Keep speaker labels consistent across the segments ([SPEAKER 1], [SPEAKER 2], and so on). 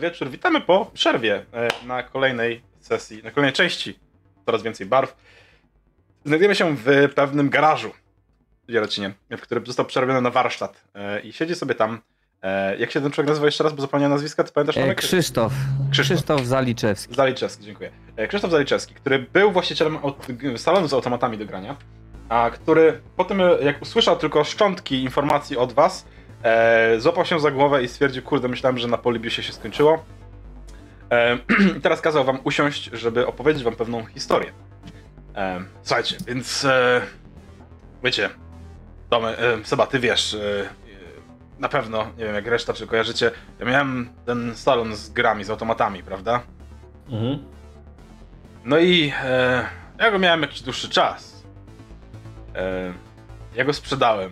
[SPEAKER 1] wieczór. Witamy po przerwie e, na kolejnej sesji, na kolejnej części. Coraz więcej barw. Znajdujemy się w pewnym garażu w Jarocinie, w którym został przerobiony na warsztat. E, I siedzi sobie tam. E, jak się ten człowiek nazywa jeszcze raz, bo zapomniałem nazwiska, ty pamiętasz?
[SPEAKER 2] E,
[SPEAKER 1] Tomek?
[SPEAKER 2] Krzysztof.
[SPEAKER 1] Krzysztof.
[SPEAKER 2] Krzysztof Zaliczewski.
[SPEAKER 1] Zaliczewski, dziękuję. E, Krzysztof Zaliczewski, który był właścicielem aut- g- salonu z automatami do grania, a który po tym, e, jak usłyszał tylko szczątki informacji od was, e, złapał się za głowę i stwierdził, kurde, myślałem, że na polibiusie się skończyło. E, I teraz kazał wam usiąść, żeby opowiedzieć wam pewną historię. E, słuchajcie, więc e, wiecie, Tomy, e, Seba, ty wiesz, e, na pewno, nie wiem jak reszta, czy kojarzycie, ja miałem ten salon z grami, z automatami, prawda?
[SPEAKER 3] Mhm.
[SPEAKER 1] No i e, ja go miałem jakiś dłuższy czas. E, ja go sprzedałem.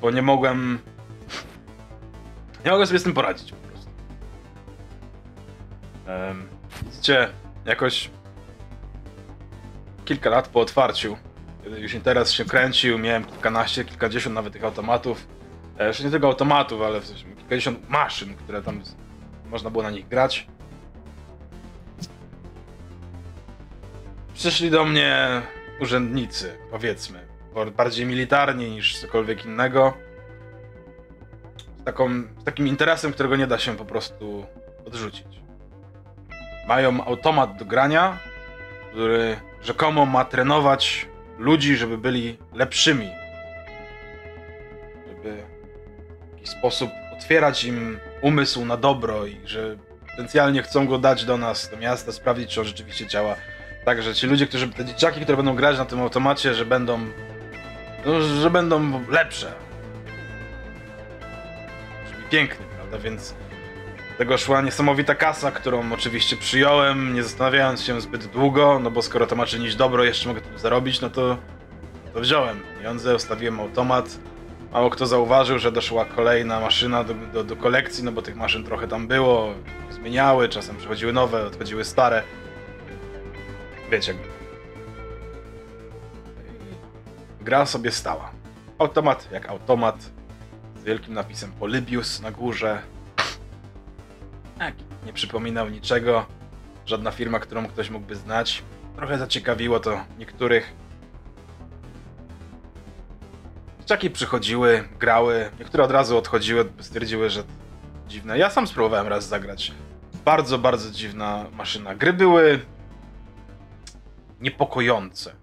[SPEAKER 1] Bo nie mogłem. Nie mogłem sobie z tym poradzić po prostu. E, widzicie, jakoś kilka lat po otwarciu, kiedy już interes się kręcił, miałem kilkanaście, kilkadziesiąt nawet tych automatów. E, jeszcze nie tylko automatów, ale w sensie kilkadziesiąt maszyn, które tam z- można było na nich grać. Przyszli do mnie urzędnicy, powiedzmy, bo bardziej militarni niż cokolwiek innego. Z, taką, z takim interesem, którego nie da się po prostu odrzucić. Mają automat do grania, który rzekomo ma trenować ludzi, żeby byli lepszymi. Żeby w jakiś sposób otwierać im umysł na dobro i że potencjalnie chcą go dać do nas, do miasta, sprawdzić, czy on rzeczywiście działa Także ci ludzie, którzy, te dzieciaki, które będą grać na tym automacie, że będą, no, że będą lepsze. Brzmi pięknie, prawda? Więc do tego szła niesamowita kasa, którą oczywiście przyjąłem, nie zastanawiając się zbyt długo, no bo skoro to ma czynić dobro, jeszcze mogę tym zarobić, no to, to wziąłem pieniądze, ustawiłem automat. Mało kto zauważył, że doszła kolejna maszyna do, do, do kolekcji, no bo tych maszyn trochę tam było, zmieniały, czasem przychodziły nowe, odchodziły stare wiecie. Gra sobie stała. Automat jak automat. Z wielkim napisem Polybius na górze. Tak. Nie przypominał niczego. Żadna firma, którą ktoś mógłby znać. Trochę zaciekawiło to niektórych. Dzieciaki przychodziły, grały. Niektóre od razu odchodziły, stwierdziły, że dziwne. Ja sam spróbowałem raz zagrać. Bardzo, bardzo dziwna maszyna. Gry były niepokojące,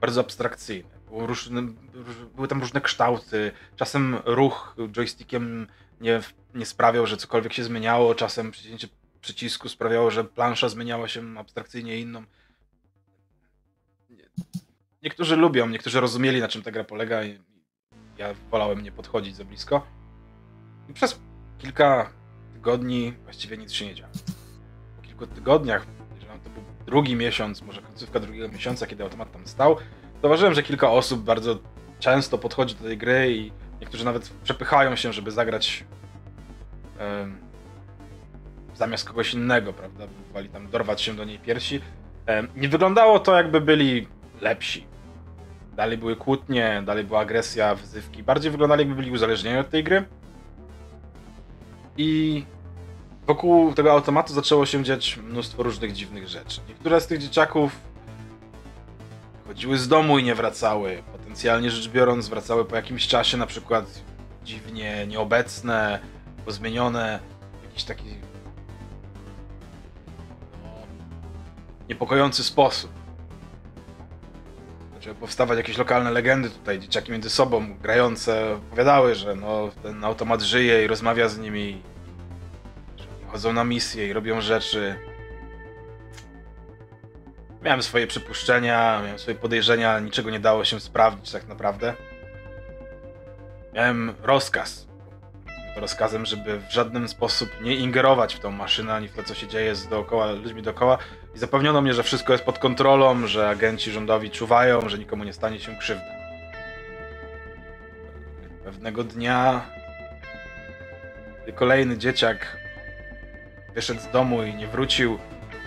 [SPEAKER 1] bardzo abstrakcyjne. Było różne, róż- były tam różne kształty, czasem ruch joystickiem nie, nie sprawiał, że cokolwiek się zmieniało, czasem przycięcie przycisku sprawiało, że plansza zmieniała się abstrakcyjnie inną. Nie- Niektórzy lubią, niektórzy rozumieli, na czym ta gra polega i i ja wolałem nie podchodzić za blisko. I przez kilka tygodni właściwie nic się nie działo. Po kilku tygodniach jeżeli to był drugi miesiąc, może końcówka drugiego miesiąca, kiedy automat tam stał, zauważyłem, że kilka osób bardzo często podchodzi do tej gry i niektórzy nawet przepychają się, żeby zagrać em, zamiast kogoś innego, prawda? Próbowali tam dorwać się do niej piersi. Em, nie wyglądało to, jakby byli lepsi. Dalej były kłótnie, dalej była agresja, wyzywki. Bardziej wyglądali, jakby byli uzależnieni od tej gry. I wokół tego automatu zaczęło się dziać mnóstwo różnych dziwnych rzeczy. Niektóre z tych dzieciaków chodziły z domu i nie wracały. Potencjalnie rzecz biorąc, wracały po jakimś czasie, na przykład dziwnie nieobecne, pozmienione, jakiś taki no, niepokojący sposób. Zaczęły powstawać jakieś lokalne legendy tutaj, dzieciaki między sobą grające opowiadały, że no, ten automat żyje i rozmawia z nimi chodzą na misje i robią rzeczy. Miałem swoje przypuszczenia, miałem swoje podejrzenia, niczego nie dało się sprawdzić tak naprawdę. Miałem rozkaz. To Rozkazem, żeby w żaden sposób nie ingerować w tą maszynę, ani w to, co się dzieje z dookoła, ludźmi dookoła. I zapewniono mnie, że wszystko jest pod kontrolą, że agenci rządowi czuwają, że nikomu nie stanie się krzywda. Pewnego dnia kolejny dzieciak wyszedł z domu i nie wrócił.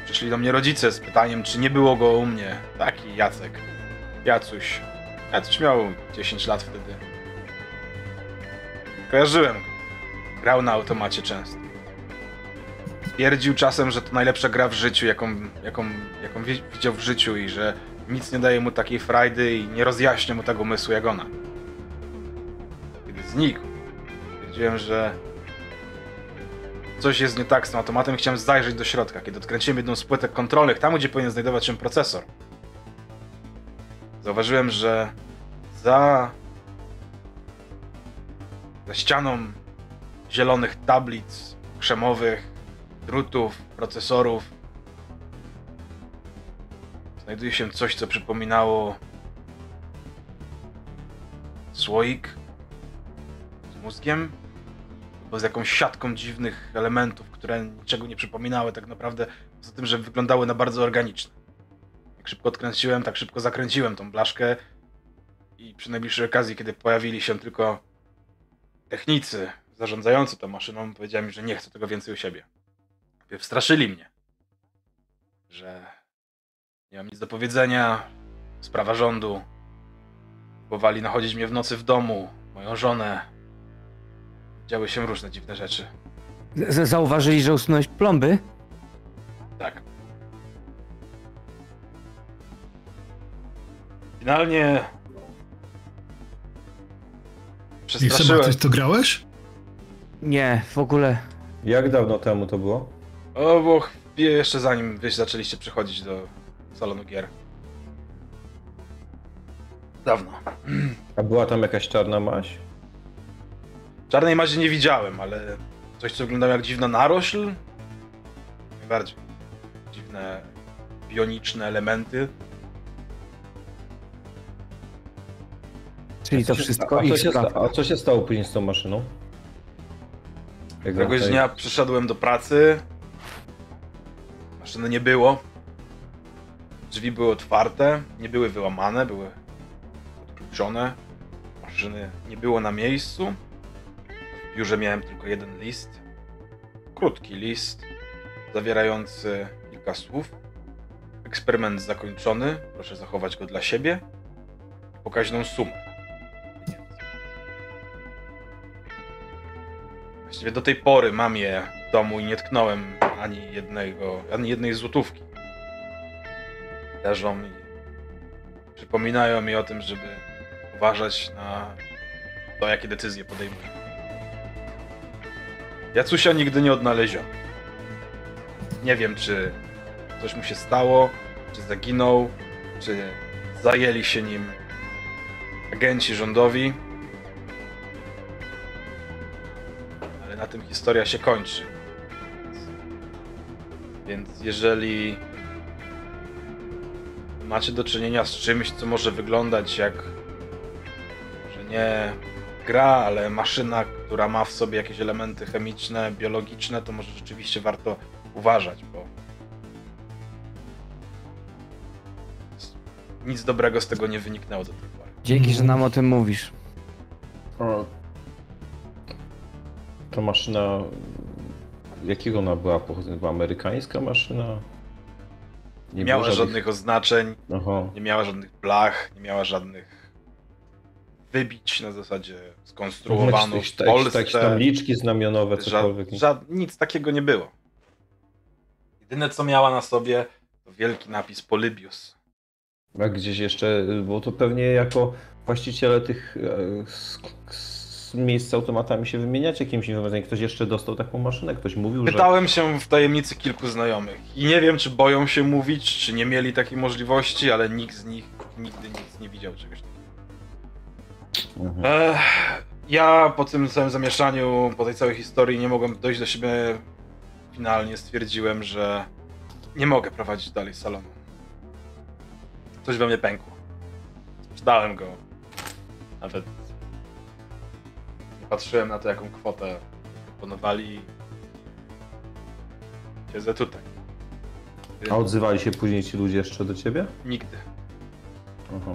[SPEAKER 1] Przyszli do mnie rodzice z pytaniem, czy nie było go u mnie. Taki Jacek. Jacuś. Jacuś miał 10 lat wtedy. Kojarzyłem go. Grał na automacie często. Twierdził czasem, że to najlepsza gra w życiu, jaką, jaką, jaką wi- widział w życiu i że nic nie daje mu takiej frajdy i nie rozjaśnia mu tego umysłu jak ona. Kiedy znikł, stwierdziłem, że coś jest nie tak z tym automatem i chciałem zajrzeć do środka. Kiedy odkręciłem jedną z płytek kontrolnych, tam gdzie powinien znajdować się procesor, zauważyłem, że za, za ścianą zielonych tablic krzemowych, drutów, procesorów znajduje się coś, co przypominało słoik z mózgiem, bo z jakąś siatką dziwnych elementów, które niczego nie przypominały tak naprawdę, poza tym, że wyglądały na bardzo organiczne. Jak szybko odkręciłem, tak szybko zakręciłem tą blaszkę i przy najbliższej okazji, kiedy pojawili się tylko technicy zarządzający tą maszyną, powiedziałem, że nie chcę tego więcej u siebie. Straszyli mnie, że nie mam nic do powiedzenia, sprawa rządu. Próbowali nachodzić mnie w nocy w domu, moją żonę. Działy się różne dziwne rzeczy.
[SPEAKER 2] Z- z- Zauważyli, że usunąłeś plomby?
[SPEAKER 1] Tak. Finalnie.
[SPEAKER 3] I
[SPEAKER 1] Przestraszyłem.
[SPEAKER 3] Seba, ty w to grałeś?
[SPEAKER 2] Nie, w ogóle.
[SPEAKER 4] Jak dawno temu to było?
[SPEAKER 1] O, bo chwie- jeszcze zanim wy zaczęliście przychodzić do salonu gier. Dawno.
[SPEAKER 4] A była tam jakaś czarna maść?
[SPEAKER 1] Czarnej mazie nie widziałem, ale coś, co wyglądało jak dziwna narośl? Najbardziej. Dziwne, bioniczne elementy.
[SPEAKER 2] Czyli to
[SPEAKER 4] Co się
[SPEAKER 2] wszystko
[SPEAKER 4] sta- a, co
[SPEAKER 2] ich
[SPEAKER 4] się
[SPEAKER 2] sprawa.
[SPEAKER 4] sta- a co się stało później z tą maszyną? Jak
[SPEAKER 1] Któregoś
[SPEAKER 4] tutaj-
[SPEAKER 1] dnia przyszedłem do pracy. Maszyny nie było. Drzwi były otwarte, nie były wyłamane, były odkluczone. Maszyny nie było na miejscu. W biurze miałem tylko jeden list. Krótki list, zawierający kilka słów. Eksperyment zakończony, proszę zachować go dla siebie. Pokaźną sumę. pieniędzy. Właściwie do tej pory mam je w domu i nie tknąłem ani jednego, ani jednej złotówki. Leżą mi. Przypominają mi o tym, żeby uważać na to, jakie decyzje podejmuję. Jacusia nigdy nie odnaleziono. Nie wiem, czy coś mu się stało, czy zaginął, czy zajęli się nim agenci rządowi. ale na tym historia się kończy. Więc jeżeli macie do czynienia z czymś, co może wyglądać jak może nie gra, ale maszyna, która ma w sobie jakieś elementy chemiczne, biologiczne, to może rzeczywiście warto uważać, bo nic dobrego z tego nie wyniknęło do tej pory.
[SPEAKER 2] Dzięki, że nam o tym mówisz.
[SPEAKER 4] O. To maszyna. Jakiego ona była pochodzenia? Była amerykańska maszyna?
[SPEAKER 1] Nie
[SPEAKER 4] było
[SPEAKER 1] miała żadnych oznaczeń,
[SPEAKER 4] Aha.
[SPEAKER 1] Nie miała żadnych blach, nie miała żadnych wybić na zasadzie skonstruowano
[SPEAKER 4] Jakieś
[SPEAKER 1] w
[SPEAKER 4] tak- jakieś
[SPEAKER 1] Polsce.
[SPEAKER 4] Takie tabliczki znamionowe, cokolwiek.
[SPEAKER 1] Ża- ża- nic takiego nie było. Jedyne co miała na sobie to wielki napis Polybius.
[SPEAKER 4] A gdzieś jeszcze, bo to pewnie jako właściciele tych e, sk- s- miejsc z automatami się wymieniać jakimś informacjami. Ktoś jeszcze dostał taką maszynę, ktoś mówił, że...
[SPEAKER 1] Pytałem się w tajemnicy kilku znajomych i nie wiem czy boją się mówić, czy nie mieli takiej możliwości, ale nikt z nich nigdy nic nie widział czegoś takiego.
[SPEAKER 4] Mhm.
[SPEAKER 1] Ech, ja po tym całym zamieszaniu, po tej całej historii nie mogłem dojść do siebie. Finalnie stwierdziłem, że nie mogę prowadzić dalej salonu. Coś we mnie pękło. Sprzedałem go. Nawet nie patrzyłem na to, jaką kwotę proponowali. Siedzę tutaj.
[SPEAKER 4] A odzywali się później ci ludzie jeszcze do ciebie?
[SPEAKER 1] Nigdy.
[SPEAKER 4] Aha.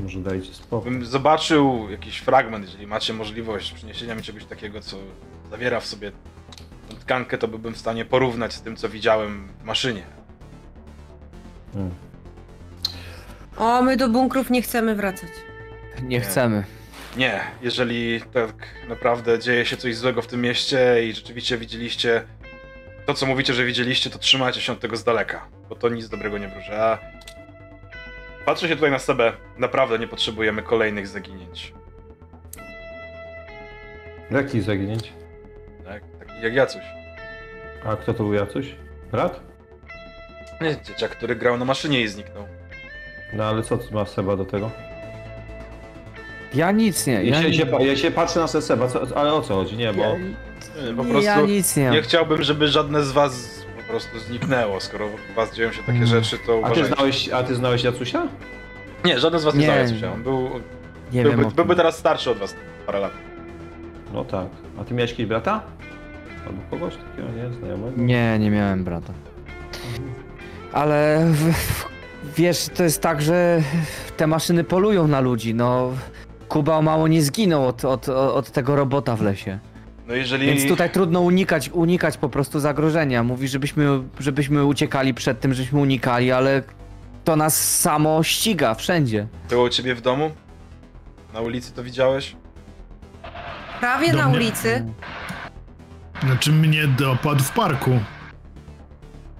[SPEAKER 4] Może dajcie spokój.
[SPEAKER 1] Bym zobaczył jakiś fragment, jeżeli macie możliwość przyniesienia mi czegoś takiego, co zawiera w sobie tą tkankę, to byłbym w stanie porównać z tym, co widziałem w maszynie.
[SPEAKER 4] Hmm.
[SPEAKER 5] O, my do bunkrów nie chcemy wracać.
[SPEAKER 2] Nie chcemy.
[SPEAKER 1] Nie, jeżeli tak naprawdę dzieje się coś złego w tym mieście i rzeczywiście widzieliście To, co mówicie, że widzieliście, to trzymajcie się od tego z daleka, bo to nic dobrego nie wróży. A patrzę się tutaj na sebę. Naprawdę nie potrzebujemy kolejnych zaginięć.
[SPEAKER 4] Jakich zaginięć?
[SPEAKER 1] Tak? Taki jak Jacuś.
[SPEAKER 4] A kto to był Jacuś? Brat?
[SPEAKER 1] Nie, Dzieciak, który grał na maszynie i zniknął.
[SPEAKER 4] No ale co ma Seba do tego?
[SPEAKER 2] Ja nic nie. Ja,
[SPEAKER 4] Ja się,
[SPEAKER 2] nic-
[SPEAKER 4] się, pa- ja się patrzę na Seba, co, ale o co chodzi? Nie, bo...
[SPEAKER 2] ja,
[SPEAKER 1] Po
[SPEAKER 2] ja
[SPEAKER 1] prostu
[SPEAKER 2] nic nie.
[SPEAKER 1] nie chciałbym, żeby żadne z was po prostu zniknęło. Skoro u was dzieją się takie
[SPEAKER 2] Mm.
[SPEAKER 1] rzeczy, to
[SPEAKER 4] A ty
[SPEAKER 1] uważajcie.
[SPEAKER 4] znałeś, a ty znałeś Jacusia?
[SPEAKER 1] Nie, żaden z was nie
[SPEAKER 2] Nie.
[SPEAKER 1] znał Jacusia. On był,
[SPEAKER 2] nie wiem.
[SPEAKER 1] byłby,
[SPEAKER 2] o tym.
[SPEAKER 1] byłby teraz starszy od was parę lat.
[SPEAKER 4] No tak. A ty miałeś kiedyś brata? Albo kogoś takiego, nie? Znajomego?
[SPEAKER 2] Nie, nie miałem brata. Ale w, w, wiesz, to jest tak, że te maszyny polują na ludzi. No, Kuba o mało nie zginął od, od, od tego robota w lesie.
[SPEAKER 1] No jeżeli...
[SPEAKER 2] Więc tutaj trudno unikać, unikać po prostu zagrożenia. Mówi, żebyśmy, żebyśmy uciekali przed tym, żebyśmy unikali, ale to nas samo ściga wszędzie.
[SPEAKER 1] Było u ciebie w domu? Na ulicy to widziałeś?
[SPEAKER 5] Prawie
[SPEAKER 3] Do
[SPEAKER 5] na
[SPEAKER 3] mnie.
[SPEAKER 5] ulicy.
[SPEAKER 3] Znaczy mnie dopadł w parku.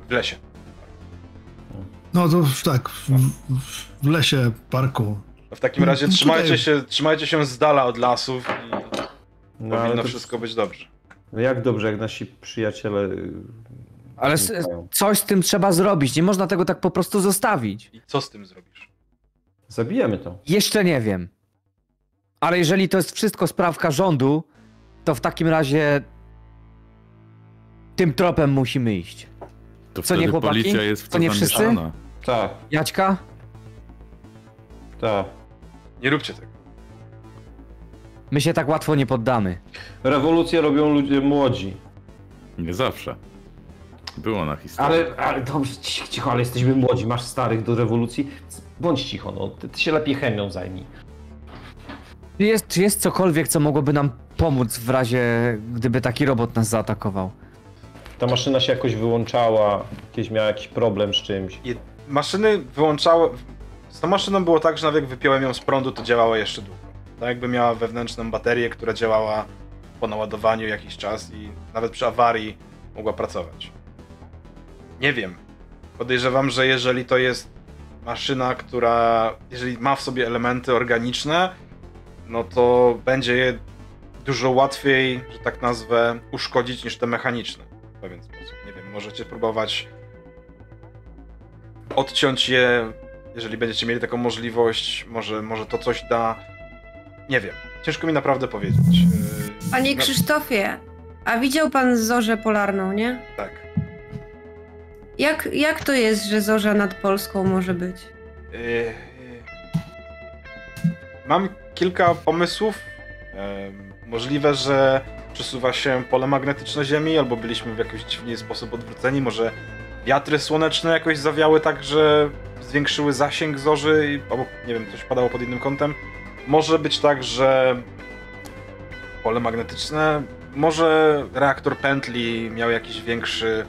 [SPEAKER 1] W lesie.
[SPEAKER 3] No to w- tak, w, w- w lesie parku.
[SPEAKER 1] No w takim
[SPEAKER 2] Mm,
[SPEAKER 1] razie
[SPEAKER 3] Tutaj-
[SPEAKER 1] trzymajcie się, trzymajcie się z dala od lasów i
[SPEAKER 4] No, ale
[SPEAKER 1] powinno
[SPEAKER 4] to- no
[SPEAKER 1] wszystko być dobrze.
[SPEAKER 4] Jak dobrze, jak nasi przyjaciele... y,
[SPEAKER 2] Ale s-
[SPEAKER 4] znikają.
[SPEAKER 2] coś z tym trzeba zrobić. Nie można tego tak po prostu zostawić.
[SPEAKER 1] I co z tym zrobisz?
[SPEAKER 4] Zabijemy to.
[SPEAKER 2] Jeszcze nie wiem. Ale jeżeli to jest wszystko sprawka rządu, to w takim razie tym tropem musimy iść.
[SPEAKER 6] To
[SPEAKER 2] Co nie,
[SPEAKER 6] wtedy
[SPEAKER 2] chłopaki?
[SPEAKER 6] policja jest w No, to
[SPEAKER 2] Co nie wszyscy?
[SPEAKER 6] zamieszana.
[SPEAKER 4] Tak,
[SPEAKER 2] Jaćka?
[SPEAKER 4] tak.
[SPEAKER 1] Nie róbcie tego.
[SPEAKER 2] My się tak łatwo nie poddamy.
[SPEAKER 4] Rewolucję robią ludzie młodzi.
[SPEAKER 6] Nie zawsze. Było na historii.
[SPEAKER 4] Ale, ale dobrze, cicho, cicho, ale jesteśmy młodzi, masz starych do rewolucji. Bądź cicho, no. Ty, ty się lepiej chemią zajmij.
[SPEAKER 2] Czy jest, czy jest cokolwiek, co mogłoby nam pomóc w razie, gdyby taki robot nas zaatakował?
[SPEAKER 4] Ta maszyna się jakoś wyłączała, kiedyś miała jakiś problem z czymś.
[SPEAKER 1] Maszyny wyłączały... Z tą maszyną było tak, że nawet jak wypiąłem ją z prądu, to działała jeszcze długo. Tak jakby miała wewnętrzną baterię, która działała po naładowaniu jakiś czas i nawet przy awarii mogła pracować. Nie wiem. Podejrzewam, że jeżeli to jest maszyna, która, jeżeli ma w sobie elementy organiczne, no to będzie je dużo łatwiej, że tak nazwę, uszkodzić niż te mechaniczne w pewien sposób. Nie wiem, możecie próbować odciąć je, jeżeli będziecie mieli taką możliwość, może, może to coś da. Nie wiem. Ciężko mi naprawdę powiedzieć. Yy,
[SPEAKER 5] Panie
[SPEAKER 1] no,
[SPEAKER 5] Krzysztofie, a widział pan zorzę polarną, nie?
[SPEAKER 1] Tak.
[SPEAKER 5] Jak, jak to jest, że zorza nad Polską może być?
[SPEAKER 1] Yy, Mam kilka pomysłów. Em, Możliwe, że przesuwa się pole magnetyczne Ziemi, albo byliśmy w jakiś dziwny sposób odwróceni. Może wiatry słoneczne jakoś zawiały tak, że zwiększyły zasięg zorzy, i- albo nie wiem, coś padało pod innym kątem. Może być tak, że pole magnetyczne, może reaktor pętli miał jakiś większy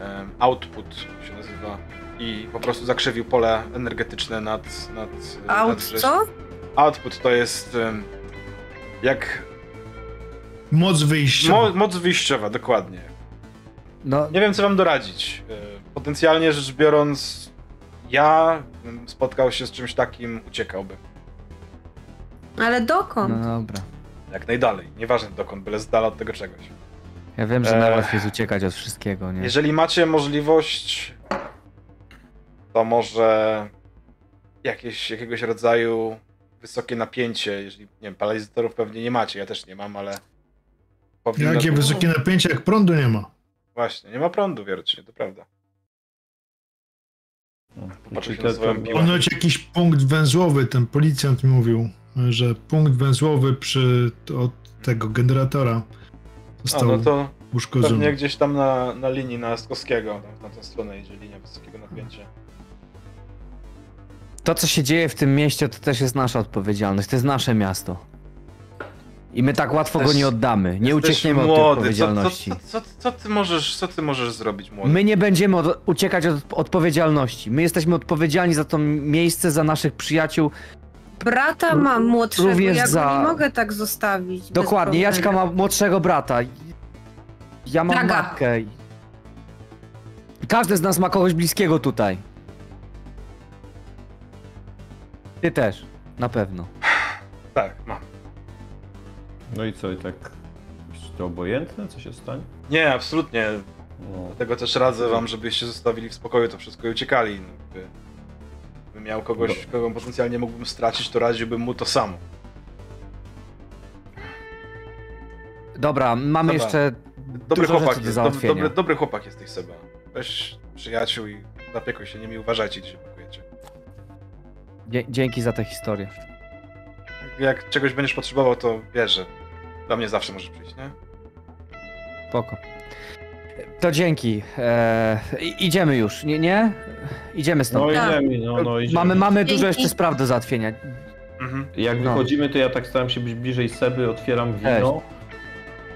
[SPEAKER 1] em, output, się nazywa, i po prostu zakrzywił pole energetyczne nad... nad nad
[SPEAKER 5] Aut
[SPEAKER 1] rzeź-
[SPEAKER 5] co?
[SPEAKER 1] Output to jest em, jak
[SPEAKER 3] Moc wyjścia.
[SPEAKER 1] mo moc wyjściowa, dokładnie.
[SPEAKER 2] No,
[SPEAKER 1] Nie wiem, co wam doradzić. E, Potencjalnie rzecz biorąc, ja bym spotkał się z czymś takim, uciekałbym.
[SPEAKER 5] Ale dokąd?
[SPEAKER 2] no dobra.
[SPEAKER 1] Jak najdalej. Nieważne dokąd, byle z dala od tego czegoś.
[SPEAKER 2] Ja wiem, że
[SPEAKER 1] Eee.
[SPEAKER 2] najłatwiej jest uciekać od wszystkiego, nie?
[SPEAKER 1] Jeżeli macie możliwość, to może jakieś, jakiegoś rodzaju wysokie napięcie. Jeżeli, nie wiem, paralizatorów pewnie nie macie, ja też nie mam, ale. powinno-
[SPEAKER 3] Jakie wysokie napięcie, jak prądu nie ma.
[SPEAKER 1] Właśnie, nie ma prądu wierocznie, to prawda. Popatrzę się
[SPEAKER 4] Znaczy, Te-
[SPEAKER 1] na swoją
[SPEAKER 4] te-
[SPEAKER 1] piłę.
[SPEAKER 3] Ponoć jakiś punkt węzłowy, ten policjant mi mówił, że punkt węzłowy przy od tego generatora
[SPEAKER 1] A,
[SPEAKER 3] został
[SPEAKER 1] no to
[SPEAKER 3] uszkodzony.
[SPEAKER 1] pewnie gdzieś tam na, na linii na Skowskiego, tam, na tą stronę idzie linia wysokiego napięcia.
[SPEAKER 2] To, co się dzieje w tym mieście, to też jest nasza odpowiedzialność. To jest nasze miasto. I my tak łatwo go
[SPEAKER 1] Jesteś-
[SPEAKER 2] nie oddamy. Nie
[SPEAKER 1] Jesteś
[SPEAKER 2] uciekniemy od tej
[SPEAKER 1] młody, co, co,
[SPEAKER 2] odpowiedzialności.
[SPEAKER 1] co, co, co, ty możesz, co ty możesz zrobić, młody?
[SPEAKER 2] My nie będziemy od, uciekać od odpowiedzialności. My jesteśmy odpowiedzialni za to miejsce, za naszych przyjaciół.
[SPEAKER 5] Brata mam młodszego,
[SPEAKER 2] Również
[SPEAKER 5] ja go
[SPEAKER 2] za-
[SPEAKER 5] nie mogę tak zostawić. bez
[SPEAKER 2] Dokładnie,
[SPEAKER 5] problemu.
[SPEAKER 2] Jaćka ma młodszego brata. Ja mam
[SPEAKER 5] Naga.
[SPEAKER 2] matkę. Każdy z nas ma kogoś bliskiego tutaj. Ty też, na pewno.
[SPEAKER 1] Tak, mam.
[SPEAKER 4] No i co, i tak... Jest to obojętne, co się stanie?
[SPEAKER 1] Nie, absolutnie.
[SPEAKER 4] No.
[SPEAKER 1] Dlatego też radzę wam, żebyście zostawili w spokoju to wszystko i uciekali. Jakby- Gdybym miał kogoś,
[SPEAKER 2] No.
[SPEAKER 1] kogo potencjalnie mógłbym stracić, to radziłbym mu to samo.
[SPEAKER 2] Dobra, mamy
[SPEAKER 1] Dobra.
[SPEAKER 2] jeszcze
[SPEAKER 1] Dobry
[SPEAKER 2] dużo
[SPEAKER 1] chłopak
[SPEAKER 2] rzeczy do
[SPEAKER 1] jest, dob-
[SPEAKER 2] załatwienia.
[SPEAKER 1] dobry, dobry chłopak jesteś Seba. Weź przyjaciół i zapiekuj się nimi, uważajcie, gdzie się pakujecie.
[SPEAKER 2] Dzie- Dzięki za tę historię.
[SPEAKER 1] Jak czegoś będziesz potrzebował, to wiesz, że do mnie zawsze możesz przyjść, nie?
[SPEAKER 2] Spoko. To dzięki. E, i- idziemy już, nie? nie? Idziemy stąd.
[SPEAKER 4] No
[SPEAKER 5] Tak.
[SPEAKER 4] idziemy, no, no idziemy.
[SPEAKER 2] mamy mamy dużo
[SPEAKER 5] Dzięki.
[SPEAKER 2] jeszcze spraw do załatwienia.
[SPEAKER 1] Mhm.
[SPEAKER 4] Jak
[SPEAKER 2] No.
[SPEAKER 4] wychodzimy, to ja tak staram się być bliżej Seby, otwieram wino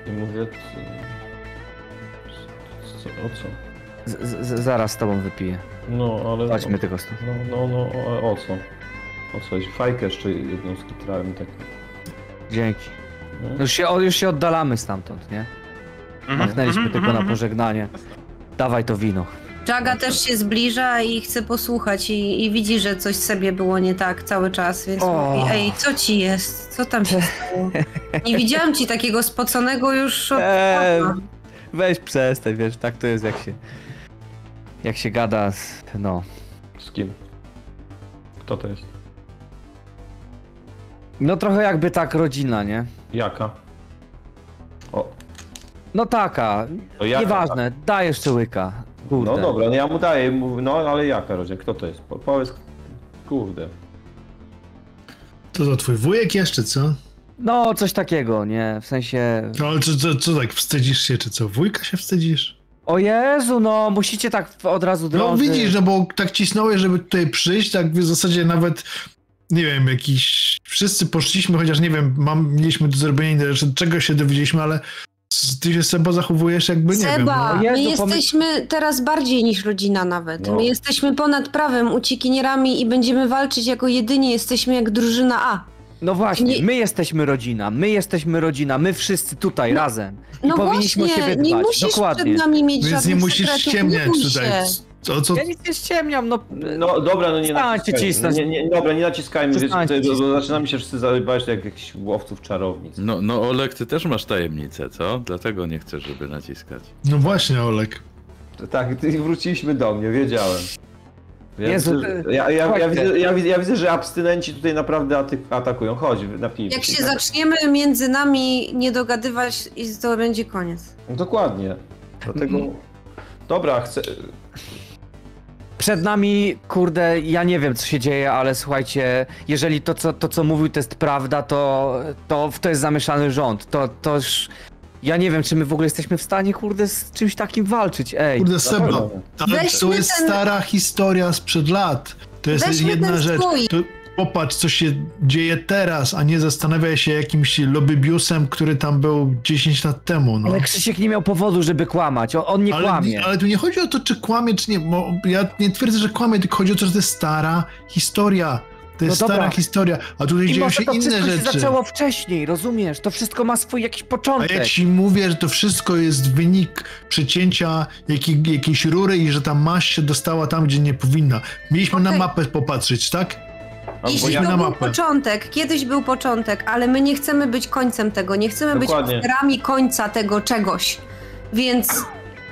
[SPEAKER 4] i mówię... Co, co, o co?
[SPEAKER 2] Z, z, zaraz z tobą wypiję.
[SPEAKER 4] No, ale...
[SPEAKER 2] Chodźmy tylko stąd.
[SPEAKER 4] No, no, no, o, o co? O co? chodzi? Fajkę jeszcze jedną skitrałem tak.
[SPEAKER 2] Dzięki.
[SPEAKER 4] No.
[SPEAKER 2] Już się, o- już się oddalamy stamtąd, nie?
[SPEAKER 1] Mhm.
[SPEAKER 2] Machnęliśmy
[SPEAKER 1] mhm,
[SPEAKER 2] tylko na
[SPEAKER 1] mhm,
[SPEAKER 2] pożegnanie. Dawaj to wino.
[SPEAKER 5] Jaga też się zbliża i chce posłuchać i, i widzi, że coś sobie było nie tak cały czas, więc
[SPEAKER 2] O.
[SPEAKER 5] mówi, ej, co ci jest? Co tam się stało? Nie widziałam ci takiego spoconego już od
[SPEAKER 2] Eee,
[SPEAKER 5] dawna.
[SPEAKER 2] weź przestań, wiesz, tak to jest jak się... Jak się gada z... no...
[SPEAKER 4] Z kim? Kto to jest?
[SPEAKER 2] No trochę jakby tak rodzina, nie?
[SPEAKER 4] Jaka? O,
[SPEAKER 2] No taka,
[SPEAKER 4] to jaka?
[SPEAKER 2] nieważne, daj jeszcze łyka. Kurde.
[SPEAKER 4] No dobra, no ja mu daję, mówię, no ale jaka rodzina? Kto to jest? Po, powiedz, kurde.
[SPEAKER 3] To za twój wujek jeszcze, co?
[SPEAKER 2] No, coś takiego, nie? W sensie...
[SPEAKER 3] No ale co, co, co tak, wstydzisz się, czy co? Wujka się wstydzisz?
[SPEAKER 2] O Jezu, no, musicie tak w- od razu
[SPEAKER 3] No
[SPEAKER 2] drążyć.
[SPEAKER 3] widzisz, no bo tak cisnąłeś, żeby tutaj przyjść, tak w zasadzie nawet, nie wiem, jakiś... Wszyscy poszliśmy, chociaż nie wiem, mam, mieliśmy do zrobienia inne rzeczy, czego się dowiedzieliśmy, ale s- ty się Seba zachowujesz jakby, nie wiem.
[SPEAKER 5] Seba,
[SPEAKER 2] no.
[SPEAKER 5] my
[SPEAKER 2] Jezu, pomy-
[SPEAKER 5] jesteśmy teraz bardziej niż rodzina nawet.
[SPEAKER 4] No.
[SPEAKER 5] My jesteśmy ponad prawem, uciekinierami i będziemy walczyć jako jedyni, jesteśmy jak drużyna A.
[SPEAKER 2] No właśnie,
[SPEAKER 5] Nie-
[SPEAKER 2] my jesteśmy rodzina, my jesteśmy rodzina, my wszyscy tutaj
[SPEAKER 5] No-
[SPEAKER 2] razem. I
[SPEAKER 5] No
[SPEAKER 2] powinniśmy
[SPEAKER 5] właśnie,
[SPEAKER 2] o siebie
[SPEAKER 5] nie
[SPEAKER 2] dbać.
[SPEAKER 5] musisz
[SPEAKER 2] Dokładnie.
[SPEAKER 5] przed nami mieć
[SPEAKER 3] Więc
[SPEAKER 5] żadnych
[SPEAKER 3] nie musisz
[SPEAKER 5] sekretów,
[SPEAKER 3] ściemniać
[SPEAKER 5] bój
[SPEAKER 3] tutaj.
[SPEAKER 5] się.
[SPEAKER 3] Co, co,
[SPEAKER 2] Ja nic nie ściemniam, no...
[SPEAKER 4] No dobra, no nie
[SPEAKER 2] Przestańcie
[SPEAKER 4] naciskajmy.
[SPEAKER 2] cisnąć.
[SPEAKER 4] Nie, nie, dobra, nie naciskajmy, wiesz,
[SPEAKER 2] Przestańcie
[SPEAKER 4] tutaj, bo, bo
[SPEAKER 2] cisnąć.
[SPEAKER 4] zaczynamy się wszyscy zarywać jak jakichś łowców czarownic.
[SPEAKER 6] No, no Olek, ty też masz tajemnicę, co? Dlatego nie chcesz, żeby naciskać.
[SPEAKER 3] No właśnie, Olek.
[SPEAKER 4] Tak, ty- wróciliśmy do mnie, wiedziałem. Ja,
[SPEAKER 2] Jezu,
[SPEAKER 4] widzę,
[SPEAKER 2] ty-
[SPEAKER 4] że- ja, ja, ja,
[SPEAKER 2] chodźcie.
[SPEAKER 4] widzę, ja, widzę, ja widzę, że abstynenci tutaj naprawdę aty- atakują. Chodź, napijmy
[SPEAKER 5] Jak się
[SPEAKER 4] tak?
[SPEAKER 5] zaczniemy między nami nie dogadywać, i to będzie koniec.
[SPEAKER 4] Dokładnie. Dlatego...
[SPEAKER 5] Mhm.
[SPEAKER 4] Dobra, chcę...
[SPEAKER 2] Przed nami, kurde, ja nie wiem, co się dzieje, ale słuchajcie, jeżeli to, co, to, co mówił, to jest prawda, to, to w to jest zamieszany rząd. To, toż... Ja nie wiem, czy my w ogóle jesteśmy w stanie, kurde, z czymś takim walczyć, ej.
[SPEAKER 3] Kurde, Seba,
[SPEAKER 4] Dobra.
[SPEAKER 3] ale to
[SPEAKER 5] Weźmy
[SPEAKER 3] jest
[SPEAKER 5] ten-
[SPEAKER 3] stara historia sprzed lat. To jest
[SPEAKER 5] Weźmy
[SPEAKER 3] jedna
[SPEAKER 5] ten
[SPEAKER 3] rzecz.
[SPEAKER 5] swój.
[SPEAKER 3] To popatrz, co się dzieje teraz, a nie zastanawiaj się jakimś lobbybiusem, który tam był 10 lat temu. No.
[SPEAKER 2] Ale Krzysiek nie miał powodu, żeby kłamać, o, on nie
[SPEAKER 3] ale,
[SPEAKER 2] kłamie.
[SPEAKER 3] ale tu nie chodzi o to, czy kłamie, czy nie. Bo ja nie twierdzę, że kłamie, tylko chodzi o to, że to jest stara historia. To jest
[SPEAKER 2] No dobra.
[SPEAKER 3] stara historia, a tutaj
[SPEAKER 2] I
[SPEAKER 3] dzieją
[SPEAKER 2] może
[SPEAKER 3] się
[SPEAKER 2] to
[SPEAKER 3] inne
[SPEAKER 2] wszystko
[SPEAKER 3] rzeczy.
[SPEAKER 2] się zaczęło wcześniej, rozumiesz? To wszystko ma swój jakiś
[SPEAKER 3] A
[SPEAKER 2] początek.
[SPEAKER 3] ja ci mówię, że to wszystko jest wynik przecięcia jakiej, jakiejś rury i że ta maść się dostała tam, gdzie nie powinna. Mieliśmy na
[SPEAKER 5] Okej.
[SPEAKER 3] mapę popatrzeć, tak?
[SPEAKER 4] A, bo
[SPEAKER 5] Jeśli
[SPEAKER 4] ja...
[SPEAKER 3] na
[SPEAKER 5] to był
[SPEAKER 3] mapę.
[SPEAKER 5] początek, kiedyś był początek, ale my nie chcemy być końcem tego, nie chcemy
[SPEAKER 4] Dokładnie.
[SPEAKER 5] być ofiarami końca tego czegoś. Więc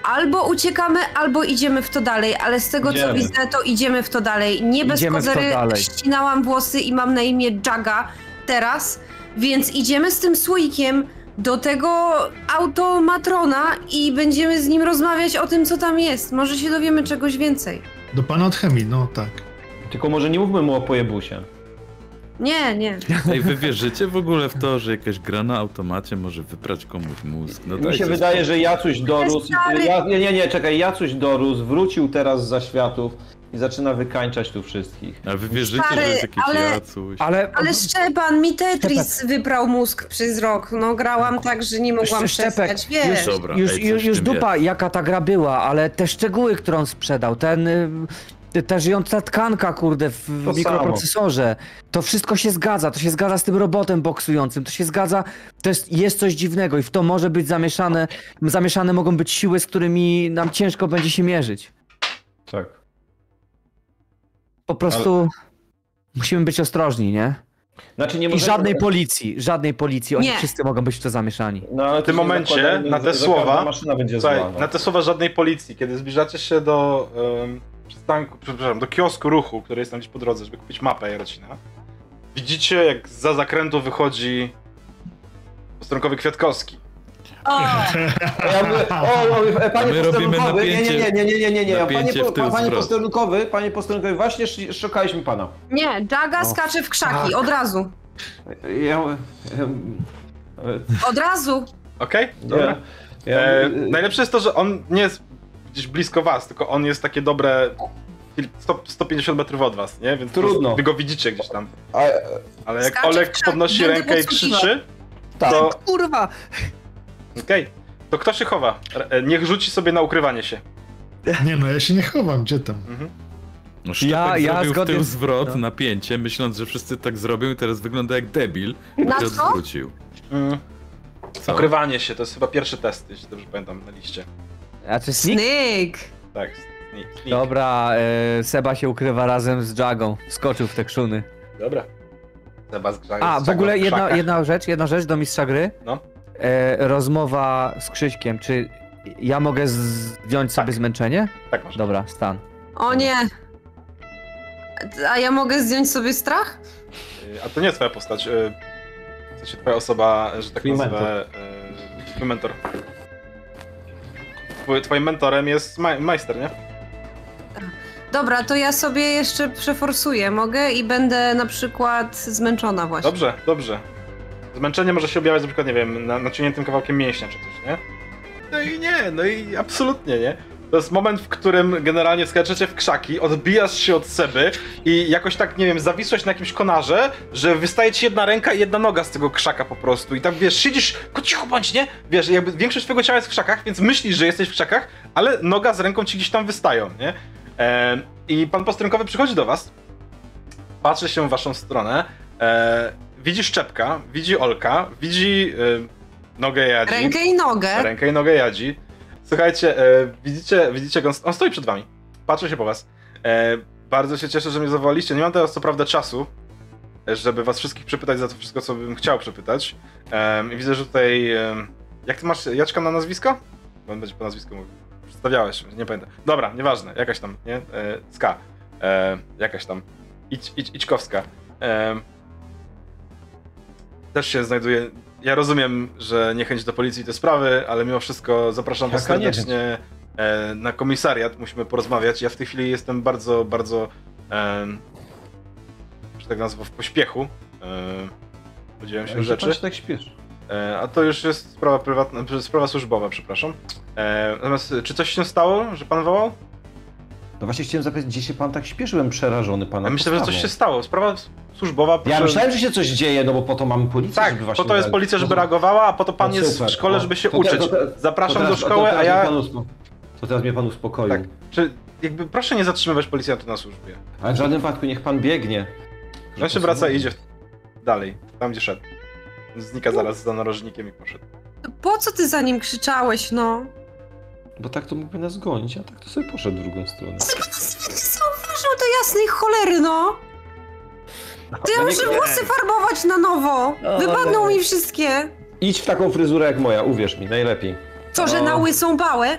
[SPEAKER 5] albo uciekamy, albo idziemy w to dalej, ale z tego
[SPEAKER 4] Idziemy.
[SPEAKER 5] co widzę, to idziemy w to dalej. Nie bez
[SPEAKER 2] Idziemy w to
[SPEAKER 5] kozery
[SPEAKER 2] dalej.
[SPEAKER 5] ścinałam włosy i mam na imię Jaga teraz, więc idziemy z tym słoikiem do tego automatrona i będziemy z nim rozmawiać o tym, co tam jest. Może się dowiemy czegoś więcej.
[SPEAKER 3] Do pana od chemii, no tak.
[SPEAKER 4] Tylko może nie mówmy mu o pojebusie.
[SPEAKER 5] Nie, nie.
[SPEAKER 6] Ej, wy wierzycie w ogóle w to, że jakaś gra na automacie może wyprać komuś mózg? No
[SPEAKER 4] Mi się
[SPEAKER 6] dajcie
[SPEAKER 4] wydaje, że Jacuś dorósł...
[SPEAKER 5] stary.
[SPEAKER 4] Ja, nie, nie, nie, czekaj, Jacuś dorósł, wrócił teraz za światów i zaczyna wykańczać tu wszystkich.
[SPEAKER 6] A wy wierzycie,
[SPEAKER 5] Stary,
[SPEAKER 6] że jest jakiś
[SPEAKER 5] ale-
[SPEAKER 6] jacuś?
[SPEAKER 2] Ale,
[SPEAKER 5] Ale Szczepan, mi Tetris wyprał mózg przez rok. No grałam tak, że nie mogłam
[SPEAKER 2] Szczepek,
[SPEAKER 5] przestać, wiesz.
[SPEAKER 6] już- Dobra,
[SPEAKER 2] już,
[SPEAKER 6] ej, coś
[SPEAKER 2] już,
[SPEAKER 6] w
[SPEAKER 2] już
[SPEAKER 6] tym
[SPEAKER 2] dupa, jaka ta gra była, ale te szczegóły, które on sprzedał, ten... y, Ta żyjąca tkanka, kurde, w
[SPEAKER 4] To
[SPEAKER 2] mikroprocesorze. To wszystko się zgadza. To się zgadza z tym robotem boksującym. To się zgadza. To jest, jest coś dziwnego i w to może być zamieszane. Zamieszane mogą być siły, z którymi nam ciężko będzie się mierzyć.
[SPEAKER 4] Tak.
[SPEAKER 2] Po prostu musimy być ostrożni, nie?
[SPEAKER 4] Znaczy nie
[SPEAKER 2] I
[SPEAKER 4] możemy-
[SPEAKER 2] żadnej policji, żadnej policji. Oni
[SPEAKER 5] Nie.
[SPEAKER 2] wszyscy mogą być w to zamieszani.
[SPEAKER 4] No, ale
[SPEAKER 1] W
[SPEAKER 4] też
[SPEAKER 1] tym
[SPEAKER 4] nie
[SPEAKER 1] momencie
[SPEAKER 4] zakładajmy,
[SPEAKER 1] na te
[SPEAKER 4] że
[SPEAKER 1] słowa-
[SPEAKER 4] każda maszyna będzie
[SPEAKER 1] Słuchaj,
[SPEAKER 4] zła, no.
[SPEAKER 1] na te słowa żadnej policji, kiedy zbliżacie się do em, przystanku, przepraszam, do kiosku ruchu, który jest tam gdzieś po drodze, żeby kupić mapę Jarocina, widzicie jak za zakrętu wychodzi posterunkowy Kwiatkowski.
[SPEAKER 5] O!
[SPEAKER 4] A Ja mówię, o, o, e, panie
[SPEAKER 6] My robimy
[SPEAKER 4] posterunkowy, nie, nie,
[SPEAKER 6] napięcie-
[SPEAKER 4] nie, nie, nie, nie, nie, nie. Panie,
[SPEAKER 6] napięcie
[SPEAKER 4] po,
[SPEAKER 6] w tył
[SPEAKER 4] panie
[SPEAKER 6] zwrot.
[SPEAKER 4] posterunkowy, panie posterunkowy, właśnie sz- szukaliśmy pana.
[SPEAKER 5] Nie, Jaga skacze w krzaki, od razu.
[SPEAKER 4] Ja, ja,
[SPEAKER 5] Od razu.
[SPEAKER 1] Okej?
[SPEAKER 4] ja, ja, y-
[SPEAKER 1] E, najlepsze jest to, że on nie jest gdzieś blisko was, tylko on jest takie dobre kil- sto- 150 metrów od was, nie? Więc po
[SPEAKER 4] Trudno.
[SPEAKER 1] prostu Wy go widzicie gdzieś tam.
[SPEAKER 4] a,
[SPEAKER 1] Ale jak
[SPEAKER 5] Skacze w
[SPEAKER 1] Olek
[SPEAKER 5] krzak,
[SPEAKER 1] podnosi
[SPEAKER 5] będę
[SPEAKER 1] rękę i
[SPEAKER 5] podsłuchiwał.
[SPEAKER 1] krzyczy,
[SPEAKER 2] Tak.
[SPEAKER 1] to...
[SPEAKER 2] Kurwa!
[SPEAKER 1] Okej. To kto się chowa? R- e, niech rzuci sobie na ukrywanie się.
[SPEAKER 3] Nie no, ja się nie chowam, gdzie tam?
[SPEAKER 1] Mhm.
[SPEAKER 6] No,
[SPEAKER 2] Ja-
[SPEAKER 6] ja,
[SPEAKER 2] ja
[SPEAKER 6] zrobił
[SPEAKER 2] zgodnie
[SPEAKER 6] w tył
[SPEAKER 2] z-
[SPEAKER 6] zwrot,
[SPEAKER 2] no.
[SPEAKER 6] napięcie, myśląc, że wszyscy tak zrobią i teraz wygląda jak debil.
[SPEAKER 5] Na
[SPEAKER 6] i
[SPEAKER 5] co?
[SPEAKER 6] odwrócił.
[SPEAKER 1] Mm.
[SPEAKER 6] Co?
[SPEAKER 1] Ukrywanie się, to jest chyba pierwszy test, jeśli dobrze pamiętam, na liście.
[SPEAKER 2] A czy sneak?
[SPEAKER 5] Snyk.
[SPEAKER 1] Tak, sneak. sneak.
[SPEAKER 2] Dobra, e, Seba się ukrywa razem z Jagą. Skoczył w te krzuny.
[SPEAKER 1] Dobra. Seba z krzak-
[SPEAKER 2] A,
[SPEAKER 1] z
[SPEAKER 2] w
[SPEAKER 1] krzaka-
[SPEAKER 2] ogóle jedna,
[SPEAKER 1] krzaka.
[SPEAKER 2] jedna rzecz, jedna rzecz do mistrza gry.
[SPEAKER 1] No.
[SPEAKER 2] E, rozmowa z Krzyśkiem. Czy ja mogę z- zdjąć sobie
[SPEAKER 1] Tak.
[SPEAKER 2] zmęczenie?
[SPEAKER 1] Tak, masz.
[SPEAKER 2] Dobra, stan.
[SPEAKER 5] O nie. A ja mogę zdjąć sobie strach?
[SPEAKER 1] Y, A to nie twoja postać. y, W sensie twoja osoba, że tak
[SPEAKER 4] Twój
[SPEAKER 1] nazwę...
[SPEAKER 4] mentor.
[SPEAKER 1] y, Twój mentor. Twój- Twoim mentorem jest maj, majster, nie?
[SPEAKER 5] Dobra, to ja sobie jeszcze przeforsuję, mogę? I będę na przykład zmęczona właśnie.
[SPEAKER 1] Dobrze, dobrze. Zmęczenie może się objawiać na przykład, nie wiem, na, naciągniętym kawałkiem mięśnia czy coś, nie? No i nie, no i absolutnie nie. To jest moment, w którym generalnie skaczecie w krzaki, odbijasz się od Seby i jakoś tak, nie wiem, zawisłeś na jakimś konarze, że wystaje ci jedna ręka i jedna noga z tego krzaka po prostu. I tak, wiesz, siedzisz, tylko cicho bądź, nie? Wiesz, jakby większość twojego ciała jest w krzakach, więc myślisz, że jesteś w krzakach, ale noga z ręką ci gdzieś tam wystają, nie? Em, I pan posterunkowy przychodzi do was, patrzy się w waszą stronę, e, widzi Szczepka, widzi Olka, widzi e, nogę Jadzi.
[SPEAKER 5] Rękę i nogę.
[SPEAKER 1] Rękę i nogę Jadzi. Słuchajcie, e, widzicie, widzicie, jak on, on stoi przed wami. Patrzy się po was. E, bardzo się cieszę, że mnie zawołaliście. Nie mam teraz co prawda czasu, e, żeby was wszystkich przepytać za to wszystko, co bym chciał przepytać. E, i widzę, że tutaj... E, jak ty masz Jaczka na nazwisko? Bo on będzie po nazwisku mówił. Przedstawiałeś, nie pamiętam. Dobra, nieważne, jakaś tam, nie? E, Ska. E, jakaś tam. Idź, idź, Idźkowska. E, też się znajduje. Ja rozumiem, że niechęć do policji te sprawy, ale mimo wszystko zapraszam was
[SPEAKER 4] Jaka niechęć?
[SPEAKER 1] serdecznie e, na komisariat. Musimy porozmawiać. Ja w tej chwili jestem bardzo, bardzo, e, że tak nazwę, w pośpiechu. E, podzieliłem się rzeczy.
[SPEAKER 4] Pan się tak śpieszy.
[SPEAKER 1] E, A to już jest sprawa prywatna, sprawa służbowa, przepraszam. E, natomiast e, czy coś się stało, że pan wołał?
[SPEAKER 4] No właśnie chciałem zapytać, gdzie się pan tak śpieszy? Byłem przerażony pana
[SPEAKER 1] Ja myślę, że coś
[SPEAKER 4] postawą.
[SPEAKER 1] się stało. Sprawa służbowa.
[SPEAKER 4] Ja
[SPEAKER 1] proszę-
[SPEAKER 4] myślałem, że się coś dzieje, no bo po to mamy policję,
[SPEAKER 1] Tak,
[SPEAKER 4] żeby właśnie...
[SPEAKER 1] po to jest
[SPEAKER 4] reagować.
[SPEAKER 1] policja, żeby
[SPEAKER 4] No to-
[SPEAKER 1] reagowała, a po to pan
[SPEAKER 4] No
[SPEAKER 1] jest
[SPEAKER 4] super,
[SPEAKER 1] w szkole,
[SPEAKER 4] no.
[SPEAKER 1] żeby się
[SPEAKER 4] To te-
[SPEAKER 1] uczyć.
[SPEAKER 4] to te-
[SPEAKER 1] Zapraszam
[SPEAKER 4] to teraz-
[SPEAKER 1] do szkoły,
[SPEAKER 4] to
[SPEAKER 1] a
[SPEAKER 4] teraz mnie
[SPEAKER 1] ja...
[SPEAKER 4] pan uspo- To teraz mnie pan uspokoił.
[SPEAKER 1] Tak. Czy, jakby proszę nie zatrzymywać policjantów na służbie.
[SPEAKER 4] Ale w żadnym wypadku niech pan biegnie.
[SPEAKER 1] On się wraca i idzie dalej, tam gdzie szedł. Znika zaraz za narożnikiem i poszedł.
[SPEAKER 5] Po co ty za nim krzyczałeś, no?
[SPEAKER 4] Bo tak to mógłby nas zgonić, a tak to sobie poszedł w drugą stronę.
[SPEAKER 5] Chyba nas nie zauważył tej jasnej cholery, no! To ja
[SPEAKER 4] No
[SPEAKER 5] muszę
[SPEAKER 4] nie- No,
[SPEAKER 5] włosy farbować na nowo! Wypadną mi wszystkie!
[SPEAKER 4] Idź w taką fryzurę jak moja, uwierz mi, najlepiej.
[SPEAKER 5] Co, że
[SPEAKER 4] No.
[SPEAKER 2] O.
[SPEAKER 5] na łysą bałę?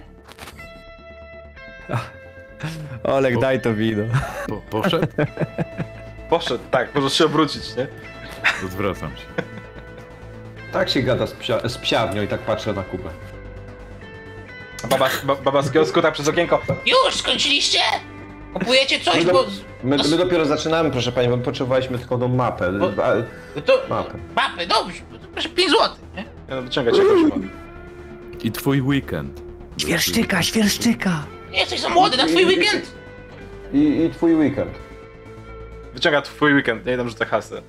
[SPEAKER 2] Olek,
[SPEAKER 6] O.
[SPEAKER 2] daj to wino.
[SPEAKER 6] Po, poszedł?
[SPEAKER 1] Poszedł, tak, możesz się obrócić, nie?
[SPEAKER 6] Odwracam się.
[SPEAKER 4] Tak się gada z, psia, z psiarnią i tak patrzę na Kubę.
[SPEAKER 1] A Baba, ba, baba z kiosku tak przez okienko.
[SPEAKER 7] Już skończyliście? Kupujecie coś, bo.
[SPEAKER 4] My, my dopiero zaczynamy, proszę pani, bo potrzebowaliśmy tylko tą mapę.
[SPEAKER 7] Bo-
[SPEAKER 4] A,
[SPEAKER 7] To.
[SPEAKER 4] mapę.
[SPEAKER 7] Mapy, dobrze, proszę 5 zł. Nie?
[SPEAKER 1] Ja wyciąga cię jakoś. ma.
[SPEAKER 6] I twój weekend.
[SPEAKER 2] Świerszczyka, świerszczyka!
[SPEAKER 7] Nie jesteś za młody na twój weekend.
[SPEAKER 4] I, I twój weekend.
[SPEAKER 1] Wyciąga twój weekend, nie? I tam rzuca hasę.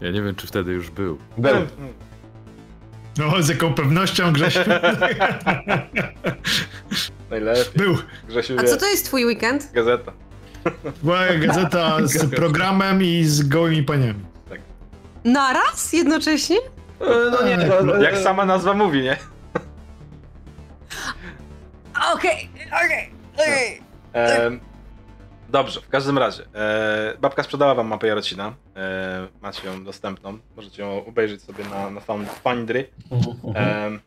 [SPEAKER 6] Ja nie wiem, czy wtedy już był.
[SPEAKER 4] Był.
[SPEAKER 1] Hmm.
[SPEAKER 3] No, z jaką pewnością Grześ
[SPEAKER 1] Najlepiej.
[SPEAKER 3] był.
[SPEAKER 1] Grzesiu
[SPEAKER 5] A
[SPEAKER 1] wie.
[SPEAKER 5] co to jest twój weekend?
[SPEAKER 1] Gazeta.
[SPEAKER 3] Była gazeta z programem i z gołymi paniami.
[SPEAKER 5] Naraz? Jednocześnie?
[SPEAKER 4] E, No nie, no, no,
[SPEAKER 1] Hmm. Jak sama nazwa mówi, nie?
[SPEAKER 5] Okej, okej, okej.
[SPEAKER 1] E, dobrze, w każdym razie. E, babka sprzedała wam mapę Jarocina. E, macie ją dostępną. Możecie ją obejrzeć sobie na, na Found- Foundry. Em,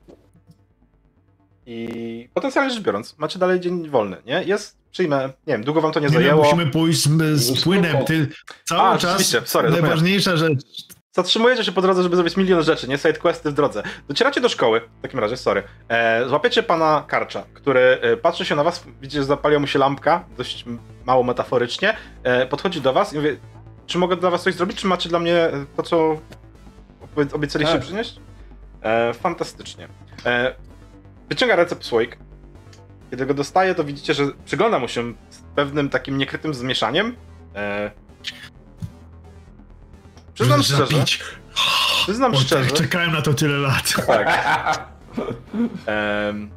[SPEAKER 1] I potencjalnie rzecz biorąc, macie dalej dzień wolny, nie? Jest, przyjmę, nie wiem, długo wam to nie,
[SPEAKER 3] Nie no,
[SPEAKER 1] zajęło.
[SPEAKER 3] musimy pójść z, z płynem. Ty cały
[SPEAKER 1] A,
[SPEAKER 3] czas.
[SPEAKER 1] rzeczywiście, sorry, zapomniałem.
[SPEAKER 3] najważniejsza rzecz.
[SPEAKER 1] Zatrzymujecie się po drodze, żeby zrobić milion rzeczy, nie? Side questy w drodze. Docieracie do szkoły, w takim razie, sorry. E, złapiecie pana Karcza, który e, patrzy się na was, widzicie, że zapaliła mu się lampka, dość m- mało metaforycznie. E, podchodzi do was i mówi, czy mogę dla was coś zrobić, czy macie dla mnie e, to, co opie- obiecaliście
[SPEAKER 4] Tak.
[SPEAKER 1] przynieść? E, fantastycznie. E, wyciąga ręce po słoik. Kiedy go dostaje, to widzicie, że przygląda mu się z pewnym takim niekrytym zmieszaniem. E, przyznam
[SPEAKER 3] Żeby
[SPEAKER 1] szczerze,
[SPEAKER 3] zapić.
[SPEAKER 1] Przyznam
[SPEAKER 3] O,
[SPEAKER 1] szczerze.
[SPEAKER 3] tak, czekałem na to tyle lat.
[SPEAKER 1] Tak. Em, Um,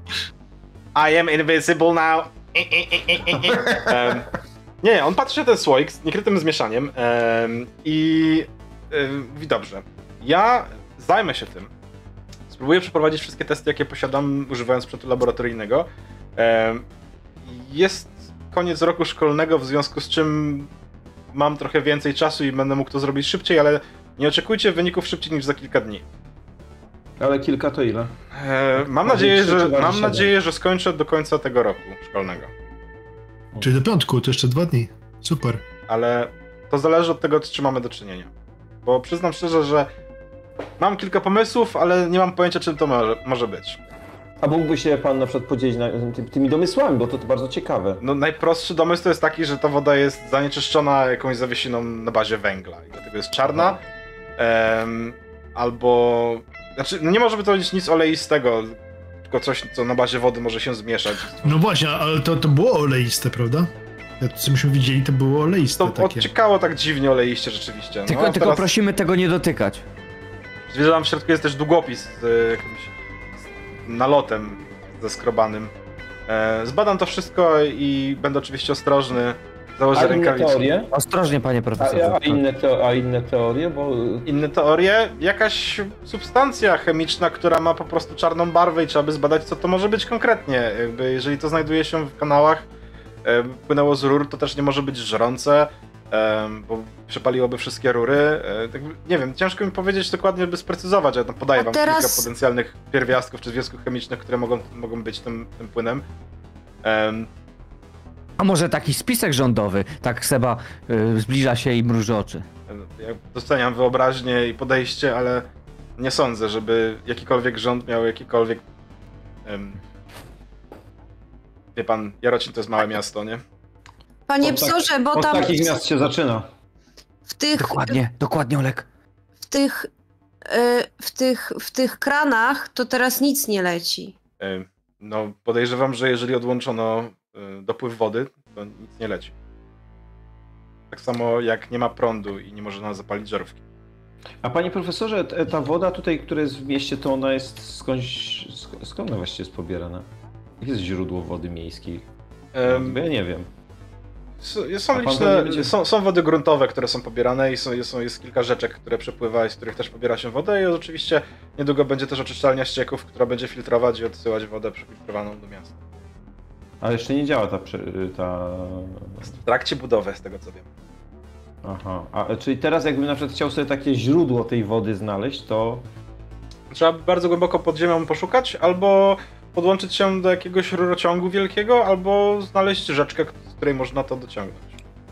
[SPEAKER 1] I am invisible now. Em, nie, on patrzy na ten słoik z niekrytym zmieszaniem em, i em, mówi dobrze. Ja zajmę się tym. Spróbuję przeprowadzić wszystkie testy, jakie posiadam, używając sprzętu laboratoryjnego. Em, jest koniec roku szkolnego, w związku z czym mam trochę więcej czasu i będę mógł to zrobić szybciej, ale nie oczekujcie wyników szybciej niż za kilka dni.
[SPEAKER 4] Ale kilka to ile?
[SPEAKER 1] E, mam
[SPEAKER 4] Bardziej
[SPEAKER 1] nadzieję, że,
[SPEAKER 4] przeczytałem
[SPEAKER 1] mam
[SPEAKER 4] siedem.
[SPEAKER 1] nadzieję, że skończę do końca tego roku szkolnego.
[SPEAKER 3] Czyli do piątku, to jeszcze dwa dni. Super.
[SPEAKER 1] Ale to zależy od tego, z czym mamy do czynienia. Bo przyznam szczerze, że mam kilka pomysłów, ale nie mam pojęcia, czym to może, może być.
[SPEAKER 4] A mógłby się pan na przykład podzielić na, ty, tymi domysłami, bo to, to bardzo ciekawe.
[SPEAKER 1] No, najprostszy domysł to jest taki, że ta woda jest zanieczyszczona jakąś zawiesiną na bazie węgla i dlatego jest czarna. Em, albo. Znaczy, no nie może by to być nic oleistego, tylko coś, co na bazie wody może się zmieszać.
[SPEAKER 3] No właśnie, ale to, to było oleiste, prawda? Ja to, co myśmy widzieli, to było oleiste
[SPEAKER 1] To
[SPEAKER 3] takie.
[SPEAKER 1] odciekało tak dziwnie oleiście rzeczywiście. No,
[SPEAKER 2] Tylko,
[SPEAKER 1] a
[SPEAKER 2] tylko
[SPEAKER 1] teraz-
[SPEAKER 2] prosimy tego nie dotykać.
[SPEAKER 1] Zwierzę w środku jest też długopis z e, jakimś z nalotem zeskrobanym. E, Zbadam to wszystko i będę oczywiście ostrożny. Założę
[SPEAKER 4] A inne
[SPEAKER 1] rękawiczki.
[SPEAKER 4] teorie?
[SPEAKER 2] Ostrożnie, panie
[SPEAKER 4] A,
[SPEAKER 2] profesorze. Tak.
[SPEAKER 4] a, inne teo- a inne teorie, bo
[SPEAKER 1] Inne teorie? Jakaś substancja chemiczna, która ma po prostu czarną barwę i trzeba by zbadać, co to może być konkretnie. Jakby, jeżeli to znajduje się w kanałach, e, płynęło z rur, to też nie może być żrące, e, bo przepaliłoby wszystkie rury. E, tak, nie wiem, ciężko mi powiedzieć dokładnie, by sprecyzować, ale tam podaję
[SPEAKER 5] A
[SPEAKER 1] wam
[SPEAKER 5] teraz-
[SPEAKER 1] kilka potencjalnych pierwiastków czy związków chemicznych, które mogą, mogą być tym, tym płynem. Em,
[SPEAKER 2] A może taki spisek rządowy? Tak Seba y, zbliża się i mruży oczy.
[SPEAKER 1] Ja doceniam wyobraźnię i podejście, ale nie sądzę, żeby jakikolwiek rząd miał jakikolwiek. em, wie pan, Jarocin to jest małe miasto, nie?
[SPEAKER 5] Panie
[SPEAKER 4] Od tak-
[SPEAKER 5] psorze, bo
[SPEAKER 4] od
[SPEAKER 5] tam
[SPEAKER 4] takich miast się zaczyna.
[SPEAKER 5] w tych,
[SPEAKER 2] Dokładnie, dokładnie Olek.
[SPEAKER 5] w tych, e, w tych, w tych kranach to teraz nic nie leci.
[SPEAKER 1] Em, no, podejrzewam, że jeżeli odłączono y, dopływ wody, to nic nie leci. Tak samo jak nie ma prądu i nie można zapalić żarówki.
[SPEAKER 4] A panie profesorze, t- ta woda tutaj, która jest w mieście, to ona jest skądś, sk- skąd ona właściwie jest pobierana? Jakie jest źródło wody miejskiej?
[SPEAKER 1] Em,
[SPEAKER 4] Bo ja nie wiem.
[SPEAKER 1] S-
[SPEAKER 4] A
[SPEAKER 1] Są
[SPEAKER 4] pan pewnie
[SPEAKER 1] liczne,
[SPEAKER 4] będzie-
[SPEAKER 1] są, są wody gruntowe, które są pobierane i są, są, jest kilka rzeczek, które przepływa i z których też pobiera się wodę i oczywiście niedługo będzie też oczyszczalnia ścieków, która będzie filtrować i odsyłać wodę przefiltrowaną do miasta.
[SPEAKER 4] Ale jeszcze nie działa ta... prze- y, ta...
[SPEAKER 1] Jest w trakcie budowy, z tego co wiem.
[SPEAKER 4] Aha. A, czyli teraz jakbym na przykład chciał sobie takie źródło tej wody znaleźć, to...
[SPEAKER 1] Trzeba by bardzo głęboko pod ziemią poszukać albo podłączyć się do jakiegoś rurociągu wielkiego, albo znaleźć rzeczkę, z której można to dociągnąć.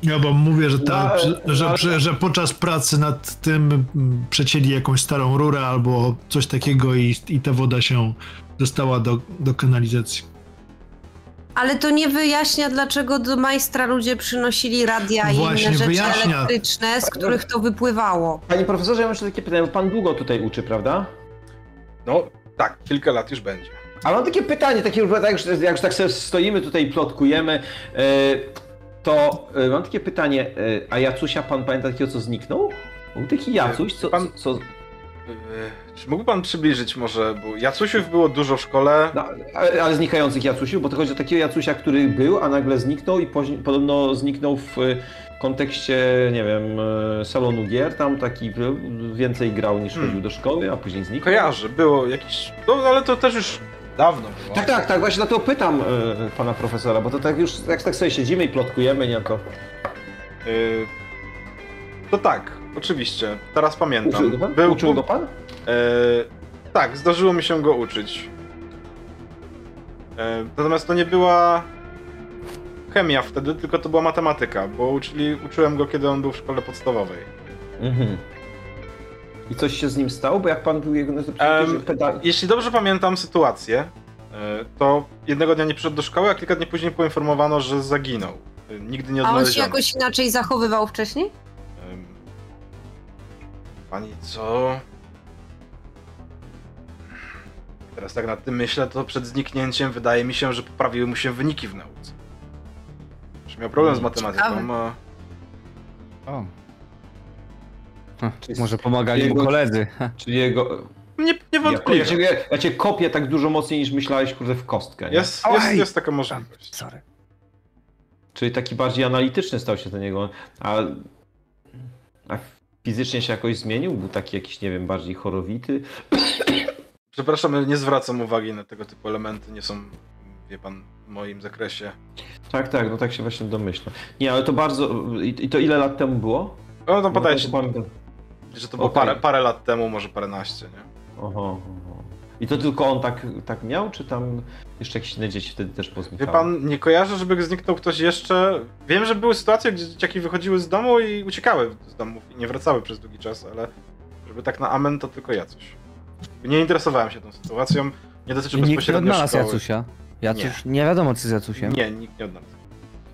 [SPEAKER 3] Ja wam mówię, że, ta,
[SPEAKER 4] No,
[SPEAKER 3] że, że,
[SPEAKER 4] ale-
[SPEAKER 3] że, że podczas pracy nad tym mm, przecięli jakąś starą rurę albo coś takiego i, i ta woda się dostała do, do kanalizacji.
[SPEAKER 5] Ale to nie wyjaśnia, dlaczego do majstra ludzie przynosili radia i
[SPEAKER 3] Właśnie,
[SPEAKER 5] inne rzeczy
[SPEAKER 3] wyjaśnia.
[SPEAKER 5] elektryczne, z których to wypływało.
[SPEAKER 4] Panie profesorze, ja mam jeszcze takie pytanie, bo pan długo tutaj uczy, prawda?
[SPEAKER 1] No tak, kilka lat już będzie.
[SPEAKER 4] A mam takie pytanie, takie, jak, już, jak już tak sobie stoimy tutaj i plotkujemy, e, to e, mam takie pytanie, e, a Jacusia pan pamięta takiego, co zniknął? Był taki Jacuś, co...
[SPEAKER 1] E, Pan-
[SPEAKER 4] co
[SPEAKER 1] Yy, Czy mógłby pan przybliżyć może, bo Jacusiów było dużo w szkole.
[SPEAKER 4] no, ale, ale znikających Jacusiów, bo to chodzi o takiego Jacusia, który był, a nagle zniknął i później, podobno zniknął w e, kontekście, nie wiem, e, salonu gier, tam taki e, więcej grał niż
[SPEAKER 1] Hmm.
[SPEAKER 4] chodził do szkoły, a później zniknął.
[SPEAKER 1] Kojarzy, było jakiś. No ale to też już Dawno było.
[SPEAKER 4] Tak, tak, tak, właśnie dlatego pytam e, pana profesora, bo to tak już, jak tak sobie siedzimy i plotkujemy, nie, to...
[SPEAKER 1] Y, To tak, oczywiście. Teraz pamiętam.
[SPEAKER 4] Uczył go pan?
[SPEAKER 1] Był,
[SPEAKER 4] Uczył go pan?
[SPEAKER 1] E, tak, zdarzyło mi się go uczyć. E, natomiast to nie była chemia wtedy, tylko to była matematyka, bo uczyli, uczyłem go, kiedy on był w szkole podstawowej.
[SPEAKER 4] Mhm. I coś się z nim stało? Bo jak pan był jego...
[SPEAKER 1] Em,
[SPEAKER 4] Um, peda...
[SPEAKER 1] Jeśli dobrze pamiętam sytuację, e, to jednego dnia nie przyszedł do szkoły, a kilka dni później poinformowano, że zaginął. E, Nigdy nie
[SPEAKER 5] A on
[SPEAKER 1] odnaleziono.
[SPEAKER 5] się jakoś inaczej zachowywał wcześniej?
[SPEAKER 1] Em, Pani co? Teraz tak nad tym myślę, to przed zniknięciem wydaje mi się, że poprawiły mu się wyniki w nauce. Że miał problem z matematyką.
[SPEAKER 5] Ciekawe.
[SPEAKER 1] a-
[SPEAKER 2] O. Hm, może pomagali mu koledzy.
[SPEAKER 4] Czyli jego...
[SPEAKER 1] Nie, nie
[SPEAKER 4] Ja, ja,
[SPEAKER 1] wątpię.
[SPEAKER 4] cię, ja cię kopię tak dużo mocniej niż myślałeś, kurde, w kostkę, nie?
[SPEAKER 1] Jest, jest,
[SPEAKER 2] Oj!
[SPEAKER 1] jest taka możliwość.
[SPEAKER 2] Sorry.
[SPEAKER 4] Czyli taki bardziej analityczny stał się ten jego... A, a fizycznie się jakoś zmienił? Był taki jakiś, nie wiem, bardziej chorowity?
[SPEAKER 1] Przepraszam, nie zwracam uwagi na tego typu elementy, nie są, wie pan, w moim zakresie.
[SPEAKER 4] Tak, tak, no tak się właśnie domyślam. Nie, ale to bardzo... I, i to ile lat temu było?
[SPEAKER 1] No to
[SPEAKER 4] Bo
[SPEAKER 1] podaje
[SPEAKER 4] to
[SPEAKER 1] się,
[SPEAKER 4] pan-
[SPEAKER 1] że to było
[SPEAKER 4] Okej.
[SPEAKER 1] parę, parę lat temu, może paręnaście, nie?
[SPEAKER 4] Oho, oho. I to tylko on tak, tak miał, czy tam jeszcze jakieś inne dzieci wtedy też
[SPEAKER 1] Wie
[SPEAKER 4] poznikały?
[SPEAKER 1] pan, nie kojarzę, żeby zniknął ktoś jeszcze. Wiem, że były sytuacje, gdzie dzieciaki wychodziły z domu i uciekały z domów i nie wracały przez długi czas, ale żeby tak na amen, to tylko ja coś. Nie interesowałem się tą sytuacją, nie dotyczy
[SPEAKER 2] Nikt nie
[SPEAKER 1] bezpośrednio
[SPEAKER 2] odnalazł
[SPEAKER 1] szkoły.
[SPEAKER 2] Jacusia. Jacuś, nie. wiadomo co z Jacusiem.
[SPEAKER 1] Nie, nikt nie odnalazł.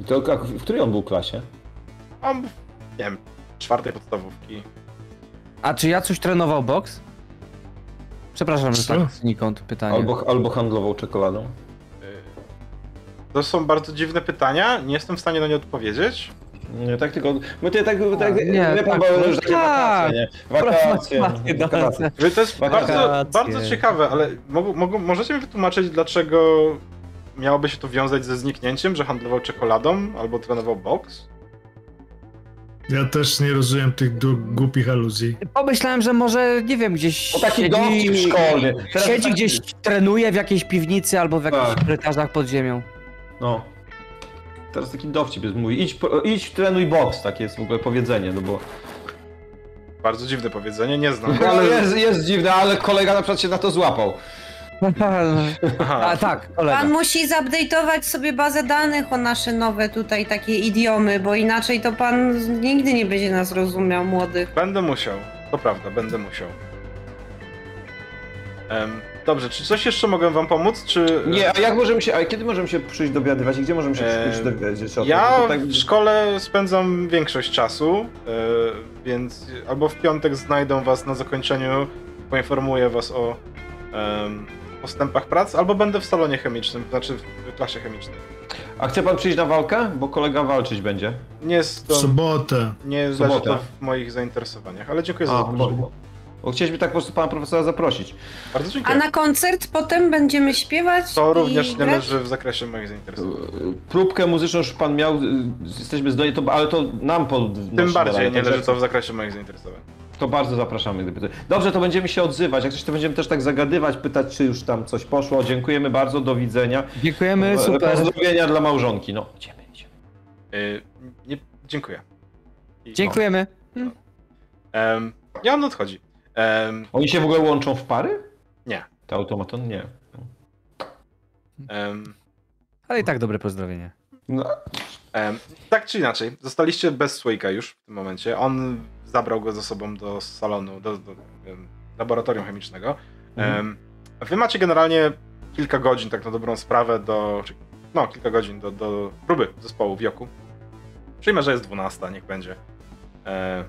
[SPEAKER 4] I to jak, w której on był klasie?
[SPEAKER 1] On, był, nie wiem, czwartej podstawówki.
[SPEAKER 2] A czy Jacuś trenował boks? Przepraszam, że
[SPEAKER 3] Co?
[SPEAKER 2] tak znikąd pytanie.
[SPEAKER 4] Albo, albo handlował czekoladą?
[SPEAKER 1] Y, To są bardzo dziwne pytania, nie jestem w stanie na nie odpowiedzieć.
[SPEAKER 4] Nie, tak tylko... My tutaj tak... tak,
[SPEAKER 2] nie,
[SPEAKER 4] wie pan,
[SPEAKER 2] tak,
[SPEAKER 4] bo już takie
[SPEAKER 2] tak.
[SPEAKER 4] wakacje, nie? Wakacje.
[SPEAKER 2] Wakacje,
[SPEAKER 4] wakacje.
[SPEAKER 1] Wy, To jest
[SPEAKER 4] Wakacje.
[SPEAKER 1] bardzo, bardzo ciekawe, ale mogą, mogą, możecie mi wytłumaczyć, dlaczego miałoby się to wiązać ze zniknięciem, że handlował czekoladą albo trenował boks?
[SPEAKER 3] Ja też nie rozumiem tych du- głupich aluzji.
[SPEAKER 2] Pomyślałem, że może, nie wiem, gdzieś
[SPEAKER 4] O taki dowcip
[SPEAKER 2] siedzi,
[SPEAKER 4] szkolny. Teraz
[SPEAKER 2] siedzi
[SPEAKER 4] taki-
[SPEAKER 2] gdzieś, trenuje w jakiejś piwnicy albo w jakichś
[SPEAKER 4] Tak.
[SPEAKER 2] korytarzach pod ziemią.
[SPEAKER 4] No. Teraz taki dowcip jest mój. Idź, po- idź trenuj boks, takie jest w ogóle powiedzenie, no bo...
[SPEAKER 1] Bardzo dziwne powiedzenie, nie znam.
[SPEAKER 4] Ale No jest, jest dziwne, ale kolega na przykład się na to złapał.
[SPEAKER 1] Aha.
[SPEAKER 2] A tak, kolega.
[SPEAKER 5] Pan musi zupdate'ować sobie bazę danych o nasze nowe tutaj takie idiomy, bo inaczej to pan nigdy nie będzie nas rozumiał, młodych.
[SPEAKER 1] Będę musiał, to prawda, będę musiał. Em, dobrze, czy coś jeszcze mogę wam pomóc, czy...
[SPEAKER 4] Nie, a jak możemy się, a kiedy możemy się przyjść dowiadywać i gdzie możemy się
[SPEAKER 1] Eee,
[SPEAKER 4] przyjść dowiadywać? o tym?
[SPEAKER 1] Ja
[SPEAKER 4] To tak-
[SPEAKER 1] w szkole spędzam większość czasu, e, więc albo w piątek znajdą was na zakończeniu, poinformuję was o em, postępach prac, albo będę w salonie chemicznym, znaczy w klasie chemicznej.
[SPEAKER 4] A chce pan przyjść na walkę? Bo kolega walczyć będzie.
[SPEAKER 1] Nie jest
[SPEAKER 3] W
[SPEAKER 1] to,
[SPEAKER 3] sobotę.
[SPEAKER 1] nie leży to
[SPEAKER 4] sobotę.
[SPEAKER 1] w moich zainteresowaniach, ale dziękuję za
[SPEAKER 4] A,
[SPEAKER 1] zaproszenie.
[SPEAKER 3] no.
[SPEAKER 4] bo, bo chcieliśmy tak po prostu pana profesora zaprosić.
[SPEAKER 1] Bardzo
[SPEAKER 5] A
[SPEAKER 1] dziękuję.
[SPEAKER 5] na koncert potem będziemy śpiewać
[SPEAKER 1] To
[SPEAKER 5] i
[SPEAKER 1] również nie
[SPEAKER 5] grać?
[SPEAKER 1] leży w zakresie moich zainteresowań.
[SPEAKER 3] Yy,
[SPEAKER 4] Próbkę muzyczną już pan miał, y, jesteśmy zdolni, to, ale to nam pod.
[SPEAKER 1] Tym bardziej nie leży to w zakresie moich zainteresowań.
[SPEAKER 4] To bardzo zapraszamy. Gdyby to... Dobrze, to będziemy się odzywać. Jak coś, to będziemy też tak zagadywać, pytać, czy już tam coś poszło. Dziękujemy bardzo, do widzenia.
[SPEAKER 2] Dziękujemy, super.
[SPEAKER 4] Pozdrowienia dla małżonki. No, idziemy, idziemy.
[SPEAKER 1] Y, nie, dziękuję. I-
[SPEAKER 2] Dziękujemy.
[SPEAKER 1] Em, ja on odchodzi. Em,
[SPEAKER 4] Oni się w ogóle łączą w pary?
[SPEAKER 1] Nie.
[SPEAKER 4] To automaton? Nie.
[SPEAKER 1] em,
[SPEAKER 2] Ale i tak dobre pozdrowienie.
[SPEAKER 4] No,
[SPEAKER 1] Em, Tak czy inaczej, zostaliście bez słoika już w tym momencie. On zabrał go ze sobą do salonu, do, do em, laboratorium chemicznego. Em, Wy macie generalnie kilka godzin, tak na dobrą sprawę, do. Czy, no, kilka godzin do, do próby zespołu wioku. Przyjmę, że jest 12, niech będzie. E,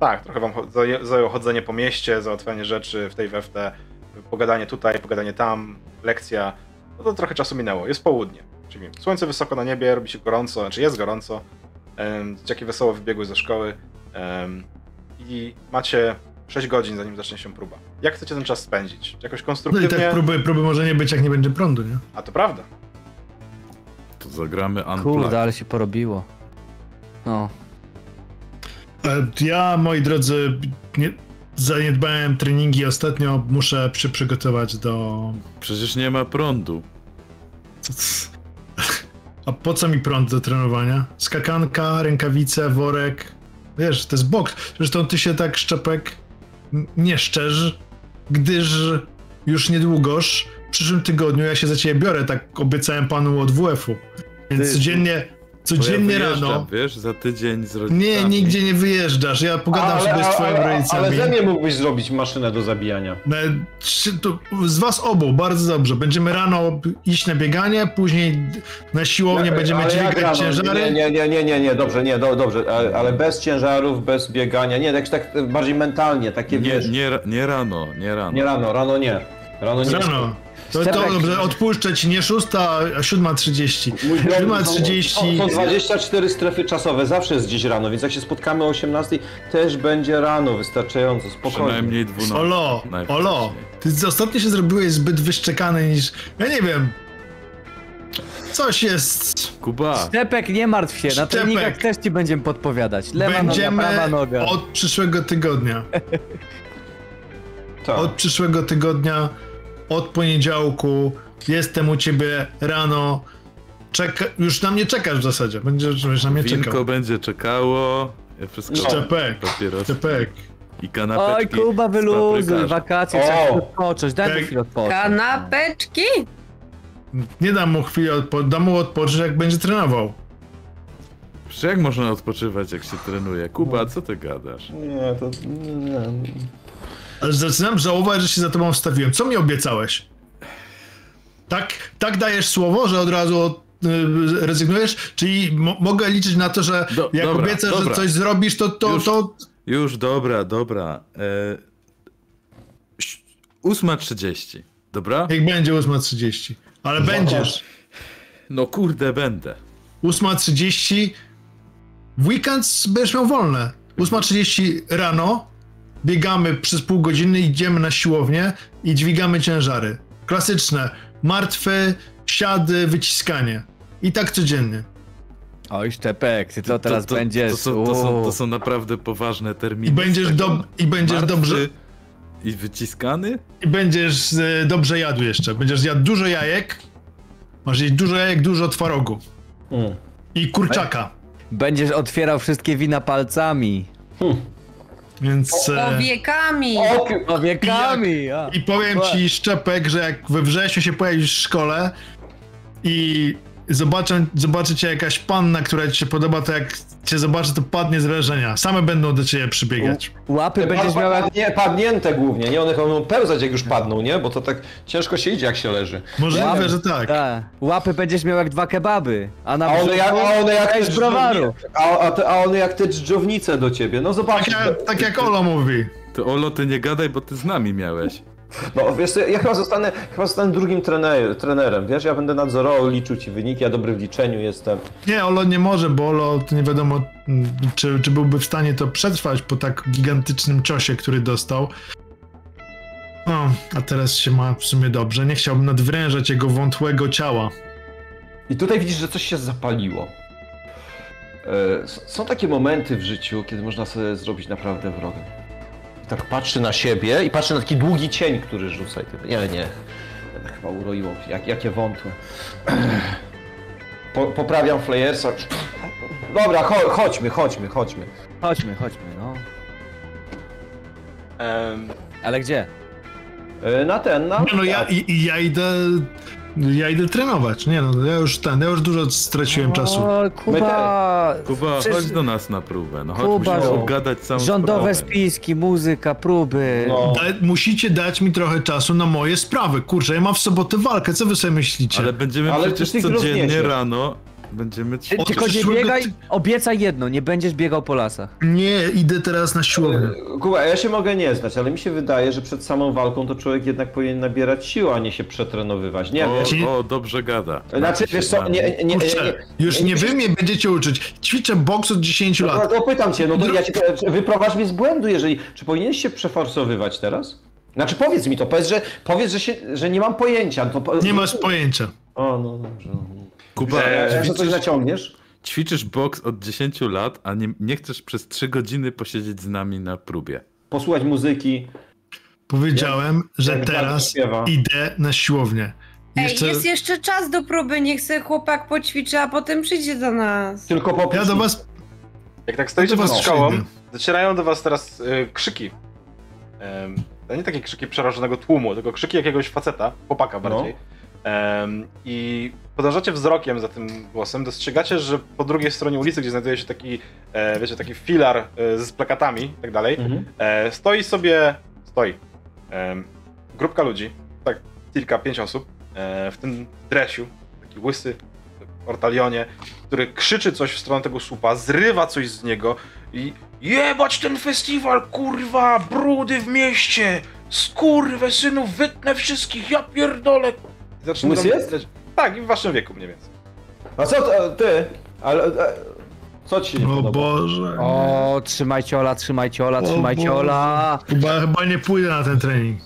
[SPEAKER 1] tak, trochę wam cho- zaje- zajęło chodzenie po mieście, załatwianie rzeczy w tej we w te, pogadanie tutaj, pogadanie tam, lekcja. No to trochę czasu minęło, jest południe. Czyli słońce wysoko na niebie, robi się gorąco, znaczy jest gorąco. Em, Dzieciaki wesoło wybiegły ze szkoły. em, I macie 6 godzin, zanim zacznie się próba. Jak chcecie ten czas spędzić? Jakoś
[SPEAKER 3] No i tak
[SPEAKER 1] konstruktywnie?
[SPEAKER 3] próby, próby może nie być, jak nie będzie prądu, nie?
[SPEAKER 1] A to prawda.
[SPEAKER 6] To zagramy Unplugged.
[SPEAKER 2] Kurde, ale się porobiło. No.
[SPEAKER 3] E, Ja, moi drodzy, nie, zaniedbałem treningi ostatnio, muszę się przygotować do...
[SPEAKER 6] Przecież nie ma prądu.
[SPEAKER 3] A po co mi prąd do trenowania? Skakanka, rękawice, worek. Wiesz, to jest boks. Zresztą ty się tak, Szczepek, n- nie szczerz, gdyż już niedługoż w przyszłym tygodniu ja się za ciebie biorę, tak obiecałem panu od WF-u. Więc
[SPEAKER 6] Ty-
[SPEAKER 3] codziennie,
[SPEAKER 6] Bo
[SPEAKER 3] codziennie
[SPEAKER 6] ja wyjeżdżam,
[SPEAKER 3] rano...
[SPEAKER 6] Wiesz, za tydzień z rodzicami.
[SPEAKER 3] Nie, nigdzie nie wyjeżdżasz, ja pogadam sobie z twoimi rodzicami.
[SPEAKER 4] Ale ze mnie mógłbyś zrobić maszynę do zabijania.
[SPEAKER 3] No, czy to z was obu, bardzo dobrze. Będziemy rano iść na bieganie, później na siłownię będziemy
[SPEAKER 4] Ale jak
[SPEAKER 3] dźwigać
[SPEAKER 4] rano?
[SPEAKER 3] ciężary.
[SPEAKER 4] Nie, nie, nie, nie, nie, nie, dobrze, nie, do, dobrze, ale, ale bez ciężarów, bez biegania, nie, tak, tak bardziej mentalnie, takie
[SPEAKER 6] Nie,
[SPEAKER 4] wiesz, nie,
[SPEAKER 6] nie, ra- nie rano, nie rano.
[SPEAKER 4] rano, rano nie, rano nie.
[SPEAKER 3] Rano. To, to
[SPEAKER 2] Szczepek.
[SPEAKER 3] dobrze, odpuszczę ci nie 6, a 7.30.
[SPEAKER 4] Mój drogi, no, są-
[SPEAKER 3] 7.30.
[SPEAKER 4] Są 24 strefy czasowe, zawsze jest gdzieś rano, więc jak się spotkamy o 18, też będzie rano, wystarczająco, spokojnie.
[SPEAKER 6] Przynajmniej 12.
[SPEAKER 3] Olo,
[SPEAKER 6] najwcześniej.
[SPEAKER 3] olo. Ty ostatnio się zrobiłeś zbyt wyszczekany niż. Ja nie wiem. Coś jest.
[SPEAKER 6] Kuba,
[SPEAKER 2] Szczepek, nie martw się, na
[SPEAKER 3] Szczepek.
[SPEAKER 2] treningach też ci będziemy podpowiadać. Lewa
[SPEAKER 3] Będziemy
[SPEAKER 2] noga, prawa noga.
[SPEAKER 3] od przyszłego tygodnia.
[SPEAKER 4] Tak.
[SPEAKER 3] Od przyszłego tygodnia, od poniedziałku, jestem u ciebie rano. Czeka, już na mnie czekasz w zasadzie. Będziesz będziesz na mnie
[SPEAKER 6] winko
[SPEAKER 3] czekał.
[SPEAKER 6] będzie czekało. Wszystko.
[SPEAKER 3] Szczepek,
[SPEAKER 6] Papierosy
[SPEAKER 3] Szczepek.
[SPEAKER 6] i
[SPEAKER 2] Oj,
[SPEAKER 6] kanapeczki.
[SPEAKER 2] Kuba,
[SPEAKER 6] z
[SPEAKER 2] wyluzuj,
[SPEAKER 6] paprykarzem.
[SPEAKER 2] wakacje,
[SPEAKER 4] O!
[SPEAKER 2] trzeba odpocząć, daj mi
[SPEAKER 3] Tak.
[SPEAKER 2] chwilę odpocząć.
[SPEAKER 5] Kanapeczki?
[SPEAKER 3] Nie dam mu chwili, odpo- dam mu odpocząć, jak będzie trenował.
[SPEAKER 6] Przecież jak można odpoczywać, jak się trenuje? Kuba, co ty gadasz?
[SPEAKER 4] Nie, to... Nie, nie.
[SPEAKER 3] Ale zaczynam żałować, że się za tobą wstawiłem. Co mi obiecałeś? Tak, tak dajesz słowo, że od razu od, y, rezygnujesz? Czyli mo- mogę liczyć na to, że
[SPEAKER 6] Do-
[SPEAKER 3] jak
[SPEAKER 6] dobra,
[SPEAKER 3] obiecasz,
[SPEAKER 6] dobra.
[SPEAKER 3] że coś zrobisz, to, to,
[SPEAKER 6] Już.
[SPEAKER 3] to
[SPEAKER 6] Już, dobra, dobra. E... ś- 8.30, dobra?
[SPEAKER 3] niech będzie 8.30. Ale będziesz.
[SPEAKER 6] No kurde, będę.
[SPEAKER 3] 8.30 w weekend będziesz miał wolne. 8.30 rano biegamy przez pół godziny, idziemy na siłownię i dźwigamy ciężary. Klasyczne. Martwy, siady, wyciskanie. I tak codziennie.
[SPEAKER 2] Oj, Szczepek, ty co teraz
[SPEAKER 6] to, to,
[SPEAKER 2] będziesz?
[SPEAKER 6] To są, to, są,
[SPEAKER 2] Uuu.
[SPEAKER 6] to są naprawdę poważne terminy.
[SPEAKER 3] I będziesz,
[SPEAKER 6] Z tego
[SPEAKER 3] dob- i będziesz
[SPEAKER 6] martwy
[SPEAKER 3] dobrze.
[SPEAKER 6] I wyciskany?
[SPEAKER 3] I będziesz e, dobrze jadł jeszcze. Będziesz jadł dużo jajek. Masz jeść dużo jajek, dużo twarogu.
[SPEAKER 4] Mm.
[SPEAKER 3] I kurczaka.
[SPEAKER 2] Będziesz otwierał wszystkie wina palcami.
[SPEAKER 3] Więc. E,
[SPEAKER 5] Powiekami.
[SPEAKER 2] Powiekami! a.
[SPEAKER 3] I powiem ci szczepek, że jak we wrześniu się pojawisz w szkole i zobaczę, zobaczy cię jakaś panna, która ci się podoba, to jak cię zobaczy, to padnie z wrażenia. Same będą do ciebie przybiegać.
[SPEAKER 2] Łapy będziesz miał jak...
[SPEAKER 4] Nie, padnięte głównie, nie? One chyba będą pełzać, jak już padną, nie? Bo to tak ciężko się idzie, jak się leży.
[SPEAKER 3] Możliwe,
[SPEAKER 2] Łapy.
[SPEAKER 3] że tak.
[SPEAKER 2] Tak. Łapy będziesz miał jak dwa kebaby. A na
[SPEAKER 4] A one jak, a one jak te
[SPEAKER 2] z browaru.
[SPEAKER 4] dżdżownice- a, a, te, a one jak te dżdżownice do ciebie, no zobacz.
[SPEAKER 3] Tak, jak- tak jak Ola mówi.
[SPEAKER 6] To Olo, ty nie gadaj, bo ty z nami miałeś.
[SPEAKER 4] No wiesz, co, ja chyba zostanę, chyba zostanę drugim trener, trenerem, wiesz, ja będę nadzorował, liczył ci wyniki, ja dobry w liczeniu jestem.
[SPEAKER 3] Nie, Olo nie może, bo Olo to nie wiadomo, mm, czy, czy byłby w stanie to przetrwać po tak gigantycznym ciosie, który dostał. No, a teraz się ma w sumie dobrze. Nie chciałbym nadwrężać jego wątłego ciała.
[SPEAKER 4] I tutaj widzisz, że coś się zapaliło. E, s- Są takie momenty w życiu, kiedy można sobie zrobić naprawdę wroga. I tak patrzy na siebie i patrzy na taki długi cień, który rzuca i ty, nie, nie, to chyba uroiło, jak, jakie wątłe. Po, poprawiam flyersa. Dobra, cho, chodźmy, chodźmy, chodźmy.
[SPEAKER 2] Chodźmy, chodźmy, no.
[SPEAKER 1] Em,
[SPEAKER 2] Ale gdzie?
[SPEAKER 4] E, Na ten, na...
[SPEAKER 3] Nie no, ja, i, i ja idę. Ja idę trenować. Nie no, ja już ten, ja już dużo straciłem czasu.
[SPEAKER 2] O, Kuba...
[SPEAKER 6] Kuba,
[SPEAKER 2] Przecież
[SPEAKER 6] chodź do nas na próbę. No chodź,
[SPEAKER 2] Kuba,
[SPEAKER 6] musimy
[SPEAKER 2] no.
[SPEAKER 6] obgadać całą
[SPEAKER 2] Rządowe
[SPEAKER 6] sprawę.
[SPEAKER 2] spiski, muzyka, próby.
[SPEAKER 4] No.
[SPEAKER 3] Da, musicie dać mi trochę czasu na moje sprawy. Kurczę, ja mam w sobotę walkę, co wy sobie myślicie?
[SPEAKER 6] Ale będziemy
[SPEAKER 4] Ale ty
[SPEAKER 6] przecież
[SPEAKER 4] tych
[SPEAKER 6] codziennie
[SPEAKER 4] rozniesiesz.
[SPEAKER 6] rano. Będziemy ci...
[SPEAKER 2] Ty, tylko nie
[SPEAKER 3] przyszłego
[SPEAKER 2] biegaj,
[SPEAKER 3] ty-
[SPEAKER 2] obiecaj jedno, nie będziesz biegał po lasach.
[SPEAKER 3] Nie, idę teraz na siłownię.
[SPEAKER 4] Kuba, ja się mogę nie znać, ale mi się wydaje, że przed samą walką to człowiek jednak powinien nabierać sił, a nie się przetrenowywać. Nie wiem.
[SPEAKER 3] Ci-
[SPEAKER 6] O, o, dobrze gada.
[SPEAKER 4] Znaczy, wiesz co, nie, nie, nie,
[SPEAKER 3] Kurczę, już nie wy mnie będziecie uczyć. Ćwiczę boks od 10
[SPEAKER 4] No
[SPEAKER 3] lat.
[SPEAKER 4] to pytam cię, no to ja cię, wyprowadź mnie z błędu, jeżeli, czy powinieneś się przeforsowywać teraz? Znaczy powiedz mi to, powiedz, że, powiedz, że, się, że nie mam pojęcia. no To po...
[SPEAKER 3] Nie masz pojęcia.
[SPEAKER 4] O, no dobrze. no.
[SPEAKER 6] Kuba,
[SPEAKER 1] Eee,
[SPEAKER 4] Czy coś
[SPEAKER 6] ćwiczysz,
[SPEAKER 4] naciągniesz?
[SPEAKER 6] ćwiczysz boks od 10 lat, a nie, nie chcesz przez 3 godziny posiedzieć z nami na próbie.
[SPEAKER 4] posłuchać muzyki.
[SPEAKER 3] Powiedziałem, że
[SPEAKER 4] jak Bartek
[SPEAKER 3] teraz
[SPEAKER 4] śpiewa.
[SPEAKER 3] idę na siłownię.
[SPEAKER 5] Ej,
[SPEAKER 3] Jeszcze
[SPEAKER 5] jest jeszcze czas do próby, niech se chłopak poćwiczy, a potem przyjdzie do nas.
[SPEAKER 4] Tylko po
[SPEAKER 3] ja do was
[SPEAKER 1] Jak tak stoicie
[SPEAKER 3] No to
[SPEAKER 1] pod
[SPEAKER 3] was
[SPEAKER 1] szkołą,
[SPEAKER 3] przyjdę.
[SPEAKER 1] docierają do was teraz y, krzyki. Em, to nie takie krzyki przerażonego tłumu, tylko krzyki jakiegoś faceta, chłopaka
[SPEAKER 4] No.
[SPEAKER 1] bardziej. Em, I podążacie wzrokiem za tym głosem, dostrzegacie, że po drugiej stronie ulicy, gdzie znajduje się taki, e, wiecie, taki filar e, z plakatami i tak dalej,
[SPEAKER 4] Mhm.
[SPEAKER 1] E, stoi sobie. Stoi. em, grupka ludzi, tak, kilka, pięć osób, e, w tym dresiu, taki łysy, w ortalionie, który krzyczy coś w stronę tego słupa, zrywa coś z niego i. Jebać ten festiwal, kurwa! Brudy w mieście! Skurwę synu, wytnę wszystkich, ja pierdolę! I zaczyna
[SPEAKER 4] Łysy
[SPEAKER 1] tam-
[SPEAKER 4] jest?
[SPEAKER 1] Tak, i w waszym wieku mniej więcej.
[SPEAKER 4] A co t- ty? Ale, e, co ci się nie no
[SPEAKER 3] O
[SPEAKER 4] podoba?
[SPEAKER 3] Boże.
[SPEAKER 2] O, trzymajcie Ola, trzymajcie Ola,
[SPEAKER 3] O
[SPEAKER 2] trzymajcie
[SPEAKER 3] Boże.
[SPEAKER 2] Ola.
[SPEAKER 3] Chyba, chyba nie pójdę na ten trening.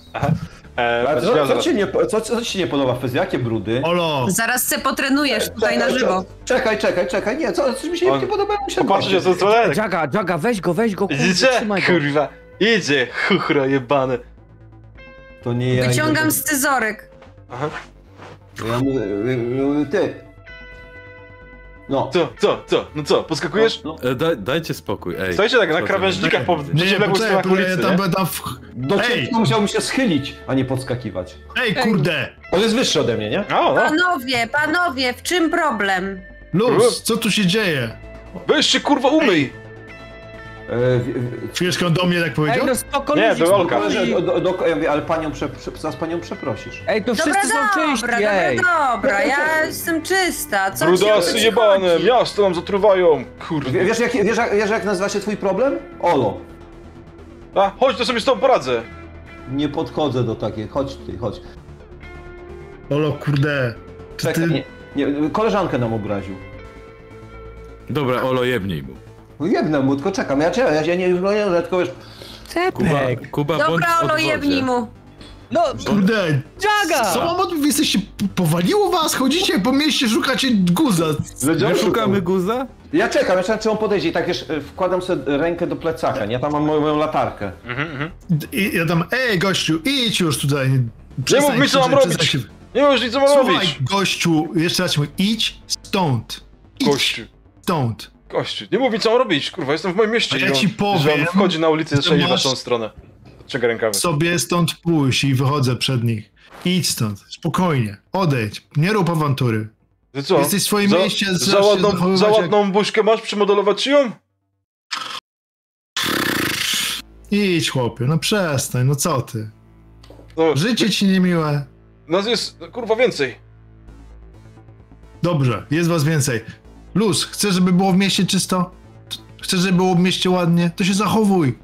[SPEAKER 1] E,
[SPEAKER 4] Ale
[SPEAKER 1] będziesz
[SPEAKER 4] co,
[SPEAKER 1] miał
[SPEAKER 4] co,
[SPEAKER 1] zaraz-
[SPEAKER 4] ci nie, po- co, co ci się nie podoba? Fez, jakie brudy?
[SPEAKER 3] Olo,
[SPEAKER 5] Zaraz se potrenujesz tutaj na żywo.
[SPEAKER 4] Czekaj, czekaj, czekaj, nie, co, coś mi się
[SPEAKER 1] On-
[SPEAKER 4] nie podoba, ja muszę
[SPEAKER 1] Popatrzcie się
[SPEAKER 4] zobaczyć.
[SPEAKER 1] ze strony.
[SPEAKER 2] Jaga, Jaga, weź go, weź go, kurde,
[SPEAKER 1] Idzie,
[SPEAKER 2] trzymaj go.
[SPEAKER 1] Tak. kurwa, idzie, chuchro jebany.
[SPEAKER 4] To nie ja.
[SPEAKER 5] Wyciągam scyzoryk.
[SPEAKER 1] Aha.
[SPEAKER 4] Ja mówię, y, y, ty. No.
[SPEAKER 1] Co, co, co, no co, poskakujesz?
[SPEAKER 4] No,
[SPEAKER 6] E, daj, dajcie spokój, ej.
[SPEAKER 1] Stoicie tak na
[SPEAKER 6] Co
[SPEAKER 1] krawężnikach po
[SPEAKER 6] zrobić?
[SPEAKER 3] nie, nie,
[SPEAKER 1] przeciwległych
[SPEAKER 3] poczekaj,
[SPEAKER 1] stronach
[SPEAKER 3] poczekaj,
[SPEAKER 1] ulicy,
[SPEAKER 3] ja tam
[SPEAKER 1] nie?
[SPEAKER 3] będę... W...
[SPEAKER 4] no. Do
[SPEAKER 3] Ej!
[SPEAKER 4] ciebie musiałbym się schylić, a nie podskakiwać.
[SPEAKER 3] Ej, kurde!
[SPEAKER 4] On jest wyższy ode mnie, nie?
[SPEAKER 1] No, no,
[SPEAKER 5] Panowie, panowie, w czym problem?
[SPEAKER 3] Luz, co tu się dzieje?
[SPEAKER 1] weź się kurwa umyj!
[SPEAKER 4] E, w- w-
[SPEAKER 3] Chwileczkę on do mnie tak
[SPEAKER 2] Ej,
[SPEAKER 3] powiedział?
[SPEAKER 2] no spoko,
[SPEAKER 1] Nie,
[SPEAKER 2] ludzi,
[SPEAKER 1] to
[SPEAKER 2] spoko,
[SPEAKER 1] Olka.
[SPEAKER 4] koleże,
[SPEAKER 2] ludzi.
[SPEAKER 4] do, do, do, ja mówię, ale panią, prze, prze, zaraz panią przeprosisz.
[SPEAKER 2] Ej, to
[SPEAKER 5] Dobra,
[SPEAKER 2] wszyscy są czyści,
[SPEAKER 5] dobra,
[SPEAKER 2] ej.
[SPEAKER 5] dobra, dobra, ja
[SPEAKER 4] Czekaj.
[SPEAKER 5] jestem czysta. Co
[SPEAKER 1] Brudasy
[SPEAKER 5] ci o to
[SPEAKER 1] jebane,
[SPEAKER 5] chodzi?
[SPEAKER 1] miasto nam zatruwają, kurwa.
[SPEAKER 4] Wie- Wiesz jak, wiesz, jak, wiesz, jak nazywa się twój problem? Olo.
[SPEAKER 1] A, chodź, to sobie z tą poradzę.
[SPEAKER 4] Nie podchodzę do takiej, chodź tutaj, chodź.
[SPEAKER 3] Olo, kurde. Czy
[SPEAKER 4] Czekaj,
[SPEAKER 3] ty...
[SPEAKER 4] nie, nie, koleżankę nam obraził.
[SPEAKER 6] Dobra, Olo, jebnij mu.
[SPEAKER 4] No jedne mu, tylko czekam, ja, ja, ja nie, no, ja tylko wiesz,
[SPEAKER 6] Kuba,
[SPEAKER 2] Cepek.
[SPEAKER 6] Kuba bądź
[SPEAKER 5] Dobra,
[SPEAKER 6] w
[SPEAKER 5] Olo,
[SPEAKER 6] odwodzie.
[SPEAKER 5] jebnij mu.
[SPEAKER 2] No,
[SPEAKER 3] Kurde,
[SPEAKER 2] Jaga!
[SPEAKER 3] co mam od... Wy jesteście... Powaliło was? Chodzicie po mieście, szukacie guza.
[SPEAKER 6] My szukamy guza?
[SPEAKER 4] Ja czekam, ja czekam, czy on podejdzie i tak wiesz, y, wkładam sobie rękę do plecaka, nie? Ja tam mam moją, moją latarkę.
[SPEAKER 3] I ja tam, ej, gościu, idź już tutaj. Przestań
[SPEAKER 1] mów mi, co mam
[SPEAKER 3] krzyczeć,
[SPEAKER 1] robić.
[SPEAKER 3] przestań
[SPEAKER 1] Nie wiem już nic co mam
[SPEAKER 3] Słuchaj,
[SPEAKER 1] robić.
[SPEAKER 3] gościu, jeszcze raz ci mówię, idź stąd. Idź
[SPEAKER 1] Kościół.
[SPEAKER 3] stąd.
[SPEAKER 1] Gościu, nie mów mi co mam robić, kurwa, jestem w moim mieście.
[SPEAKER 3] A ja
[SPEAKER 1] I on-
[SPEAKER 3] ci powiem,
[SPEAKER 1] że on wchodzi na ulicę i zaczyna iść w
[SPEAKER 3] masz-
[SPEAKER 1] waszą stronę. Odciąga rękawy.
[SPEAKER 3] Sobie stąd pójść i wychodzę przed nich. Idź stąd, spokojnie, odejdź, nie rób awantury.
[SPEAKER 1] Ty co?
[SPEAKER 3] Jesteś w swoim
[SPEAKER 1] za,
[SPEAKER 3] mieście, zaczynasz
[SPEAKER 1] za
[SPEAKER 3] się
[SPEAKER 1] ładną,
[SPEAKER 3] zachowywać
[SPEAKER 1] za
[SPEAKER 3] jak-
[SPEAKER 1] ładną buźkę masz, przymodelować ci ją?
[SPEAKER 3] Idź chłopie, no przestań, no co ty.
[SPEAKER 1] No,
[SPEAKER 3] Życie ci niemiłe.
[SPEAKER 1] nas jest, no, kurwa, więcej.
[SPEAKER 3] Dobrze, jest was więcej. Luz, chcesz, żeby było w mieście czysto? Chcesz, żeby było w mieście ładnie? To się zachowuj.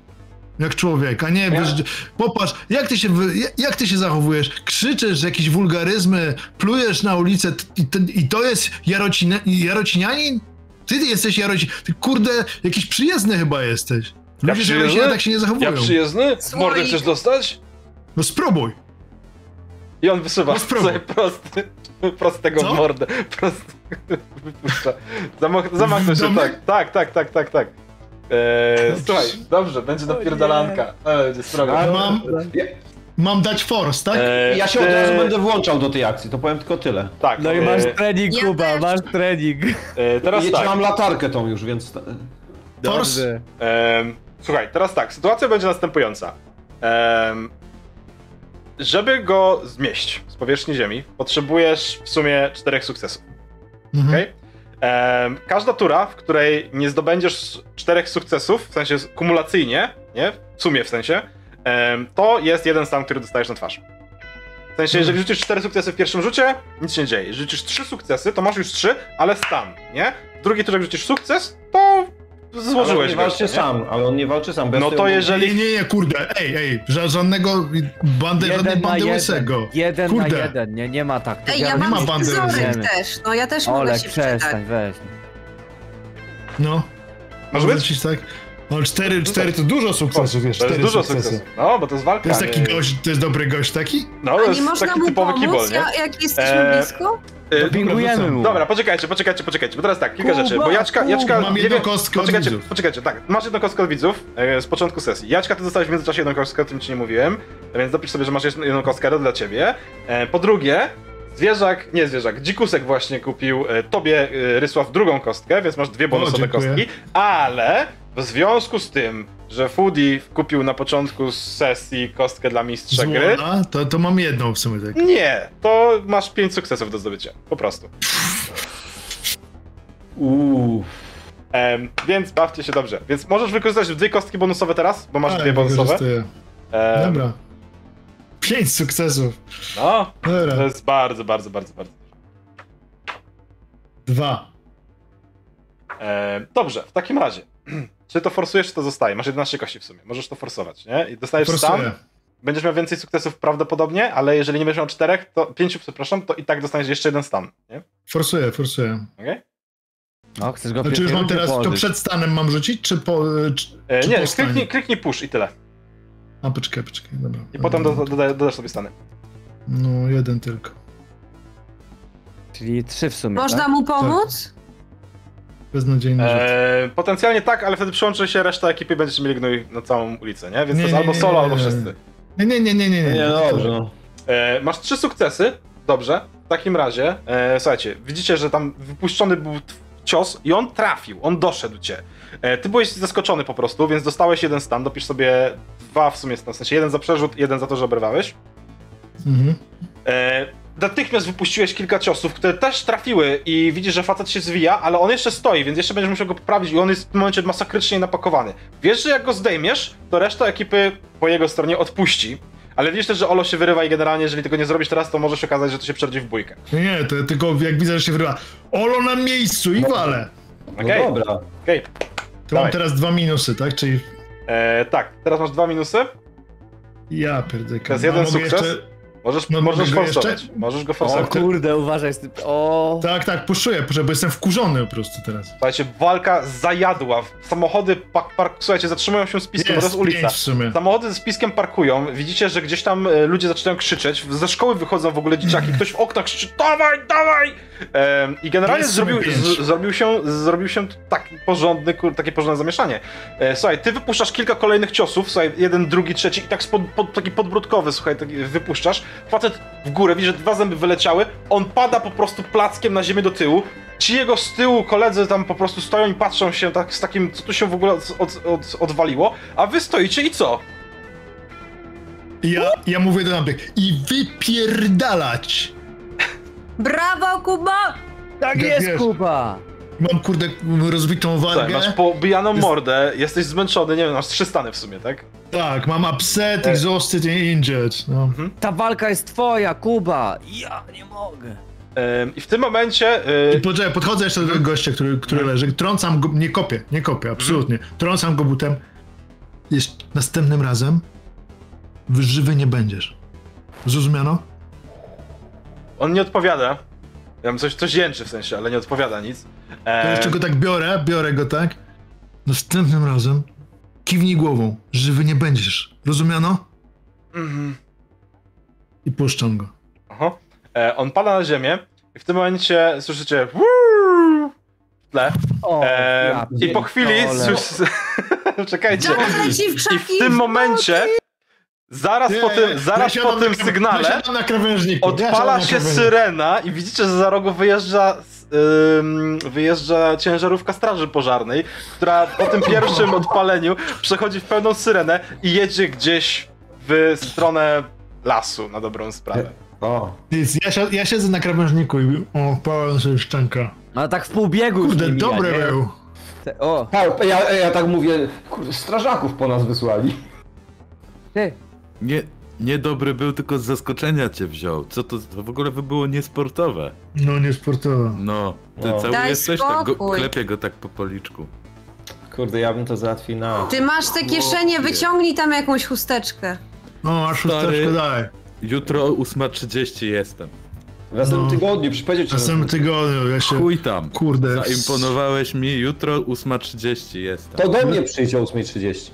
[SPEAKER 3] Jak człowiek, a nie wiesz, popatrz, jak ty, się, wy- jak ty się zachowujesz? Krzyczysz jakieś wulgaryzmy, plujesz na ulicę t- i, t- i to jest Jarocina, Jarocinianin? Ty jesteś Jarocin... Ty kurde, jakiś przyjezdny chyba jesteś. Ludzie z
[SPEAKER 1] przyjezdny?
[SPEAKER 3] Jarocina tak się nie zachowują.
[SPEAKER 1] Ja przyjezdny? W mordę
[SPEAKER 5] Słoik.
[SPEAKER 1] chcesz dostać?
[SPEAKER 3] no spróbuj.
[SPEAKER 1] I on wysyła
[SPEAKER 3] No spróbuj.
[SPEAKER 1] sobie prosty, prostego
[SPEAKER 3] Co?
[SPEAKER 1] w mordę. Prosty, wypuszcza. Zamach, zamachnął
[SPEAKER 3] Do
[SPEAKER 1] się,
[SPEAKER 3] mnie?
[SPEAKER 1] tak, tak, tak, tak, tak, tak. Eee, słuchaj, dobrze, będzie napierdalanka. Ale będzie sprawa.
[SPEAKER 4] Ale-
[SPEAKER 3] Mam,
[SPEAKER 4] Ja, E,
[SPEAKER 3] mam dać force, tak?
[SPEAKER 1] Eee,
[SPEAKER 4] No, ja się od razu
[SPEAKER 1] eee,
[SPEAKER 4] będę włączał do tej akcji, to powiem tylko tyle.
[SPEAKER 1] Tak,
[SPEAKER 2] No i masz trening,
[SPEAKER 5] Ja
[SPEAKER 2] Kuba,
[SPEAKER 5] też.
[SPEAKER 2] masz trening.
[SPEAKER 1] eee, teraz
[SPEAKER 4] ja
[SPEAKER 1] tak.
[SPEAKER 4] ci mam latarkę tą już, więc...
[SPEAKER 3] Force?
[SPEAKER 1] Em, słuchaj, teraz tak, sytuacja będzie następująca. Em, żeby go zmieść z powierzchni Ziemi, potrzebujesz w sumie czterech sukcesów.
[SPEAKER 3] Mhm.
[SPEAKER 1] Okej. Em, każda tura, w której nie zdobędziesz czterech sukcesów, w sensie kumulacyjnie, nie? W sumie w sensie, em, to jest jeden stan, który dostajesz na twarz. W sensie, jeżeli rzucisz cztery sukcesy w pierwszym rzucie, nic się nie dzieje. Jeżeli rzucisz trzy sukcesy, to masz już trzy, ale stan, nie? W drugiej turze, jak rzucisz sukces, to
[SPEAKER 4] Ale on
[SPEAKER 1] złożyłeś
[SPEAKER 4] nie
[SPEAKER 1] gościa,
[SPEAKER 4] walczy
[SPEAKER 1] nie?
[SPEAKER 4] sam, ale on nie walczy sam. bo ja
[SPEAKER 1] No
[SPEAKER 4] sobie
[SPEAKER 1] to
[SPEAKER 4] mówię,
[SPEAKER 1] jeżeli
[SPEAKER 3] Nie, nie, nie, kurde, ej, ej, ża- żadnego bandy, żadnej
[SPEAKER 2] Jeden na
[SPEAKER 3] bandy
[SPEAKER 2] jeden.
[SPEAKER 3] łysego.
[SPEAKER 2] Jeden na
[SPEAKER 3] Kurde.
[SPEAKER 2] jeden, nie, nie ma tak.
[SPEAKER 5] Ej, ja
[SPEAKER 3] nie ma
[SPEAKER 5] mam
[SPEAKER 3] bandy
[SPEAKER 5] scyzoryk
[SPEAKER 2] rozumiemy.
[SPEAKER 5] też, no ja też mogę
[SPEAKER 2] Olek,
[SPEAKER 5] się przydać.
[SPEAKER 2] przestań, weź.
[SPEAKER 3] No,
[SPEAKER 1] Masz być?
[SPEAKER 3] wrócić tak. No 4, 4 to dużo sukcesów, wiesz,
[SPEAKER 1] To jest
[SPEAKER 3] 4
[SPEAKER 1] dużo
[SPEAKER 3] sukcesy.
[SPEAKER 1] sukcesów. No, bo to jest walka.
[SPEAKER 3] To jest taki
[SPEAKER 1] nie-
[SPEAKER 3] gość, to jest dobry gość taki?
[SPEAKER 1] No,
[SPEAKER 5] A
[SPEAKER 1] to
[SPEAKER 5] nie
[SPEAKER 1] jest
[SPEAKER 5] można
[SPEAKER 1] taki
[SPEAKER 5] mu
[SPEAKER 1] typowy
[SPEAKER 5] pomóc,
[SPEAKER 1] kibol, nie?
[SPEAKER 5] ja- jak jesteśmy
[SPEAKER 1] E,
[SPEAKER 5] blisko?
[SPEAKER 1] Y,
[SPEAKER 2] Pingujemy mu.
[SPEAKER 1] Dobra, poczekajcie, poczekajcie, poczekajcie, bo teraz tak, kilka
[SPEAKER 2] Kuba,
[SPEAKER 1] rzeczy, bo Jaczka,
[SPEAKER 2] Kuba,
[SPEAKER 1] Jaczka...
[SPEAKER 3] mam
[SPEAKER 1] nie
[SPEAKER 3] jedną
[SPEAKER 1] wiem-
[SPEAKER 3] kostkę od
[SPEAKER 1] Poczekajcie,
[SPEAKER 3] widzów.
[SPEAKER 1] poczekajcie, tak, masz jedną kostkę od widzów e, z początku sesji. Jaczka, ty dostałeś w międzyczasie jedną kostkę, o tym ci nie mówiłem, więc dopisz sobie, że masz jeszcze jedną kostkę, to dla ciebie. E, po drugie, zwierzak, nie zwierzak, dzikusek właśnie kupił e, tobie, e, Rysław, drugą kostkę, więc masz dwie bonusowe
[SPEAKER 3] dziękuję.
[SPEAKER 1] kostki, ale w związku z tym, że Foodie kupił na początku sesji kostkę dla mistrza gry,
[SPEAKER 3] Złona, to, to mam jedną w sumie tak.
[SPEAKER 1] nie, to masz pięć sukcesów do zdobycia, po prostu.
[SPEAKER 4] Uuu.
[SPEAKER 1] Em, więc bawcie się dobrze. Więc możesz wykorzystać dwie kostki bonusowe teraz, bo masz
[SPEAKER 3] Ale
[SPEAKER 1] dwie bonusowe. E.
[SPEAKER 3] wykorzystuję.
[SPEAKER 1] Em,
[SPEAKER 3] Tak, Dobra. Pięć sukcesów.
[SPEAKER 1] No, to
[SPEAKER 3] Dobra.
[SPEAKER 1] jest bardzo, bardzo, bardzo, bardzo.
[SPEAKER 3] Dwa.
[SPEAKER 1] Em, dobrze, w takim razie. Czy to forsujesz, czy to zostaje? Masz 11 kości w sumie. Możesz to forsować, nie? I dostajesz sam.
[SPEAKER 3] Forsuję.
[SPEAKER 1] Będziesz miał więcej sukcesów prawdopodobnie, ale jeżeli nie będziesz miał czterech, to pięciu, przepraszam, to i tak dostaniesz jeszcze jeden stan, nie?
[SPEAKER 3] Forsuję, forsuję.
[SPEAKER 1] Okej?
[SPEAKER 2] No, chcesz go
[SPEAKER 3] Znaczy już mam teraz, to przed stanem mam rzucić, czy po... Czy,
[SPEAKER 1] E,
[SPEAKER 3] czy
[SPEAKER 1] nie,
[SPEAKER 3] po stanie?
[SPEAKER 1] kliknij, kliknij push i tyle.
[SPEAKER 3] A, poczekaj, poczekaj, dobra.
[SPEAKER 1] I potem doda, doda, dodasz sobie stany.
[SPEAKER 3] No, jeden tylko.
[SPEAKER 2] Czyli trzy w sumie,
[SPEAKER 5] Można
[SPEAKER 2] tak?
[SPEAKER 5] mu pomóc?
[SPEAKER 3] Beznadziejny rzecz.
[SPEAKER 1] E, potencjalnie tak, ale wtedy przyłączy się reszta ekipy i będziesz mieli gnój na całą ulicę, nie? Więc to
[SPEAKER 3] Nie,
[SPEAKER 1] jest
[SPEAKER 3] nie,
[SPEAKER 1] albo
[SPEAKER 3] nie,
[SPEAKER 1] solo,
[SPEAKER 3] nie,
[SPEAKER 1] albo
[SPEAKER 3] nie, nie.
[SPEAKER 1] wszyscy.
[SPEAKER 3] Nie, nie, nie, nie, nie.
[SPEAKER 4] Nie,
[SPEAKER 3] nie.
[SPEAKER 4] no dobrze, no.
[SPEAKER 1] E, masz trzy sukcesy. Dobrze. W takim razie, e, słuchajcie, widzicie, że tam wypuszczony był tw- cios i on trafił, on doszedł cię. E, ty byłeś zaskoczony po prostu, więc dostałeś jeden stan. Dopisz sobie dwa w sumie stan, w sensie jeden za przerzut, jeden za to, że oberwałeś.
[SPEAKER 3] Mhm.
[SPEAKER 1] E, natychmiast wypuściłeś kilka ciosów, które też trafiły i widzisz, że facet się zwija, ale on jeszcze stoi, więc jeszcze będziesz musiał go poprawić i on jest w tym momencie masakrycznie napakowany. Wiesz, że jak go zdejmiesz, to reszta ekipy po jego stronie odpuści. Ale widzisz też, że Olo się wyrywa i generalnie, jeżeli tego nie zrobisz teraz, to może się okazać, że to się przerwie w bójkę.
[SPEAKER 3] Nie, nie, to ja tylko jak widzę, że się wyrywa. Olo na miejscu i wale.
[SPEAKER 1] Okej?
[SPEAKER 4] No dobra.
[SPEAKER 1] Okej.
[SPEAKER 3] To
[SPEAKER 1] Dawaj.
[SPEAKER 3] mam teraz dwa minusy, tak? Czyli
[SPEAKER 1] E, Tak, teraz masz dwa minusy.
[SPEAKER 3] ja pierdolę.
[SPEAKER 1] To jest jeden sukces? Możesz,
[SPEAKER 3] No,
[SPEAKER 1] możesz
[SPEAKER 3] mogę go jeszcze?
[SPEAKER 1] forsować. Możesz go
[SPEAKER 2] O
[SPEAKER 1] forsować.
[SPEAKER 2] tak? kurde, uważaj z tym. O.
[SPEAKER 3] Tak, tak, poszuję, proszę, bo jestem wkurzony po prostu teraz.
[SPEAKER 1] Słuchajcie, walka zajadła. Samochody, park, park, słuchajcie, zatrzymują się z piskiem, bo to
[SPEAKER 3] Jest
[SPEAKER 1] jest ulica.
[SPEAKER 3] pięć w sumie.
[SPEAKER 1] Samochody z piskiem parkują, widzicie, że gdzieś tam e, ludzie zaczynają krzyczeć, ze szkoły wychodzą w ogóle dzieciaki, ktoś w oknach krzyczy dawaj, dawaj! Em, I generalnie
[SPEAKER 3] Jest sobie
[SPEAKER 1] zrobił, z,
[SPEAKER 3] pięć.
[SPEAKER 1] zrobił się, zrobił się tak porządny, kur, takie porządne zamieszanie. E, słuchaj, ty wypuszczasz kilka kolejnych ciosów, słuchaj, jeden, drugi, trzeci i tak spod, pod, taki podbródkowy, słuchaj, taki wypuszczasz. Facet w górę, widzisz, że dwa zęby wyleciały, on pada po prostu plackiem na ziemię do tyłu, Ci jego z tyłu koledzy tam po prostu stoją i patrzą się tak z takim, co tu się w ogóle od, od, od, odwaliło, a wy stoicie i co?
[SPEAKER 3] I Ja, ja mówię do nabieg. I wypierdalać!
[SPEAKER 5] Brawo, Kuba!
[SPEAKER 2] Tak
[SPEAKER 3] Jak
[SPEAKER 2] jest,
[SPEAKER 3] wiesz.
[SPEAKER 2] Kuba!
[SPEAKER 3] Mam kurde rozbitą
[SPEAKER 1] Słuchaj,
[SPEAKER 3] wargę.
[SPEAKER 1] masz pobijaną
[SPEAKER 3] Tak, Jest-
[SPEAKER 1] mordę, jesteś zmęczony, nie wiem, masz trzy stany w sumie, tak?
[SPEAKER 3] Tak, mam upset,
[SPEAKER 1] E.
[SPEAKER 3] exhausted i injured. No.
[SPEAKER 2] Ta walka jest twoja, Kuba! Ja nie mogę.
[SPEAKER 1] Ym, I w tym momencie...
[SPEAKER 3] I
[SPEAKER 1] Yy,
[SPEAKER 3] poczekaj, podchodzę jeszcze do tego gościa, który,
[SPEAKER 1] No.
[SPEAKER 3] który leży. Trącam go, nie kopię, nie kopię, absolutnie. Trącam go butem. Jest, następnym razem żywy nie będziesz. Zrozumiano?
[SPEAKER 1] on nie odpowiada. Ja bym coś, coś jęczy w sensie, ale nie odpowiada nic.
[SPEAKER 3] To
[SPEAKER 1] Ym,
[SPEAKER 3] jeszcze go tak biorę, biorę go tak. Następnym razem kiwnij głową. Żywy nie będziesz. Rozumiano?
[SPEAKER 1] mhm.
[SPEAKER 3] I puszczam go.
[SPEAKER 1] Aha. E, on pada na ziemię i w tym momencie słyszycie... "Wuuu" w tle.
[SPEAKER 2] O,
[SPEAKER 1] Em,
[SPEAKER 2] ja
[SPEAKER 1] I po chwili
[SPEAKER 2] pierdolę.
[SPEAKER 1] słyszycie... Czekajcie.
[SPEAKER 5] Jack leci w
[SPEAKER 1] I
[SPEAKER 5] krzaki!
[SPEAKER 1] w tym momencie, zaraz po tym, zaraz po
[SPEAKER 3] Zasiadam
[SPEAKER 1] tym
[SPEAKER 3] na kraw-
[SPEAKER 1] sygnale,
[SPEAKER 3] zasiadam na krawężniku.
[SPEAKER 1] odpala
[SPEAKER 3] zasiadam na
[SPEAKER 1] się
[SPEAKER 3] krawężniku.
[SPEAKER 1] syrena i widzicie, że za rogu wyjeżdża, ym, wyjeżdża ciężarówka straży pożarnej, która po tym pierwszym odpaleniu przechodzi w pełną syrenę i jedzie gdzieś w stronę lasu, na dobrą sprawę.
[SPEAKER 4] O.
[SPEAKER 3] Nic, ja, si- ja siedzę na krawężniku i o, pałem sobie szczęka.
[SPEAKER 2] No tak w pół biegu. z
[SPEAKER 3] Kurde,
[SPEAKER 2] nimi,
[SPEAKER 3] dobry
[SPEAKER 2] ja nie-
[SPEAKER 3] był.
[SPEAKER 2] Te- O,
[SPEAKER 4] Ja, ja, ja tak mówię, kurde, strażaków po nas wysłali.
[SPEAKER 2] ty.
[SPEAKER 6] Nie, niedobry był, tylko z zaskoczenia cię wziął. Co to, to w ogóle by było niesportowe?
[SPEAKER 3] No, niesportowo.
[SPEAKER 6] No, ty
[SPEAKER 4] No.
[SPEAKER 6] cały
[SPEAKER 5] Daj
[SPEAKER 6] jesteś, tak go,
[SPEAKER 5] spokój.
[SPEAKER 6] klepie go tak po policzku.
[SPEAKER 4] Kurde, ja bym to załatwił na...
[SPEAKER 5] Ty masz
[SPEAKER 1] No,
[SPEAKER 5] te kieszenie, wyciągnij tam jakąś chusteczkę.
[SPEAKER 3] No, aż
[SPEAKER 6] Stary.
[SPEAKER 3] szósteczkę daj.
[SPEAKER 6] Jutro o 8.30 jestem.
[SPEAKER 4] W następnym
[SPEAKER 3] No.
[SPEAKER 4] tygodniu, przypowiedział
[SPEAKER 3] W
[SPEAKER 4] ci.
[SPEAKER 3] następnym tygodniu, ja się...
[SPEAKER 6] Chuj tam.
[SPEAKER 3] Kurde.
[SPEAKER 6] Zaimponowałeś mi, jutro 8.30 jest.
[SPEAKER 4] To do mnie przyjdzie o 8.30.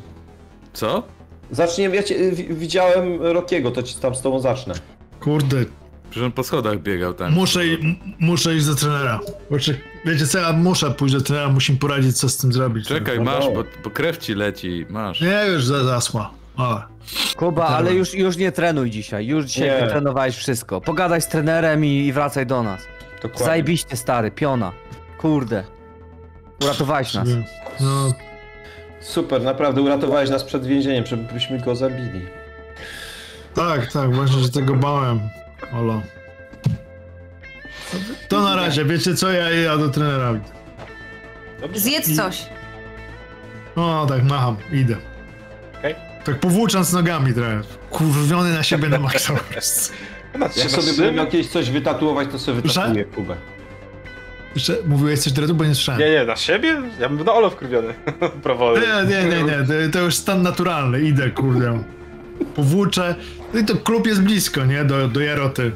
[SPEAKER 6] Co?
[SPEAKER 4] Zaczniemy, ja cię, y, wi- widziałem Rokiego, to ci tam z tobą zacznę.
[SPEAKER 3] Kurde.
[SPEAKER 6] Przecież on po schodach biegał tam.
[SPEAKER 3] Muszę, i- m- muszę iść do trenera. Znaczy, Wiecie co, ja muszę pójść do trenera, musimy poradzić, co z tym zrobić.
[SPEAKER 6] Czekaj,
[SPEAKER 4] No
[SPEAKER 6] masz, bo,
[SPEAKER 4] dobra.
[SPEAKER 6] bo krew ci leci, masz.
[SPEAKER 3] Nie, już za- zasła. Ale.
[SPEAKER 2] Kuba,
[SPEAKER 3] Dobra.
[SPEAKER 2] ale już, już nie trenuj dzisiaj. Już dzisiaj
[SPEAKER 4] Nie.
[SPEAKER 2] wytrenowałeś wszystko. Pogadaj z trenerem i, i wracaj do nas.
[SPEAKER 4] Dokładnie.
[SPEAKER 2] Zajebiście stary, piona. Kurde. Uratowałeś nas.
[SPEAKER 3] No,
[SPEAKER 4] Super, naprawdę uratowałeś nas przed więzieniem, żebyśmy go zabili.
[SPEAKER 3] tak, tak, właśnie się tego bałem. Olo. To na razie, wiecie co, ja ja do trenera idę.
[SPEAKER 5] Zjedz coś.
[SPEAKER 3] O, tak, macham, idę.
[SPEAKER 1] Okej.
[SPEAKER 3] Tak powłócząc nogami trochę. Kurwiony na siebie na maksa po prostu.
[SPEAKER 1] Ona
[SPEAKER 4] Jak
[SPEAKER 1] trzyma
[SPEAKER 4] sobie
[SPEAKER 1] szyby.
[SPEAKER 4] będę miał kiedyś coś wytatuować, to sobie
[SPEAKER 3] Że?
[SPEAKER 4] wytatuję Kubę.
[SPEAKER 3] Jeszcze Mówiłeś coś dredu, bo nie słyszałem.
[SPEAKER 1] Nie, nie, na siebie? Ja bym na Olo wkurwiony. Prowolę.
[SPEAKER 3] Nie, nie, nie, nie, to- to już stan naturalny, idę, kurde. Powłóczę. No i to klub jest blisko, nie, do, do Jaroty.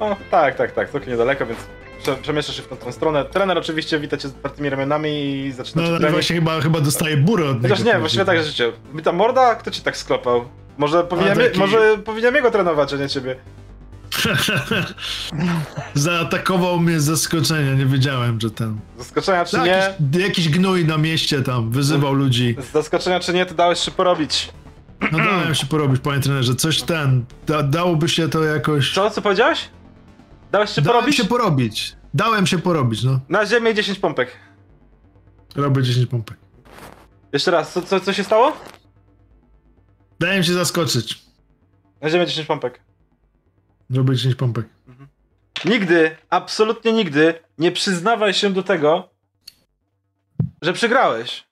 [SPEAKER 3] No,
[SPEAKER 1] O, tak, tak, tak, tylko niedaleko, więc prze- przemieszczę się w tą, tą stronę. Trener oczywiście wita cię z otwartymi ramionami i zaczyna
[SPEAKER 3] No,
[SPEAKER 1] no,
[SPEAKER 3] no właśnie chyba, chyba dostaję burę od
[SPEAKER 1] Chociaż
[SPEAKER 3] niego.
[SPEAKER 1] nie, właściwie tak życie. Ta morda, kto cię tak sklopał? Może powinienem,
[SPEAKER 3] taki-
[SPEAKER 1] może powinienem jego trenować, a nie ciebie. tak-
[SPEAKER 3] Zaatakował mnie z zaskoczenia, nie wiedziałem, że ten...
[SPEAKER 1] Zaskoczenia czy
[SPEAKER 3] No,
[SPEAKER 1] nie?
[SPEAKER 3] jakiś, jakiś gnój na mieście tam
[SPEAKER 1] No.
[SPEAKER 3] wyzywał ludzi.
[SPEAKER 1] Z zaskoczenia czy nie, to dałeś się porobić.
[SPEAKER 3] No dałem się porobić, panie trenerze, coś ten... Da, dałoby się to jakoś...
[SPEAKER 1] Co, co powiedziałeś? Dałeś się
[SPEAKER 3] dałem
[SPEAKER 1] porobić?
[SPEAKER 3] się porobić. Dałem się porobić, no.
[SPEAKER 1] Na ziemię 10 pompek.
[SPEAKER 3] Robię 10 pompek.
[SPEAKER 1] Jeszcze raz, co, co, co się stało?
[SPEAKER 3] Dałem się zaskoczyć.
[SPEAKER 1] Na ziemię 10 pompek.
[SPEAKER 3] Robię 10 pompek.
[SPEAKER 1] Nigdy, absolutnie nigdy nie przyznawaj się do tego, że przegrałeś.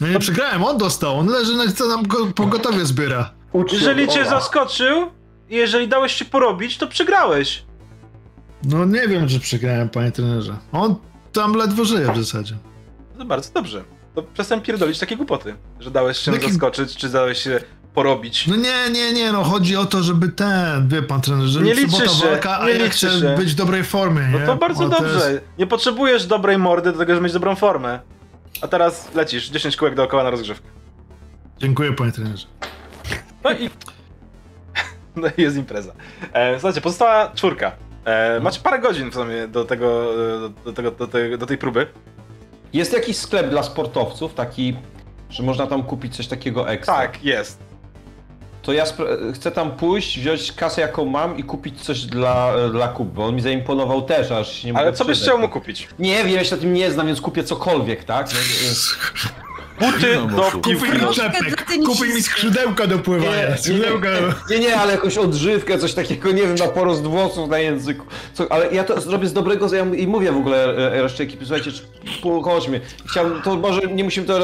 [SPEAKER 3] No nie przegrałem, on dostał, on leży na co nam go, pogotowie zbiera.
[SPEAKER 1] Jeżeli cię
[SPEAKER 4] Ola.
[SPEAKER 1] zaskoczył i jeżeli dałeś się porobić, to przegrałeś.
[SPEAKER 3] No nie wiem, że przegrałem, panie trenerze. On tam ledwo żyje w zasadzie.
[SPEAKER 1] No to bardzo dobrze. To przestań pierdolić takie głupoty, że dałeś się
[SPEAKER 3] No Jakim-
[SPEAKER 1] zaskoczyć, czy dałeś się porobić.
[SPEAKER 3] No nie, nie, nie, no chodzi o to, żeby ten, wie pan trener, żeby
[SPEAKER 1] Nie liczy się,
[SPEAKER 3] walka, a
[SPEAKER 1] nie
[SPEAKER 3] ja
[SPEAKER 1] liczy
[SPEAKER 3] chcę
[SPEAKER 1] się.
[SPEAKER 3] być w dobrej formie,
[SPEAKER 1] No
[SPEAKER 3] nie?
[SPEAKER 1] to bardzo
[SPEAKER 3] O,
[SPEAKER 1] dobrze.
[SPEAKER 3] jest-
[SPEAKER 1] Nie potrzebujesz dobrej mordy do tego, żeby mieć dobrą formę. A teraz lecisz 10 kółek dookoła na rozgrzewkę.
[SPEAKER 3] Dziękuję, panie trenerze.
[SPEAKER 1] No i... No i jest impreza. E, słuchajcie, pozostała czwórka.
[SPEAKER 3] No.
[SPEAKER 1] E, macie parę godzin w sumie do tego, e, do, do tego, do, tej- do tej próby.
[SPEAKER 4] Jest jakiś sklep dla sportowców, taki, że można tam kupić coś takiego ekstra.
[SPEAKER 1] Tak, jest.
[SPEAKER 4] To ja spra- chcę tam pójść, wziąć kasę jaką mam i kupić coś dla, dla Kuby, bo on mi zaimponował też, aż się nie
[SPEAKER 1] Ale
[SPEAKER 4] mogę
[SPEAKER 1] co byś
[SPEAKER 4] przydać.
[SPEAKER 1] chciał mu
[SPEAKER 3] tak.
[SPEAKER 1] kupić?
[SPEAKER 4] Nie wiem, ja się na tym nie znam, więc kupię cokolwiek, tak? No,
[SPEAKER 1] Buty
[SPEAKER 6] No,
[SPEAKER 1] do
[SPEAKER 6] Kuba.
[SPEAKER 1] piłki.
[SPEAKER 5] Troszkę dla tenisisty.
[SPEAKER 3] kupuj mi skrzydełka do pływania,
[SPEAKER 4] Nie, nie,
[SPEAKER 3] skrzydełka.
[SPEAKER 4] Nie, nie, ale jakąś odżywkę, coś takiego, nie wiem, na porost włosów na języku. Co, ale ja to zrobię z dobrego, ja i mówię w ogóle e, reszcie ekipy, słuchajcie, czy- po- chodźmy. Chciałbym, to może nie musimy to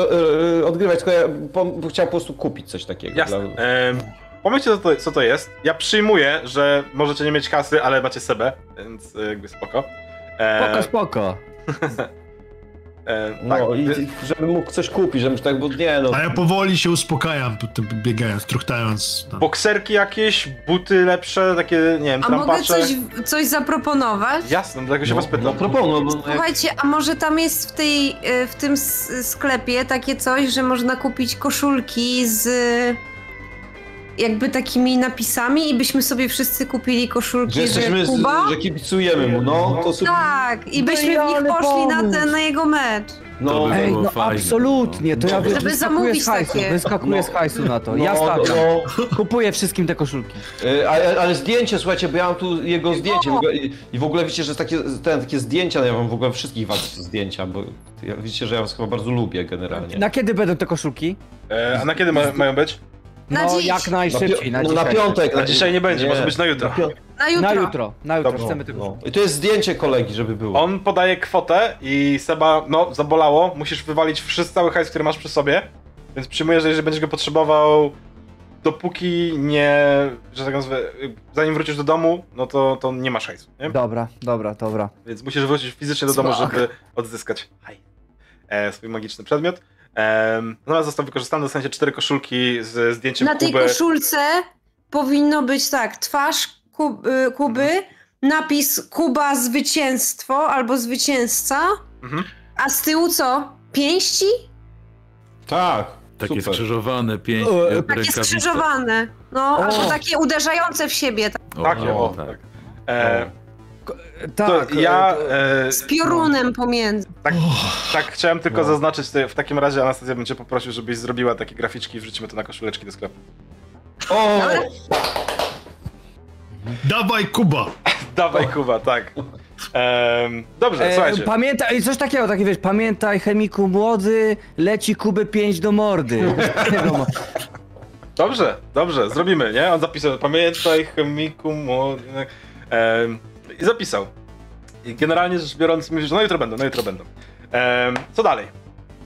[SPEAKER 4] e, odgrywać, tylko ja po, chciałem po prostu kupić coś takiego.
[SPEAKER 1] Jasne. E,
[SPEAKER 4] dla-
[SPEAKER 1] Em, pomyślcie, co to, co to jest. Ja przyjmuję, że możecie nie mieć kasy, ale macie sebę, więc e, jakby spoko. E,
[SPEAKER 2] Spoko, spoko.
[SPEAKER 1] e,
[SPEAKER 4] No
[SPEAKER 1] tak.
[SPEAKER 4] i żebym mógł coś kupić, żebym tak, bo nie no.
[SPEAKER 3] A ja powoli się uspokajam, po tym biegając, truchtając. tam.
[SPEAKER 1] Bokserki jakieś, buty lepsze, takie, nie wiem,
[SPEAKER 5] A mogę
[SPEAKER 1] trampacze.
[SPEAKER 5] coś, coś zaproponować?
[SPEAKER 1] Jasne, dlatego się was pytam.
[SPEAKER 4] No proponuję, bo jak-
[SPEAKER 5] Słuchajcie, a może tam jest w, tej, y, w tym s- sklepie takie coś, że można kupić koszulki z y, jakby takimi napisami i byśmy sobie wszyscy kupili
[SPEAKER 4] że
[SPEAKER 5] koszulki, że,
[SPEAKER 4] jesteśmy, z,
[SPEAKER 5] Kuba?
[SPEAKER 4] że kibicujemy mu, no, to super.
[SPEAKER 5] Tak, i byśmy w nich
[SPEAKER 2] Genialny
[SPEAKER 5] poszli na,
[SPEAKER 2] pomysł.
[SPEAKER 5] ten, na jego mecz.
[SPEAKER 4] No,
[SPEAKER 6] by
[SPEAKER 2] Ej,
[SPEAKER 6] było
[SPEAKER 2] no
[SPEAKER 6] fajne,
[SPEAKER 2] absolutnie, to ja
[SPEAKER 4] Żeby
[SPEAKER 2] wyskakuję
[SPEAKER 5] zamówić
[SPEAKER 2] z hajsu,
[SPEAKER 5] takie.
[SPEAKER 2] wyskakuję
[SPEAKER 4] No.
[SPEAKER 2] z hajsu na to.
[SPEAKER 4] no,
[SPEAKER 2] Ja stawiam,
[SPEAKER 4] no.
[SPEAKER 2] kupuję wszystkim te koszulki.
[SPEAKER 4] E, Ale, ale zdjęcie, słuchajcie, bo ja mam tu jego zdjęcie. W ogóle, i- I w ogóle widzicie, że takie, ten, takie zdjęcia, no ja wam w ogóle wszystkich was zdjęcia, bo ja, widzicie, że ja was chyba bardzo lubię generalnie.
[SPEAKER 2] Na kiedy będą te koszulki?
[SPEAKER 1] E, a na kiedy ma, mają być?
[SPEAKER 5] Na
[SPEAKER 2] No
[SPEAKER 5] dziś.
[SPEAKER 2] jak
[SPEAKER 4] pio-
[SPEAKER 2] najszybciej, na,
[SPEAKER 4] no, na
[SPEAKER 2] dzisiaj.
[SPEAKER 4] piątek.
[SPEAKER 1] Na dzisiaj nie będzie, może być na jutro.
[SPEAKER 4] piątek.
[SPEAKER 5] Na jutro.
[SPEAKER 2] Na jutro, na jutro,
[SPEAKER 4] No,
[SPEAKER 2] chcemy tego.
[SPEAKER 4] no. I to jest zdjęcie kolegi, żeby było.
[SPEAKER 1] On podaje kwotę i Seba, no, zabolało, musisz wywalić wszystko, cały hajs, który masz przy sobie, więc przyjmuję, że jeżeli będziesz go potrzebował, dopóki nie, że tak nazwę, y, zanim wrócisz do domu, no to, to nie masz hajsu, nie?
[SPEAKER 2] Dobra, dobra, dobra.
[SPEAKER 1] Więc musisz wrócić fizycznie do domu,
[SPEAKER 2] Smok.
[SPEAKER 1] żeby odzyskać haj. E, swój magiczny przedmiot. E, natomiast został wykorzystany, dostaniecie cztery koszulki z zdjęciem
[SPEAKER 5] Na tej
[SPEAKER 1] Kuby.
[SPEAKER 5] koszulce powinno być tak, twarz Ku- y, Kuby, napis Kuba zwycięstwo albo zwycięzca,
[SPEAKER 1] Mhm.
[SPEAKER 5] a z tyłu co? Pięści?
[SPEAKER 4] Tak.
[SPEAKER 6] Takie
[SPEAKER 4] Super.
[SPEAKER 6] skrzyżowane pięści.
[SPEAKER 2] O,
[SPEAKER 6] jak
[SPEAKER 5] Takie
[SPEAKER 6] rękawice.
[SPEAKER 5] skrzyżowane. Tak, No,
[SPEAKER 2] O.
[SPEAKER 5] albo takie uderzające w siebie. tak.
[SPEAKER 6] O,
[SPEAKER 1] Takie,
[SPEAKER 6] o,
[SPEAKER 1] o,
[SPEAKER 6] tak.
[SPEAKER 1] E, to
[SPEAKER 2] Tak.
[SPEAKER 1] ja e,
[SPEAKER 5] Z piorunem pomiędzy.
[SPEAKER 1] tak chciałem tylko
[SPEAKER 4] No.
[SPEAKER 1] zaznaczyć, tutaj- w takim razie Anastazja będzie poprosił, żebyś zrobiła takie graficzki i wrzucimy to na koszuleczki do sklepu.
[SPEAKER 4] O!
[SPEAKER 3] Dawaj, Kuba!
[SPEAKER 1] Dawaj Kuba, tak. Em, dobrze,
[SPEAKER 2] E,
[SPEAKER 1] słuchajcie.
[SPEAKER 2] pamiętaj, coś takiego, takie wiesz, pamiętaj chemiku młody, leci Kuby 5 do mordy. Wiadomo.
[SPEAKER 1] Dobrze, dobrze, zrobimy, nie? On zapisał, pamiętaj chemiku młody... Em, I zapisał. I generalnie rzecz biorąc, mówisz, że no jutro będą, no jutro będą. Em, co dalej?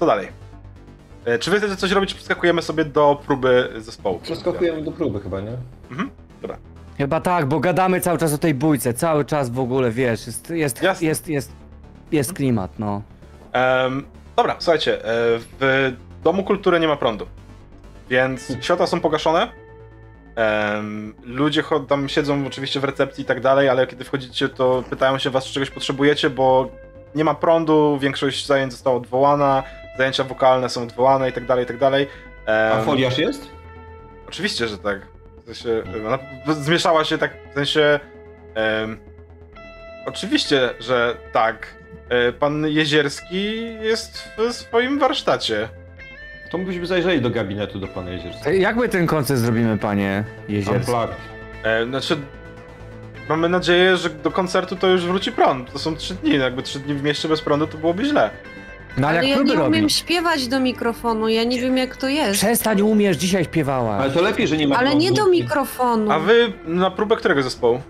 [SPEAKER 1] Co dalej? E, czy wy chcecie coś robić, czy przeskakujemy sobie do próby zespołu?
[SPEAKER 4] Przeskakujemy do próby chyba, nie?
[SPEAKER 2] Chyba tak, bo gadamy cały czas o tej bójce, cały czas w ogóle, wiesz, jest, jest, jest,
[SPEAKER 1] Jasne.
[SPEAKER 2] jest, jest, jest klimat, no.
[SPEAKER 1] Em, dobra, słuchajcie, e, w Domu Kultury nie ma prądu, więc światła są pogaszone. Em, ludzie cho- tam siedzą oczywiście w recepcji i tak dalej, ale kiedy wchodzicie, to pytają się was, czy czegoś potrzebujecie, bo nie ma prądu, większość zajęć została odwołana, zajęcia wokalne są odwołane i tak dalej, i tak dalej.
[SPEAKER 4] A
[SPEAKER 1] Em,
[SPEAKER 4] foliarz jest?
[SPEAKER 1] Oczywiście, że tak. W sensie, ona zmieszała się tak, w sensie... em, oczywiście, że tak. E, pan Jezierski jest w swoim warsztacie.
[SPEAKER 4] To byśmy zajrzeli do gabinetu do pana Jezierskiego.
[SPEAKER 2] E, Jak my ten koncert zrobimy, panie Jezierski?
[SPEAKER 4] Unplugged.
[SPEAKER 1] E, znaczy, mamy nadzieję, że do koncertu to już wróci prąd. To są trzy dni, no jakby trzy dni w mieście bez prądu to byłoby źle.
[SPEAKER 2] No ale
[SPEAKER 5] Ale
[SPEAKER 2] jak
[SPEAKER 5] ja
[SPEAKER 2] próby
[SPEAKER 5] nie umiem
[SPEAKER 2] robisz?
[SPEAKER 5] śpiewać do mikrofonu, ja nie wiem jak to jest.
[SPEAKER 2] Przestań, umiesz, dzisiaj śpiewała.
[SPEAKER 4] Ale to lepiej, że nie ma
[SPEAKER 5] Ale nie do
[SPEAKER 4] prądu.
[SPEAKER 5] mikrofonu.
[SPEAKER 1] A wy na próbę którego zespołu?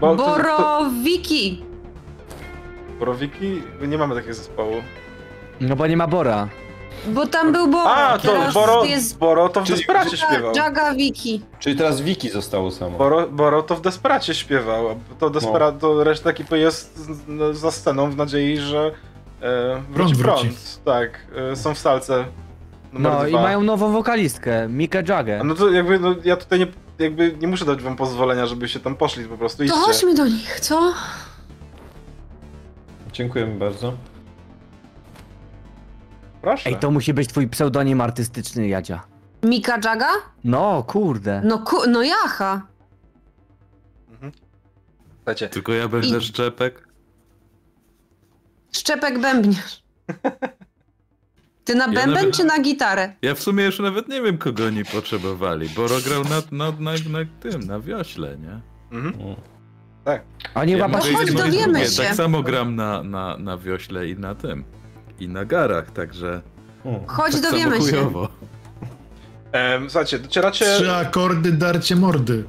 [SPEAKER 1] Bo to- to-
[SPEAKER 5] Borowiki.
[SPEAKER 1] Borowiki? Nie mamy takiego zespołu.
[SPEAKER 2] No bo nie ma Bora.
[SPEAKER 5] Bo tam był Boro.
[SPEAKER 1] A, to
[SPEAKER 5] Teraz
[SPEAKER 1] Boro,
[SPEAKER 5] jest
[SPEAKER 1] Boro to w
[SPEAKER 4] Czyli-
[SPEAKER 1] Desperacie śpiewał.
[SPEAKER 5] Jaga Wiki.
[SPEAKER 4] Czyli teraz Wiki zostało samo.
[SPEAKER 1] Boro, Boro to w Desperacie śpiewał, a to, despera,
[SPEAKER 3] No.
[SPEAKER 1] to reszta ekipy jest z- no, za sceną w nadziei, że e, wróci
[SPEAKER 3] Prąd wróci.
[SPEAKER 1] prąd. Tak, e, są w salce numer
[SPEAKER 2] No
[SPEAKER 1] dwa.
[SPEAKER 2] i mają nową wokalistkę, Mikę Jagę.
[SPEAKER 1] A No to jakby, no, ja tutaj nie, jakby nie muszę dać wam pozwolenia, żeby się tam poszli, po prostu
[SPEAKER 5] To
[SPEAKER 1] idźcie.
[SPEAKER 5] chodźmy do nich, co?
[SPEAKER 4] Dziękujemy bardzo.
[SPEAKER 1] Proszę.
[SPEAKER 2] Ej, to musi być twój pseudonim artystyczny, Jadzia.
[SPEAKER 5] Mika Jaga?
[SPEAKER 2] No, kurde.
[SPEAKER 5] No, ku, no jaha.
[SPEAKER 1] Słuchajcie,
[SPEAKER 6] Tylko ja będę
[SPEAKER 5] I-
[SPEAKER 6] szczepek.
[SPEAKER 5] Szczepek bębniarz. Ty na
[SPEAKER 6] Ja
[SPEAKER 5] bęben
[SPEAKER 6] nawet-
[SPEAKER 5] czy na gitarę?
[SPEAKER 6] Ja w sumie już nawet nie wiem, kogo oni potrzebowali. Boro grał na, na, na, na tym, na wiośle, nie?
[SPEAKER 1] mhm.
[SPEAKER 2] A nie
[SPEAKER 6] Ja
[SPEAKER 2] ma
[SPEAKER 6] mogę
[SPEAKER 5] patrzeć,
[SPEAKER 6] i jedno, i
[SPEAKER 5] dowiemy
[SPEAKER 6] drugie.
[SPEAKER 5] się.
[SPEAKER 6] Tak samo gram na, na, na wiośle i na tym. I na garach, także.
[SPEAKER 4] Hmm.
[SPEAKER 5] Chodź,
[SPEAKER 6] tak
[SPEAKER 5] dowiemy
[SPEAKER 6] samo
[SPEAKER 5] się.
[SPEAKER 6] chujowo.
[SPEAKER 1] Em, E, słuchajcie, docieracie, e,
[SPEAKER 3] Trzy akordy, darcie mordy.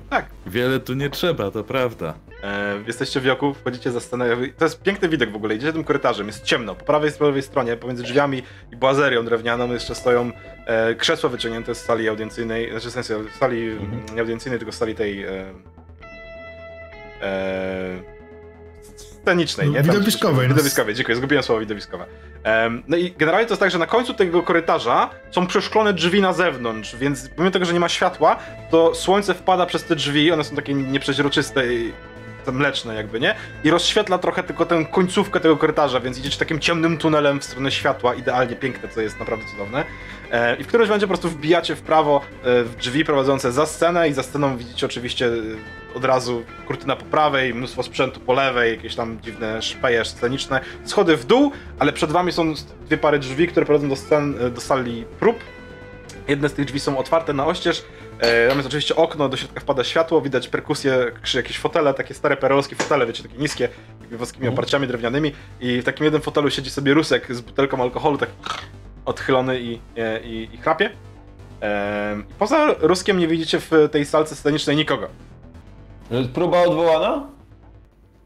[SPEAKER 6] Wiele tu nie trzeba, to prawda.
[SPEAKER 1] e, jesteście w wioku, wchodzicie za scenę, jakby- to jest piękny widok w ogóle, idziecie tym korytarzem, jest ciemno, po prawej i po lewej stronie, pomiędzy drzwiami i błazerią drewnianą jeszcze stoją e, krzesła wyciągnięte z sali audiencyjnej, znaczy w sensie z sali
[SPEAKER 3] Mhm.
[SPEAKER 1] mm, nie audiencyjnej, tylko z sali tej e, e, scenicznej, nie? Tam-
[SPEAKER 3] Widowiskowej, no.
[SPEAKER 1] Widowiskowej, dziękuję, zgubiłem słowo widowiskowe. Em, no i generalnie to jest tak, że na końcu tego korytarza są przeszklone drzwi na zewnątrz, więc pomimo tego, że nie ma światła, to słońce wpada przez te drzwi, one są takie nieprzeźroczyste i te mleczne jakby, nie? I rozświetla trochę tylko tę końcówkę tego korytarza, więc idziecie takim ciemnym tunelem w stronę światła, idealnie piękne, co jest naprawdę cudowne. E, I w którymś momencie po prostu wbijacie w prawo e, w drzwi prowadzące za scenę i za sceną widzicie oczywiście e, od razu kurtyna po prawej, mnóstwo sprzętu po lewej, jakieś tam dziwne szpeje sceniczne, schody w dół, ale przed wami są dwie pary drzwi, które prowadzą do, scen, e, do sali prób. Jedne z tych drzwi są otwarte na oścież, E, Tam jest oczywiście okno, do środka wpada światło, widać perkusję, krzy- jakieś fotele, takie stare perolskie fotele, wiecie, takie niskie, jakby wąskimi
[SPEAKER 6] Mhm.
[SPEAKER 1] oparciami drewnianymi i w takim jednym fotelu siedzi sobie Rusek z butelką alkoholu, tak odchylony i, e, i, i chrapie. Em, I poza Ruskiem nie widzicie w tej salce scenicznej nikogo.
[SPEAKER 4] E, Próba odwołana?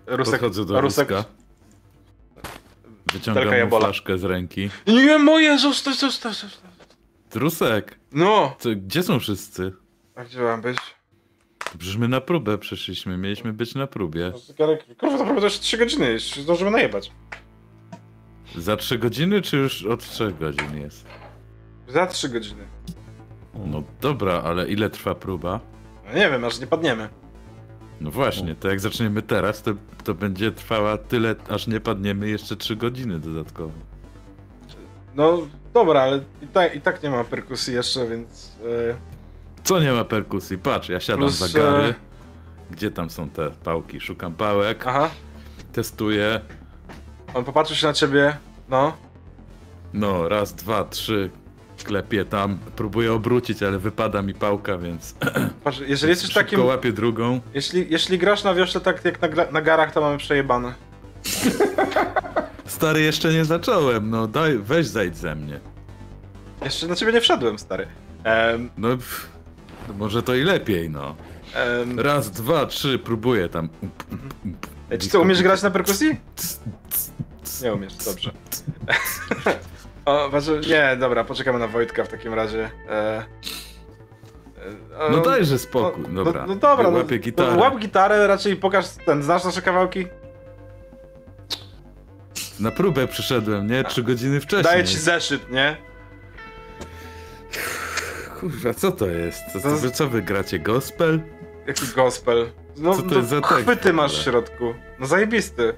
[SPEAKER 1] Rusek,
[SPEAKER 6] Podchodzę do
[SPEAKER 1] Rusek
[SPEAKER 6] Ruska.
[SPEAKER 1] Telka
[SPEAKER 6] Wyciągam mu
[SPEAKER 1] jabola.
[SPEAKER 6] flaszkę z ręki.
[SPEAKER 1] Nie, moje, zostaw, zostaw, zostaw.
[SPEAKER 6] Rusek,
[SPEAKER 1] No!
[SPEAKER 6] co, gdzie są wszyscy?
[SPEAKER 1] A gdzie mam być?
[SPEAKER 6] Przecież my na próbę przyszliśmy, mieliśmy być na próbie.
[SPEAKER 1] Zegarek, kurwa, naprawdę to już 3 godziny, jeszcze zdążymy najebać.
[SPEAKER 6] Za trzy godziny, czy już od trzech godzin jest?
[SPEAKER 1] Za 3 godziny.
[SPEAKER 6] No dobra, ale ile trwa próba?
[SPEAKER 1] No nie wiem, aż nie padniemy.
[SPEAKER 6] No właśnie, to jak zaczniemy teraz, to, to będzie trwała tyle, aż nie padniemy jeszcze 3 godziny dodatkowo.
[SPEAKER 1] No dobra, ale i tak, i tak nie ma perkusji jeszcze, więc. e,
[SPEAKER 6] Co nie ma perkusji? Patrz, ja siadam
[SPEAKER 1] Plus,
[SPEAKER 6] za gary.
[SPEAKER 1] e,
[SPEAKER 6] Gdzie tam są te pałki? Szukam pałek,
[SPEAKER 1] aha,
[SPEAKER 6] testuję.
[SPEAKER 1] on popatrzył się na ciebie. No,
[SPEAKER 6] No, raz, dwa, trzy. Klepię tam, próbuję obrócić, ale wypada mi pałka, więc
[SPEAKER 1] patrz, jeżeli jesteś
[SPEAKER 6] szybko
[SPEAKER 1] takim.
[SPEAKER 6] łapię drugą.
[SPEAKER 1] Jeśli, jeśli grasz na wiośle tak jak na, gra- na garach, to mamy przejebane.
[SPEAKER 6] Stary, jeszcze nie zacząłem, no daj, weź zajdź ze mnie.
[SPEAKER 1] Jeszcze na ciebie nie wszedłem, stary. Em,
[SPEAKER 6] No, pff, no może to i lepiej, no.
[SPEAKER 1] em,
[SPEAKER 6] Raz, dwa, trzy, próbuję tam.
[SPEAKER 1] Czy ty umiesz grać na perkusji? Nie umiesz, dobrze. o, patrzę, nie, dobra, poczekamy na Wojtka w takim razie. E, e,
[SPEAKER 6] No
[SPEAKER 1] o,
[SPEAKER 6] dajże spokój, dobra.
[SPEAKER 1] No, no dobra, no,
[SPEAKER 6] Łapię gitarę.
[SPEAKER 1] No, łap gitarę, raczej pokaż ten, znasz nasze kawałki?
[SPEAKER 6] Na próbę przyszedłem, nie? Trzy godziny wcześniej.
[SPEAKER 1] Daję ci zeszyt, nie?
[SPEAKER 6] Kurwa, co to jest? Co,
[SPEAKER 1] To-
[SPEAKER 6] co, co wy gracie? Gospel?
[SPEAKER 1] Jaki gospel. No,
[SPEAKER 6] Co to
[SPEAKER 1] no,
[SPEAKER 6] jest za tekst w
[SPEAKER 1] chwyty
[SPEAKER 6] ogóle?
[SPEAKER 1] masz w środku. No zajebisty.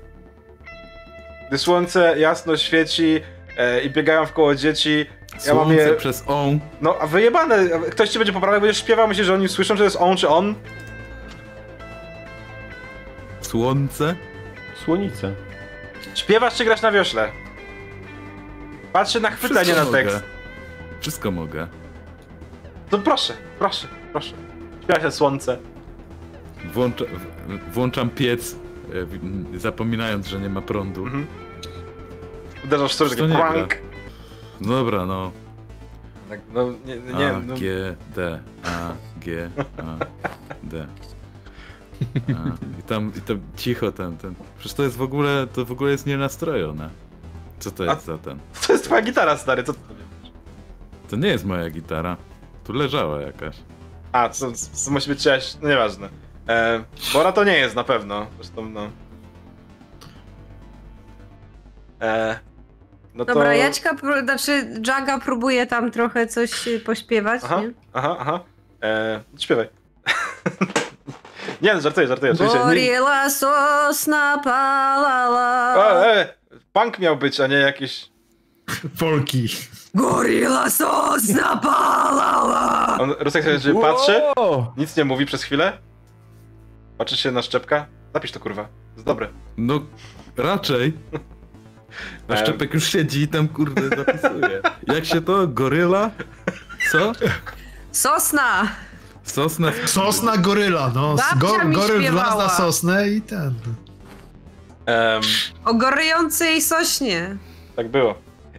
[SPEAKER 1] Gdy słońce jasno świeci e, i biegają w koło dzieci, Ja mam
[SPEAKER 6] Słońce
[SPEAKER 1] je-
[SPEAKER 6] przez on.
[SPEAKER 1] No, a wyjebane, a ktoś ci będzie poprawiał, będziesz śpiewał, myślisz, że oni słyszą, że to jest on czy on?
[SPEAKER 6] Słońce?
[SPEAKER 4] Słonice.
[SPEAKER 1] Śpiewasz czy grasz na wiośle? Patrzę na chwytanie na
[SPEAKER 6] mogę.
[SPEAKER 1] tekst.
[SPEAKER 6] Wszystko mogę.
[SPEAKER 1] No proszę, proszę, proszę. Śpiewa się słońce.
[SPEAKER 6] Włącza, w- włączam piec, e, w- zapominając, że nie ma prądu.
[SPEAKER 1] Mhm. Uderzasz w stronę,
[SPEAKER 6] To
[SPEAKER 1] taki
[SPEAKER 6] nie gra.
[SPEAKER 1] prank.
[SPEAKER 6] Dobra, no.
[SPEAKER 1] Tak, No, nie, nie,
[SPEAKER 6] A,
[SPEAKER 1] nie no,
[SPEAKER 6] G, D, A, G, A, D. A, I tam, i tam cicho ten, ten. Przecież to jest w ogóle, to w ogóle jest nienastrojone. Co to jest za ten?
[SPEAKER 1] to jest twoja gitara, stary, co ty
[SPEAKER 6] To nie jest moja gitara. Tu leżała jakaś.
[SPEAKER 1] A, to, to musi być czyjaś, no nieważne. E, Bora to nie jest na pewno, zresztą no. E, no to...
[SPEAKER 5] Dobra, Jaćka, pró- znaczy Jaga próbuje tam trochę coś y, pośpiewać,
[SPEAKER 1] Aha,
[SPEAKER 5] nie?
[SPEAKER 1] aha, aha. E, śpiewaj. nie, no, żartuję, żartuję. Oczywiście. Nie,
[SPEAKER 5] Gorila sosna
[SPEAKER 1] o,
[SPEAKER 5] palala,
[SPEAKER 1] e, punk miał być, a nie jakiś...
[SPEAKER 3] Polki.
[SPEAKER 5] gorila sosna palala.
[SPEAKER 1] On Rusek sobie że patrzy, nic nie mówi przez chwilę. Patrzy się na szczepka. Napisz to, kurwa. Jest dobre.
[SPEAKER 6] No, raczej. A
[SPEAKER 1] Em.
[SPEAKER 6] Szczepek już siedzi i tam kurde zapisuje. Jak się to? Goryla? Co?
[SPEAKER 5] Sosna!
[SPEAKER 6] Sosna?
[SPEAKER 3] Sosna goryla, no.
[SPEAKER 5] Babcia mi
[SPEAKER 3] goryl
[SPEAKER 5] śpiewała.
[SPEAKER 3] wlazł na sosnę i ten.
[SPEAKER 1] Em,
[SPEAKER 5] O goryjącej sośnie.
[SPEAKER 1] tak było.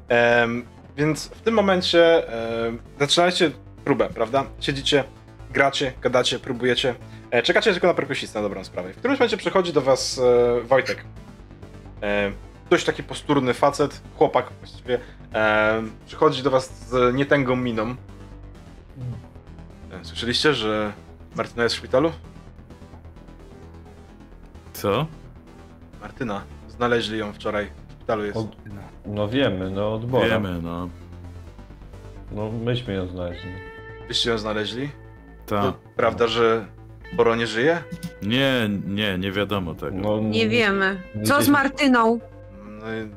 [SPEAKER 1] Em, więc w tym momencie um, zaczynaliście próbę, prawda? Siedzicie, gracie, gadacie, próbujecie. E, czekacie tylko na perkusistę na dobrą sprawę. W którymś momencie przychodzi do was e, Wojtek. E, dość taki posturny facet, chłopak właściwie. E, przychodzi do was z nietęgą miną. E, słyszeliście, że Martyna jest w szpitalu?
[SPEAKER 6] Co?
[SPEAKER 1] Martyna. Znaleźli ją wczoraj. W szpitalu jest.
[SPEAKER 4] Od... No wiemy, no od Bora.
[SPEAKER 6] Wiemy, no.
[SPEAKER 4] No myśmy ją znaleźli.
[SPEAKER 1] Wyście ją znaleźli?
[SPEAKER 6] Ta.
[SPEAKER 1] To Prawda, że Boro nie żyje?
[SPEAKER 6] Nie, nie, nie wiadomo tego.
[SPEAKER 4] No,
[SPEAKER 1] Mm.
[SPEAKER 5] Nie wiemy. Co z
[SPEAKER 4] Widzieliśmy.
[SPEAKER 5] Martyną?
[SPEAKER 1] No i w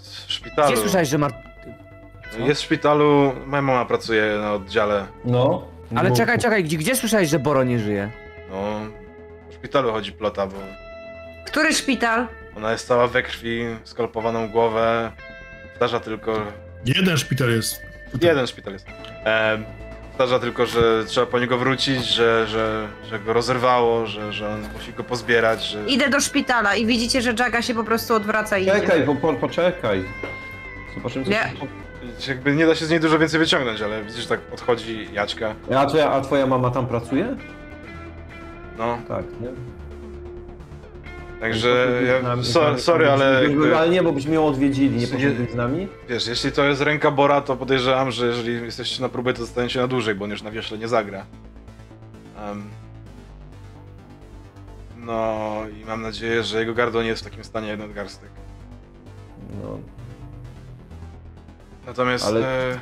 [SPEAKER 2] Gdzie
[SPEAKER 1] szpitalu.
[SPEAKER 2] słyszałeś, że Mart...
[SPEAKER 1] Jest w szpitalu, moja mama pracuje na oddziale.
[SPEAKER 4] No.
[SPEAKER 2] Ale
[SPEAKER 4] Bo-
[SPEAKER 2] czekaj, czekaj, gdzie, gdzie słyszałeś, że Boro nie żyje?
[SPEAKER 1] No, w szpitalu chodzi plota, bo
[SPEAKER 5] Który szpital?
[SPEAKER 1] ona jest cała we krwi, skalpowaną głowę. Zdarza tylko.
[SPEAKER 3] Jeden szpital jest.
[SPEAKER 1] Jeden szpital jest. Em, zdarza tylko, że trzeba po niego wrócić, że, że, że go rozerwało, że, że on musi go pozbierać. Że...
[SPEAKER 5] Idę do szpitala i widzicie, że Jaga się po prostu odwraca i idzie.
[SPEAKER 4] Czekaj, bo po, poczekaj. Zobaczymy co
[SPEAKER 5] Nie.
[SPEAKER 4] się...
[SPEAKER 1] Jakby nie da się z niej dużo więcej wyciągnąć, ale widzisz, tak odchodzi Jaćka.
[SPEAKER 4] A, twoja, a twoja mama tam pracuje?
[SPEAKER 1] No,
[SPEAKER 4] Tak, nie?
[SPEAKER 1] także.
[SPEAKER 4] Z
[SPEAKER 1] Ja,
[SPEAKER 4] nami,
[SPEAKER 1] so,
[SPEAKER 4] tak,
[SPEAKER 1] sorry,
[SPEAKER 4] tak,
[SPEAKER 1] ale.
[SPEAKER 4] byśmy-
[SPEAKER 1] Jakby...
[SPEAKER 4] Ale nie, bo byśmy ją odwiedzili, nie
[SPEAKER 1] Nie-
[SPEAKER 4] poszedłbyś z nami?
[SPEAKER 1] Wiesz, jeśli to jest ręka Bora, to podejrzewam, że jeżeli jesteście na próbę, to zostaniecie na dłużej, bo on już na wiośle nie zagra. Em, no i mam nadzieję, że jego gardło nie jest w takim stanie jak nadgarstek.
[SPEAKER 4] No.
[SPEAKER 1] Natomiast
[SPEAKER 4] Ale-
[SPEAKER 1] e,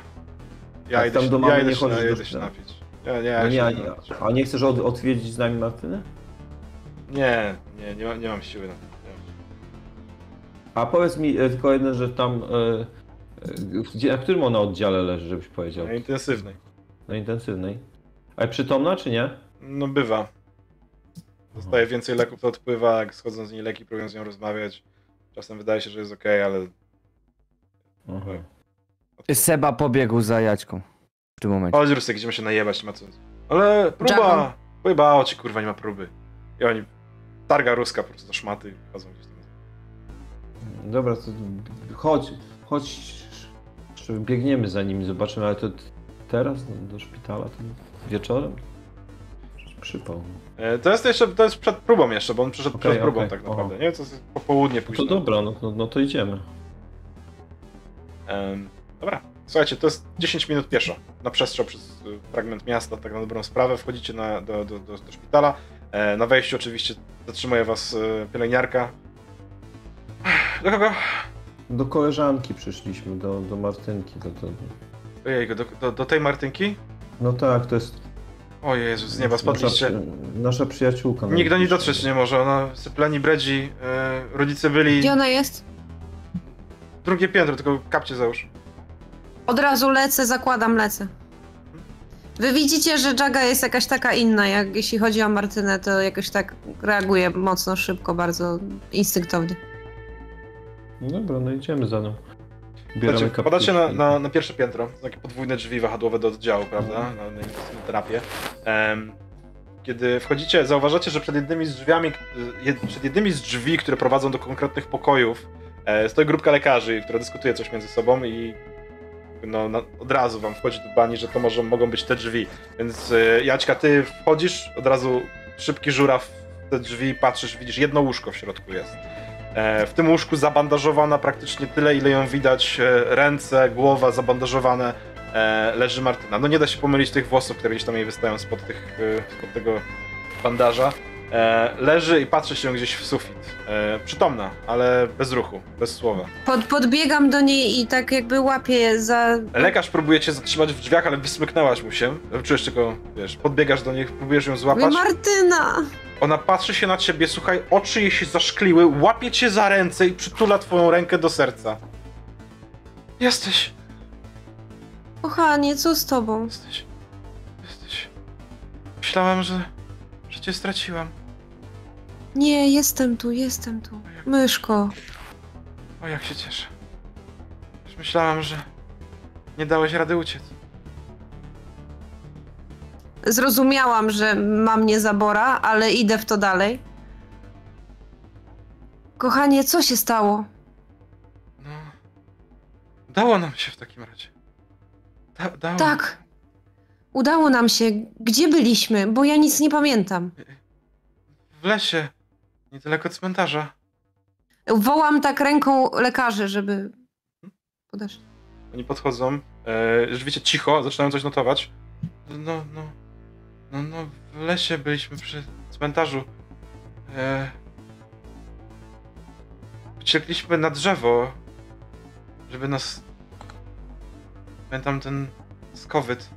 [SPEAKER 1] ja,
[SPEAKER 4] tak
[SPEAKER 1] idę,
[SPEAKER 4] tam
[SPEAKER 1] się-
[SPEAKER 4] do mamy
[SPEAKER 1] ja
[SPEAKER 4] nie
[SPEAKER 1] idę, się,
[SPEAKER 4] chodzisz
[SPEAKER 1] ja
[SPEAKER 4] do
[SPEAKER 1] idę się
[SPEAKER 4] szpitala.
[SPEAKER 1] napić. Ja, nie, ja
[SPEAKER 4] No
[SPEAKER 1] się
[SPEAKER 4] nie, a,
[SPEAKER 1] idę napić.
[SPEAKER 4] a nie chcesz od, odwiedzić z nami Martynę?
[SPEAKER 1] Nie, nie, nie, ma, nie mam siły na to. Nie mam siły.
[SPEAKER 4] A powiedz mi e, tylko jedno, że tam. e, e, Gdzie, na którym ona oddziale leży, żebyś powiedział?
[SPEAKER 1] Na intensywnej.
[SPEAKER 4] Na intensywnej. A przytomna czy nie?
[SPEAKER 1] No bywa. Dostaje więcej leków, to odpływa, jak schodzą z niej leki, próbują z nią rozmawiać. Czasem wydaje się, że jest okej, ale...
[SPEAKER 4] Aha.
[SPEAKER 2] Seba pobiegł za Jaćką w tym momencie.
[SPEAKER 1] Chodź Rusek, idziemy się najebać, nie ma co. Ale
[SPEAKER 5] Jackman.
[SPEAKER 1] próba! Pojebało ci, kurwa, nie ma próby. I oni... Targa Ruska po prostu do szmaty i chodzą gdzieś tam.
[SPEAKER 4] Dobra, to chodź, chodź. Jeszcze Biegniemy za nimi, zobaczymy, ale to t- teraz no, do szpitala to wieczorem? Przypał.
[SPEAKER 1] E, To jest jeszcze, to jest przed próbą jeszcze, bo on przyszedł
[SPEAKER 4] Okej,
[SPEAKER 1] przed próbą
[SPEAKER 4] okej,
[SPEAKER 1] tak
[SPEAKER 4] aha.
[SPEAKER 1] naprawdę, nie? To jest popołudnie
[SPEAKER 4] To
[SPEAKER 1] późno.
[SPEAKER 4] dobra, no, no, no to idziemy.
[SPEAKER 1] Em, dobra, słuchajcie, to jest 10 minut pieszo. Na przestrzał przez y, fragment miasta, tak na dobrą sprawę. Wchodzicie na, do, do, do, do szpitala. E, na wejściu oczywiście zatrzymuje was e, pielęgniarka. Do kogo?
[SPEAKER 4] Do koleżanki przyszliśmy, do, do Martynki. Do, do...
[SPEAKER 1] Ojejku, do, do, do tej Martynki?
[SPEAKER 4] No tak, to jest.
[SPEAKER 1] O Jezu,
[SPEAKER 4] No,
[SPEAKER 1] z nieba spadliście.
[SPEAKER 4] Nasza, nasza przyjaciółka. no,
[SPEAKER 1] Nikt do niej dotrzeć nie może, ona sypleni, bredzi, e, rodzice byli...
[SPEAKER 5] Gdzie ona jest?
[SPEAKER 1] Drugie piętro, tylko kapcie załóż.
[SPEAKER 5] Od razu lecę, zakładam, lecę. Wy widzicie, że Jaga jest jakaś taka inna, jak jeśli chodzi o Martynę, to jakoś tak reaguje mocno, szybko, bardzo instynktownie.
[SPEAKER 4] Dobra, no idziemy za nią.
[SPEAKER 1] Znaczy,
[SPEAKER 4] kaptuszki.
[SPEAKER 1] Wpadacie na, na, na pierwsze piętro, są takie podwójne drzwi wahadłowe do oddziału, prawda? Na, na intensywną terapię. Em, kiedy wchodzicie, zauważacie, że przed jednymi z drzwiami, jed, przed jednymi z drzwi, które prowadzą do konkretnych pokojów, e, stoi grupka lekarzy, która dyskutuje coś między sobą i no, na, od razu wam wchodzi do bani, że to może mogą być te drzwi. Więc e, Jaćka, ty wchodzisz, od razu szybki żuraw w te drzwi, patrzysz, widzisz, jedno łóżko w środku jest. E, W tym łóżku zabandażowana praktycznie tyle, ile ją widać. e, Ręce, głowa zabandażowane. e, Leży Martyna. No nie da się pomylić tych włosów, które gdzieś tam jej wystają spod, tych, e, spod tego bandaża. E, Leży i patrzy się gdzieś w sufit. E, Przytomna, ale bez ruchu, bez słowa.
[SPEAKER 5] Pod, podbiegam do niej i tak jakby łapię za...
[SPEAKER 1] Lekarz próbuje cię zatrzymać w drzwiach, ale wysmyknęłaś mu się. Czujesz tylko, wiesz, podbiegasz do nich, próbujesz ją
[SPEAKER 5] Mówię,
[SPEAKER 1] złapać.
[SPEAKER 5] Martyna!
[SPEAKER 1] Ona patrzy się na ciebie, słuchaj, oczy jej się zaszkliły, łapie cię za ręce i przytula twoją rękę do serca. Jesteś,
[SPEAKER 5] Kochanie, co z tobą?
[SPEAKER 1] jesteś, jesteś. Myślałem, że, że cię straciłam.
[SPEAKER 5] Nie, jestem tu, jestem tu. Myszko.
[SPEAKER 1] O, jak się cieszę. Już myślałam, że nie dałeś rady uciec.
[SPEAKER 5] Zrozumiałam, że ma mnie zabora, ale idę w to dalej. Kochanie, co się stało?
[SPEAKER 1] No. Udało nam się w takim razie. Da, dało.
[SPEAKER 5] Tak. Udało nam się. Gdzie byliśmy? Bo ja nic nie pamiętam.
[SPEAKER 1] W lesie, niedaleko cmentarza.
[SPEAKER 5] Wołam tak ręką lekarzy, żeby. Podeszli.
[SPEAKER 1] Oni podchodzą, e, rzeczywiście cicho, zaczynają coś notować. No, no, no, no, w lesie byliśmy przy cmentarzu. E, uciekliśmy na drzewo, żeby nas... Pamiętam ten skowyt.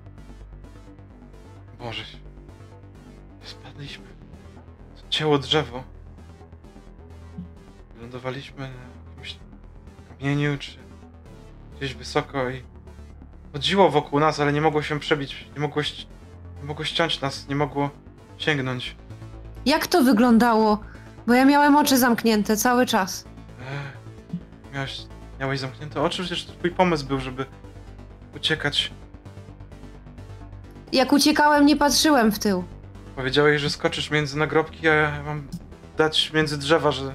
[SPEAKER 1] Boże. Spadliśmy. Cięło drzewo. Lądowaliśmy na jakimś kamieniu czy gdzieś wysoko i chodziło wokół nas, ale nie mogło się przebić, nie mogło, ści- nie mogło ściąć nas, nie mogło sięgnąć.
[SPEAKER 5] Jak to wyglądało? Bo ja miałem oczy zamknięte cały czas.
[SPEAKER 1] Ech, Miałeś, miałeś zamknięte oczy, przecież to twój pomysł był, żeby uciekać.
[SPEAKER 5] Jak uciekałem, nie patrzyłem w tył.
[SPEAKER 1] Powiedziałeś, że skoczysz między nagrobki, a ja mam dać między drzewa, że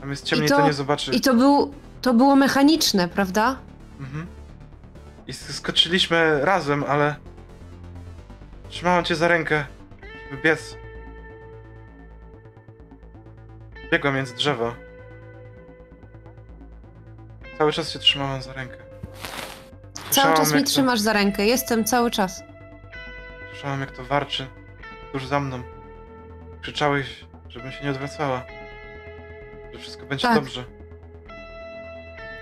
[SPEAKER 1] tam jest ciemniej, to,
[SPEAKER 5] to-
[SPEAKER 1] nie zobaczy.
[SPEAKER 5] I to, był, to było mechaniczne, prawda?
[SPEAKER 1] Mhm. I sk- skoczyliśmy razem, ale trzymałem cię za rękę, żeby biec. Biegłem między drzewa. Cały czas się trzymałem za rękę.
[SPEAKER 5] Cały
[SPEAKER 1] Słyszałam,
[SPEAKER 5] czas mnie
[SPEAKER 1] jak to-
[SPEAKER 5] trzymasz za rękę. Jestem cały czas.
[SPEAKER 1] Słyszałem, jak to warczy tuż za mną. Krzyczałeś, żebym się nie odwracała. Że wszystko będzie
[SPEAKER 5] Tak.
[SPEAKER 1] dobrze.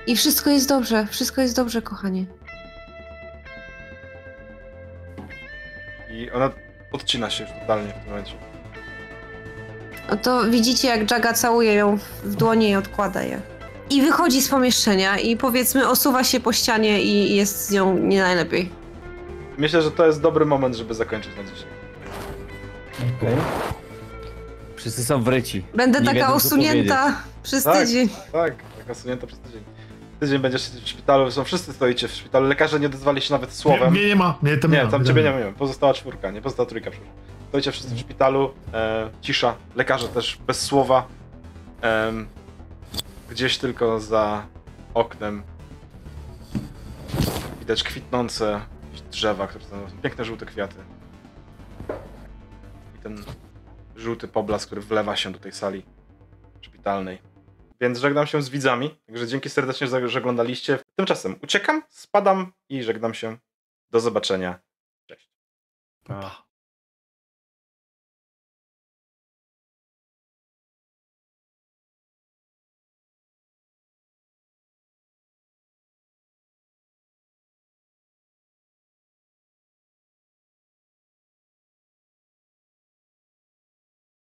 [SPEAKER 5] I wszystko jest dobrze, wszystko jest dobrze, kochanie.
[SPEAKER 1] I ona odcina się już totalnie w tym momencie.
[SPEAKER 5] No to widzicie, jak Jaga całuje ją w dłonie i odkłada je. I wychodzi z pomieszczenia i powiedzmy osuwa się po ścianie i jest z nią nie najlepiej.
[SPEAKER 1] Myślę, że to jest dobry moment, żeby zakończyć na dzisiaj.
[SPEAKER 2] Wszyscy są wryci.
[SPEAKER 5] Będę
[SPEAKER 2] Nie
[SPEAKER 5] taka
[SPEAKER 2] wiedzą, co
[SPEAKER 5] osunięta przez
[SPEAKER 1] Tak.
[SPEAKER 5] tydzień.
[SPEAKER 1] Tak, tak osunięta przez tydzień. Tydzień będziesz w szpitalu, są wszyscy stoicie w szpitalu, lekarze nie odezwali się nawet
[SPEAKER 3] Nie,
[SPEAKER 1] słowem.
[SPEAKER 3] mnie nie ma. Nie, tam,
[SPEAKER 1] Nie,
[SPEAKER 3] ma,
[SPEAKER 1] tam ciebie nie miałem. Pozostała czwórka, nie? Pozostała trójka. przepraszam. Stoicie wszyscy w szpitalu, e, cisza, lekarze też bez słowa. Em, gdzieś tylko za oknem widać kwitnące jakieś drzewa, które są, są piękne żółte kwiaty. I ten żółty poblask, który wlewa się do tej sali szpitalnej. Więc żegnam się z widzami, także dzięki serdecznie, za- że oglądaliście. Tymczasem uciekam, spadam i żegnam się. Do zobaczenia.
[SPEAKER 3] Pa.